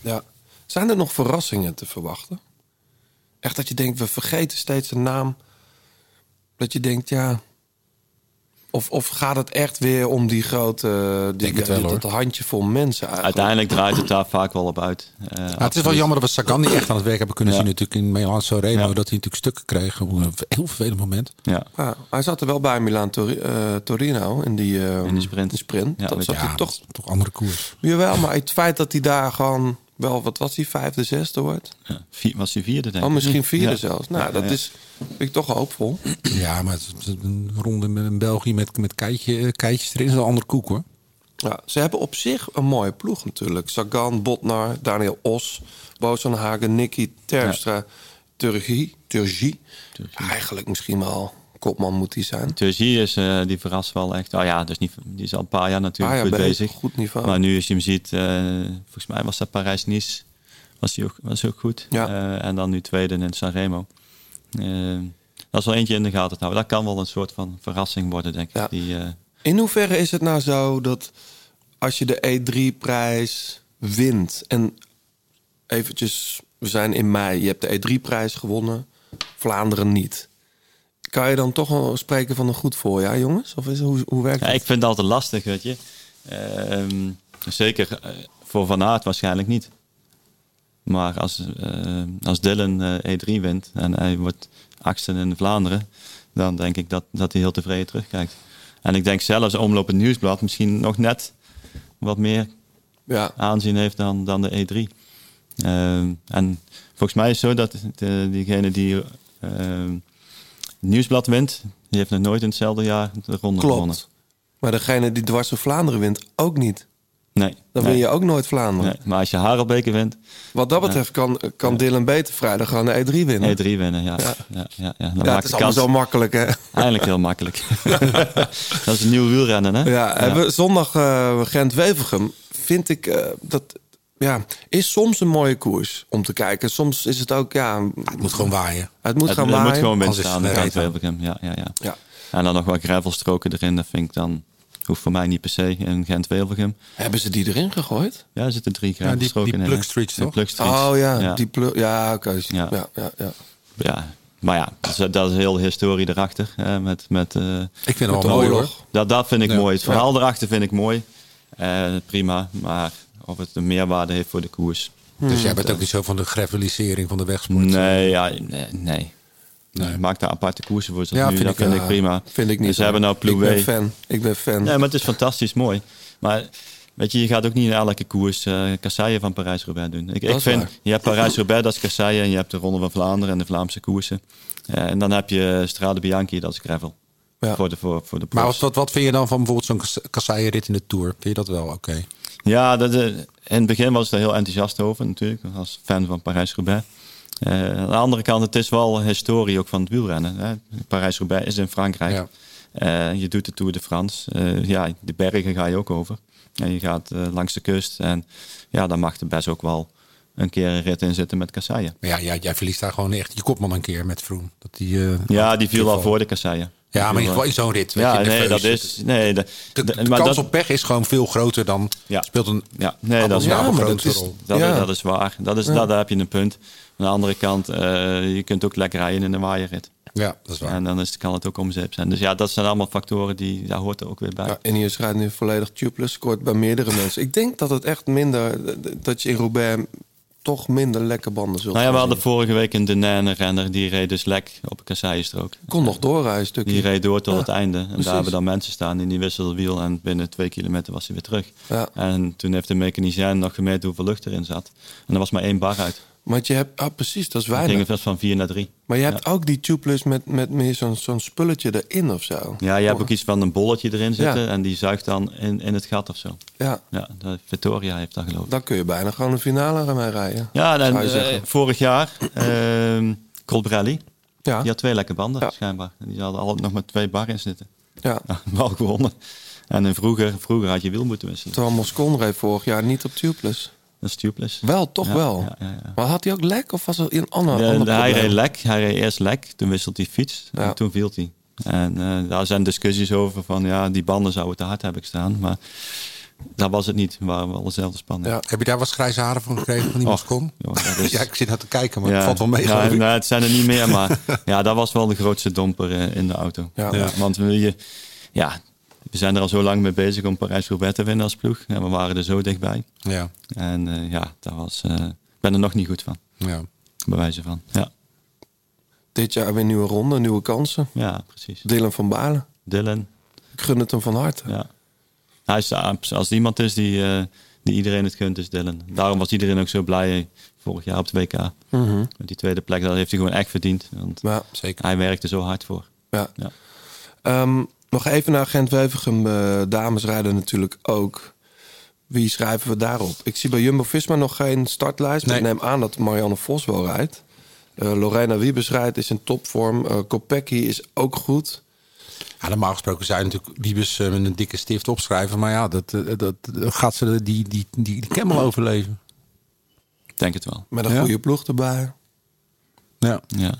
Ja. Zijn er nog verrassingen te verwachten? Echt dat je denkt, we vergeten steeds een naam. Dat je denkt, ja. Of, of gaat het echt weer om die grote. eh, Die,
het wel,
dat-
hoor.
dat handjevol mensen eigenlijk?
Uiteindelijk draait het daar vaak wel op uit. Eh,
Ja, Nou, het is wel
absoluut.
jammer dat we Sagan niet echt aan het werk hebben kunnen
Ja.
zien natuurlijk in Milan Sanremo. Dat hij natuurlijk stukken kreeg. Op een heel vervelend moment.
Ja.
Ja, hij zat er wel bij Milan Tori- eh, Torino in die, eh,
In die sprint.
die sprint.
Ja,
dat
met-
zag
ja,
je toch.
Toch andere koers.
Jawel, maar het feit dat hij daar gewoon wel, wat was hij, vijfde, zesde wordt?
Ja, vier- was hij vierde, denk ik.
Oh, misschien vierde
Ja.
zelfs. Nou,
Ja,
dat
ja.
is vind ik toch hoopvol.
Ja, maar het is een ronde met een België met, met keitje, eh, keitjes erin is wel een andere koek hoor.
Ja, ze hebben op zich een mooie ploeg natuurlijk. Sagan, Botnar, Daniel Os, Bozan Hagen, Nicky, Terpstra, Turgie. Turgie. Eigenlijk misschien wel kopman moet hij zijn.
Turgie is, eh, die verrast wel echt. Oh ja, dus niet, die is al een paar jaar natuurlijk
Ah ja,
goed
bij een
bezig.
goed niveau.
Maar nu als je hem ziet, eh, volgens mij was dat Parijs-Nice. Was hij ook, was hij ook goed.
Ja.
Eh, en dan nu tweede in Sanremo. Eh, dat is wel eentje in de gaten te houden. Dat kan wel een soort van verrassing worden, denk ik. Die, eh,
In hoeverre is het nou zo dat als je de E3-prijs wint en eventjes, we zijn in mei, je hebt de E3-prijs gewonnen, Vlaanderen niet. Kan je dan toch wel spreken van een goed voorjaar, jongens? Of is, hoe, hoe werkt
Ja,
dat?
ik vind het altijd lastig, weet je. Ehm, zeker eh, voor Van Aert waarschijnlijk niet. Maar als, eh, als Dylan eh, E3 wint en hij wordt achtste in Vlaanderen... dan denk ik dat, dat hij heel tevreden terugkijkt. En ik denk zelfs Omloop het Nieuwsblad misschien nog net wat meer
Ja.
aanzien heeft dan, dan de E3. Ehm, en volgens mij is het zo dat de, diegene die ehm, het Nieuwsblad wint... die heeft nog nooit in hetzelfde jaar de ronde gewonnen.
Klopt. Maar degene die dwars door Vlaanderen wint, ook niet.
Nee.
Dan
nee.
win je ook nooit Vlaanderen.
Nee, maar als je Harelbeke wint,
Wat dat betreft kan, kan Dylan Beter vrijdag gewoon de E3 winnen.
E3 winnen. Ja,
Ja.
ja. ja, ja, E dan
Ja,
maak
het is
je
allemaal
kans.
zo makkelijk, hè?
Eigenlijk heel makkelijk. dat is een nieuw wielrennen, hè?
Ja, hebben we zondag eh Gent-Wevelgem vind ik eh, dat... Ja, is soms een mooie koers om te kijken. Soms is het ook,
Ah,
ja... Het
moet gewoon waaien.
Het moet
het,
gaan
het
waaien.
moet gewoon wind
Anders is
staan.
het
Dat
vergeten.
heb ik hem. Ja, ja, ja.
Ja.
En dan nog wat gravelstroken erin. Dat vind ik dan... Hoeft voor mij niet per se in Gent-Wevelgem.
Hebben ze die erin gegooid?
Ja, er zitten drie
die-
gravelstroken
die
in. hè?
plugstreets,
De
toch?
plugstreets.
Oh ja,
ja.
die plu- Ja, oké. Ja. Ja, ja,
Ja, Maar ja, dat is, dat is heel de historie erachter. Hè, met, met, eh,
Ik vind
met
hem
de
wel mooi hoor.
oorlog. Dat, dat vind ik
Ja.
mooi. Het verhaal erachter vind ik mooi. Eh, prima. Maar of het een meerwaarde heeft voor de koers.
Dus jij bent
Dat,
ook niet zo van de gravelisering van de wegsport.
Hmm. Nee, ja, nee. nee. Maak daar aparte koersen voor. Zoals
Ja,
nu,
vind
dat
ik-
vind
ja,
ik prima.
Vind ik niet.
Dus ze hebben nou
Ik
Ploué.
ben fan. Ik ben fan.
Nee, maar het is fantastisch mooi. Maar Weet je, je gaat ook niet in elke koers eh kasseien van Parijs-Roubaix doen. Ik,
Dat
ik
is
vind,
waar.
je hebt Parijs-Roubaix, dat is kasseien. En je hebt de Ronde van Vlaanderen en de Vlaamse koersen. Eh, en dan heb je Strade Bianchi, dat is gravel.
Ja.
Voor de, voor, voor de
Maar
profs.
wat, wat, wat vind je dan van bijvoorbeeld zo'n kas- kasseienrit in de Tour? Vind je dat wel oké?
Ja, dat, eh, in het begin was ik daar heel enthousiast over natuurlijk, als fan van Parijs-Roubaix. Eh, aan de andere kant, het is wel historie ook van het wielrennen. hè. Parijs-Roubaix is in Frankrijk. Eh, je doet de Tour de France. Eh, ja, de bergen ga je ook over. En je gaat eh, langs de kust. En ja, dan mag er best ook wel een keer een rit in zitten met kasseien.
Maar ja, jij, jij verliest daar gewoon echt je kopman een keer met Vroom. Dat die, eh,
Ja, die viel al
geval.
voor de kasseien.
Ja, maar in
Die viel,
ieder geval
eh,
in zo'n rit, weet
Ja,
je, de
nee,
feus.
dat is... Nee, de,
De,
de-
de
maar
kans
dat-
op pech is gewoon veel groter dan
Ja.
speelt een
Ja, nee, dat is
Ja,
waar.
maar
dat,
dat
is,
is-
dat,
ja.
dat is waar. Dat is,
Ja.
dat, daar heb je een punt. Aan de andere kant, eh, je kunt ook lekker rijden in een waaierrit.
Ja, dat is waar.
En dan is, kan het ook om zeep zijn. Dus ja, dat zijn allemaal factoren die daar hoort er ook weer bij.
Ja, Ineos rijdt nu volledig tubeless, scoort bij meerdere mensen. Ik denk dat het echt minder, dat je in Roubaix toch minder lekke banden zult
nou ja, we
gaan
hadden
zien.
vorige week een Denane renner die reed dus lek op een kasseienstrook.
Kon nog doorrijden een stukje.
Die reed door tot
Ja,
het einde. En
precies.
daar hebben dan mensen staan in die wisselde wiel. En binnen twee kilometer was hij weer terug.
Ja.
En toen heeft de mechanicien nog gemeten hoeveel lucht erin zat. En er was maar één bar uit.
Want je hebt, ah precies, dat is
Het ging
weinig.
vast van vier naar drie.
Maar je hebt ook die tubeless met, met meer zo'n zo'n spulletje erin of zo.
Ja, je hebt ook iets van een bolletje erin zitten
Ja.
en die zuigt dan in, in het gat of zo.
Ja.
ja de Vittoria heeft dat geloof ik.
Dan kun je bijna gewoon een finale gaan mee rijden.
Ja, en,
zou je
eh,
zeggen.
vorig jaar, ehm Colbrelli,
Ja.
die had twee lekke banden schijnbaar. Die hadden al nog maar twee bar in zitten.
Ja.
Wel gewonnen. En in vroeger, vroeger had je wiel moeten wisselen.
Terwijl Moscon reed vorig jaar niet op tubeless.
Dat is tubeless.
Wel, toch
Ja,
wel.
ja, ja,
Maar had hij ook lek of was er een ander,
De-
ander
de- hij
probleem?
reed lek, hij reed eerst lek, toen wisselt hij fiets
Ja.
en toen viel hij. En eh, daar zijn discussies over van ja, die banden zouden te hard hebben staan. Maar dat was het niet. We waren wel dezelfde spanning.
Ja. Heb je daar wat grijze haren van gekregen van die
Och,
Moscon?
joh, dat is-
Ja, ik zit naar te kijken, maar het valt wel mee.
ja,
geloof ik.
nou, het zijn er niet meer, maar ja, dat was wel de grootste domper eh, in de auto.
Ja.
Ja, Want we, je- ja, we zijn er al zo lang mee bezig om Parijs-Roubaix te winnen als ploeg. En we waren er zo dichtbij.
Ja.
En eh, ja, dat was, eh, ik ben er nog niet goed van.
Ja.
Bij wijze van, ja.
Dit jaar weer nieuwe ronde, nieuwe kansen.
Ja, precies.
Dylan van Baarle.
Dylan.
Ik gun het hem van harte.
Ja. Hij is, eh, als er iemand is die, eh, die iedereen het gunt, is Dylan. Daarom was iedereen ook zo blij eh, vorig jaar op het WK.
Mhm.
Met die tweede plek, dat heeft hij gewoon echt verdiend. Want
Ja,
Hij werkte zo hard voor.
Ja.
Ja.
Ehm, nog even naar Gent Wevergem. eh, dames rijden natuurlijk ook. Wie schrijven we daarop? Ik zie bij Jumbo Visma nog geen startlijst. Maar ik neem aan dat Marianne Vos wel rijdt. Eh, Lorena Wiebes rijdt, is in topvorm. Eh Kopecky is ook goed.
Ja, normaal gesproken zou je natuurlijk Wiebes eh, met een dikke stift opschrijven. Maar ja, dat, eh, dat, dat gaat ze die, die, die, die camel overleven.
Ik denk het wel.
Met een
Ja.
goede ploeg erbij.
Ja.
Ja.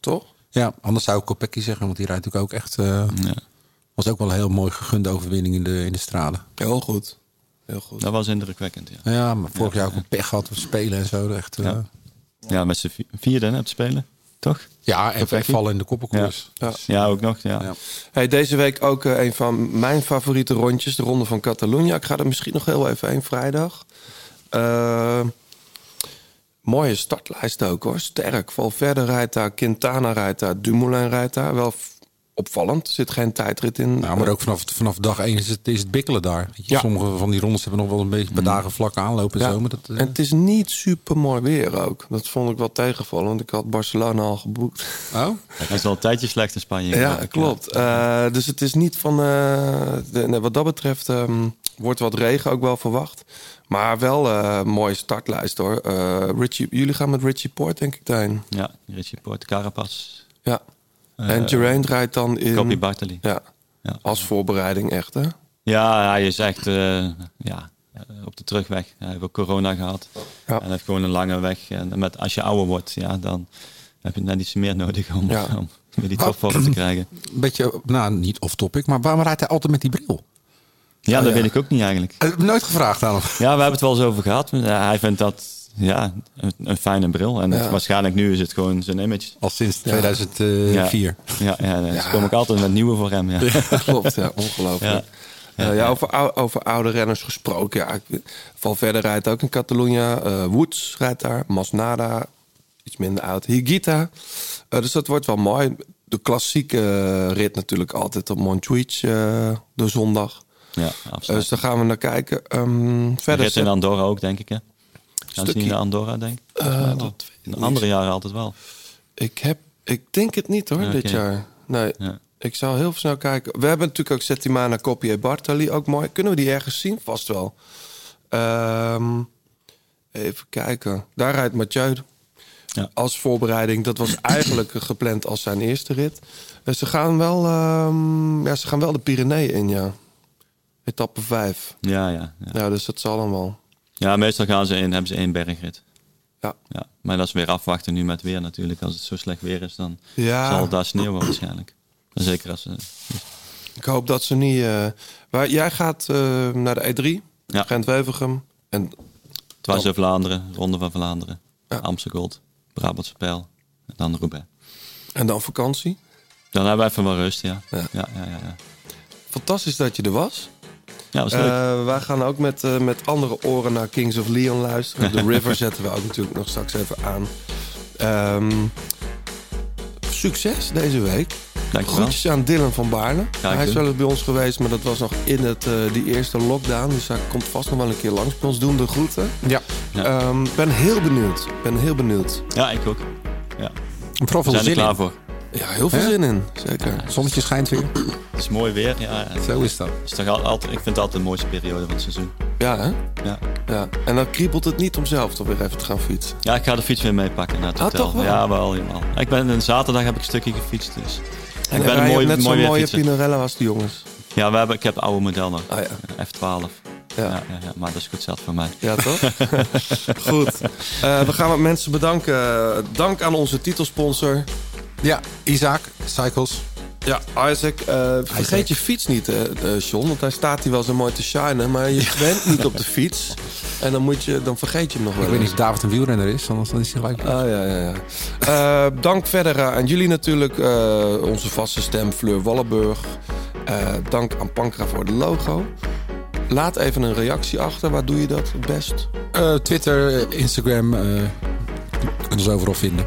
Toch?
Ja, anders zou ik Kopecky zeggen, want die rijdt natuurlijk ook echt... eh, Was ook wel een heel mooi gegunde overwinning in de, in de stralen.
Heel goed. Heel goed.
Dat was indrukwekkend, ja.
Ja, maar vorig jaar ook een pech gehad met spelen en zo. Echt, eh,
Ja. Ja, met z'n vi- vierde hè, op te spelen, toch?
Ja, en
Kopecky?
vallen in de koppenkoers.
Ja,
Ja.
Ja, ook nog, ja.
Hey, deze week ook eh, een van mijn favoriete rondjes, de Ronde van Catalunya. Ik ga er misschien nog heel even heen vrijdag. Eh, mooie startlijst ook hoor, sterk. Valverde rijdt daar, Quintana rijdt daar, Dumoulin rijdt daar. Wel f- opvallend, er zit geen tijdrit in.
Ja, Nou, maar ook vanaf, vanaf dag één is het, is het bikkelen daar. Weet je,
Ja.
Sommige van die rondes hebben nog wel een beetje een paar dagen vlak aanlopen. En
Ja.
zo, maar dat, eh,
En het is niet super mooi weer ook. Dat vond ik wel tegenvallen, want ik had Barcelona al geboekt.
Oh?
Hij is al een tijdje slecht in Spanje. geloof
Ja,
ik,
klopt. Eh, dus het is niet van. eh, de- nee, wat dat betreft ehm, wordt wat regen ook wel verwacht. Maar wel eh, een mooie startlijst hoor. Eh, Richie, jullie gaan met Richie Poort, denk ik, daarheen.
Ja, Richie Porte, Carapaz.
Ja.
Eh,
en Geraint rijdt dan in.
Copy Bartoli.
Ja. Als voorbereiding, echt hè?
Ja, hij is echt eh, ja, eh, op de terugweg. Hij heeft ook corona gehad. En hij heeft gewoon een lange weg. En met, als je ouder wordt, ja, dan heb je net iets meer nodig om,
Ja.
om weer die topvorm te krijgen.
een beetje, nou niet off-topic, maar waarom rijdt hij altijd met die bril?
Ja,
Oh,
dat
ja.
weet ik ook niet eigenlijk.
Ik heb nooit gevraagd aan hem.
Ja, we hebben het wel eens over gehad. Maar, eh, Hij vindt dat ja, een, een fijne bril. En
Ja.
het- waarschijnlijk nu is het gewoon zijn image.
Al sinds eh, 2004.
Ja, ja, ja, dus kom ik altijd met nieuwe voor hem. Ja.
Klopt, ja, ongelooflijk.
Ja.
Ja. Eh, ja, over, ou- over oude renners gesproken. Ja, ik- Valverde rijdt ook in Catalunya. eh Woods rijdt daar. Masnada, iets minder oud. Higita. Eh, dus dat wordt wel mooi. De klassieke eh, rit natuurlijk altijd op Montjuïc eh, de zondag.
Ja, absoluut.
dus daar gaan we naar kijken. Um, verder
Rit in Andorra ook, denk ik, hè? Gaan ze niet naar Andorra, denk ik?
Eh,
Maar
dat
toch?
weet ik
In
niet.
andere jaren altijd wel.
Ik heb, ik denk het niet hoor,
Ja,
dit
oké.
jaar. Nee,
Ja.
ik zal heel snel kijken. We hebben natuurlijk ook Settimana Copie Bartali, ook mooi. Kunnen we die ergens zien? Vast wel. Ehm, even kijken. Daar rijdt Mathieu als voorbereiding. Dat was eigenlijk gepland als zijn eerste rit. Eh, ze, gaan wel, ehm, ja, ze gaan wel de Pyreneeën in, ja. Etappe 5.
Ja, ja, ja.
Ja, dus dat zal dan wel.
Ja, meestal gaan ze in, hebben ze één bergrit.
Ja.
ja. Maar dat is weer afwachten nu met weer natuurlijk. Als het zo slecht weer is, dan
Ja.
zal het daar sneeuwen waarschijnlijk. Zeker als eh, ze...
Ik hoop dat ze niet. eh, waar, jij gaat eh, naar de E3,
Ja.
Gent-Wevergem. En
Dwars door Vlaanderen, Ronde van Vlaanderen, Amstel Gold, Brabantse Pijl en dan Roubaix.
En dan vakantie?
Dan hebben we even wat rust, ja. Ja, ja, ja. ja.
Fantastisch dat je er was.
Ja, was leuk.
Eh, wij gaan ook met, eh, met andere oren naar Kings of Leon luisteren. The River zetten we ook natuurlijk nog straks even aan. Ehm, succes deze week.
Dankjewel.
Groetjes aan Dylan van Baarne.
Ga ik
Hij is
doen.
wel eens bij ons geweest, maar dat was nog in het, eh, die eerste lockdown. Dus hij komt vast nog wel een keer langs bij ons. Doen de groeten.
Ja.
Ehm, ben heel benieuwd. Ben heel benieuwd.
Ja, ik ook. Ja.
Vooral veel
We zijn er
zin
klaar
in.
voor.
Ja, heel veel
Hè?
zin in. Zeker.
Zonnetje schijnt weer.
Het is mooi weer, ja. ja.
Zo is dat.
Het is toch al- altijd, ik vind het altijd de mooiste periode van het seizoen.
Ja, hè?
Ja.
ja. En dan kriebelt het niet om zelf toch weer even te gaan fietsen.
Ja, ik ga de fiets weer meepakken naar het
Ah,
hotel.
toch wel?
Ja, wel helemaal. Ik ben, een zaterdag heb ik een stukje gefietst, dus...
En
ik ben
rij
een
je
mooi,
net
mooi
zo'n
weer
mooie
fietser.
Pinarella als de jongens.
Ja, we hebben, ik heb het oude model nog.
Ah,
F12. Ja. Ja, ja, maar dat is goed zat voor mij.
Ja, toch? Goed. Eh, we gaan wat mensen bedanken. Dank aan onze titelsponsor.
Ja, Isaac, Cycles.
Ja, Isaac. eh, vergeet je fiets niet, eh eh, John. Want hij staat hier wel zo mooi te shinen. Maar je bent niet op de fiets. En dan, moet je, dan vergeet je hem nog wel
Ik weet
eens.
niet of David een wielrenner is, anders dan is hij gelijk.
Ah, ja, ja, ja. Eh, dank verder eh, aan jullie natuurlijk. eh, onze vaste stem Fleur Wallenburg. Eh, dank aan Pankra voor het logo. Laat even een reactie achter. Waar doe je dat het best?
Eh, Twitter, eh, Instagram. eh kunnen ze overal vinden.